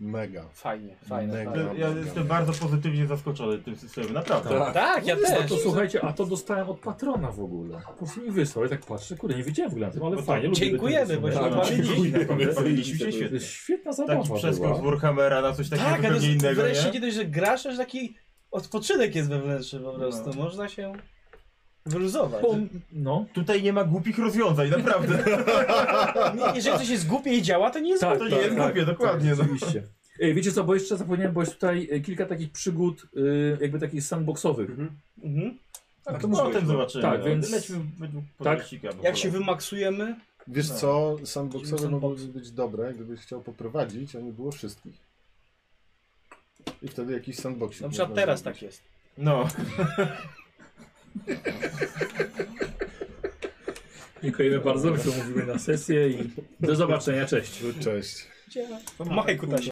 Mega. Fajnie, Mega, fajnie. Ja, fajnie. ja jestem bardzo pozytywnie zaskoczony tym systemem, naprawdę. Tak, ja A też. No to słuchajcie, a to dostałem od patrona w ogóle. Po prostu mi wysłał. Ja tak patrzę, kurde, nie wiedziałem w ogóle na tym, ale No to fajnie. lubię dziękujemy, takie bo się rysunek. Tak, bawiliśmy. Dziękujemy. Dziękujemy, bawiliśmy się To jest świetnie. Świetna Taki zabawa przeskok była. z Warhammera na coś takiego Tak, a to zupełnie jest innego, wreszcie nie? kiedyś, że grasz, aż taki odpoczynek jest wewnętrzny po prostu. No. Można się Wyluzować. No. Tutaj nie ma głupich rozwiązań, naprawdę. Nie, Jeżeli coś jest głupie i działa, to nie jest Tak, głupie. tak, tak, tak, dokładnie, no. Oczywiście. Ej, Wiecie co, bo jeszcze zapomniałem, bo jest tutaj e, kilka takich przygód, e, jakby takich sandboxowych. Mhm. A to to może potem być, no. zobaczymy. Tak, więc- Lećmy według Tak. podręcznika. bo Jak się cholera. wymaksujemy, Wiesz No. co, sandboxowe mogłyby być dobre, gdybyś chciał poprowadzić, a nie było wszystkich. I wtedy jakiś sandboxik. na przykład można teraz zrobić. tak jest. No. Dziękujemy bardzo, że mówimy na sesję i do zobaczenia, cześć. Cześć. Majku, ta się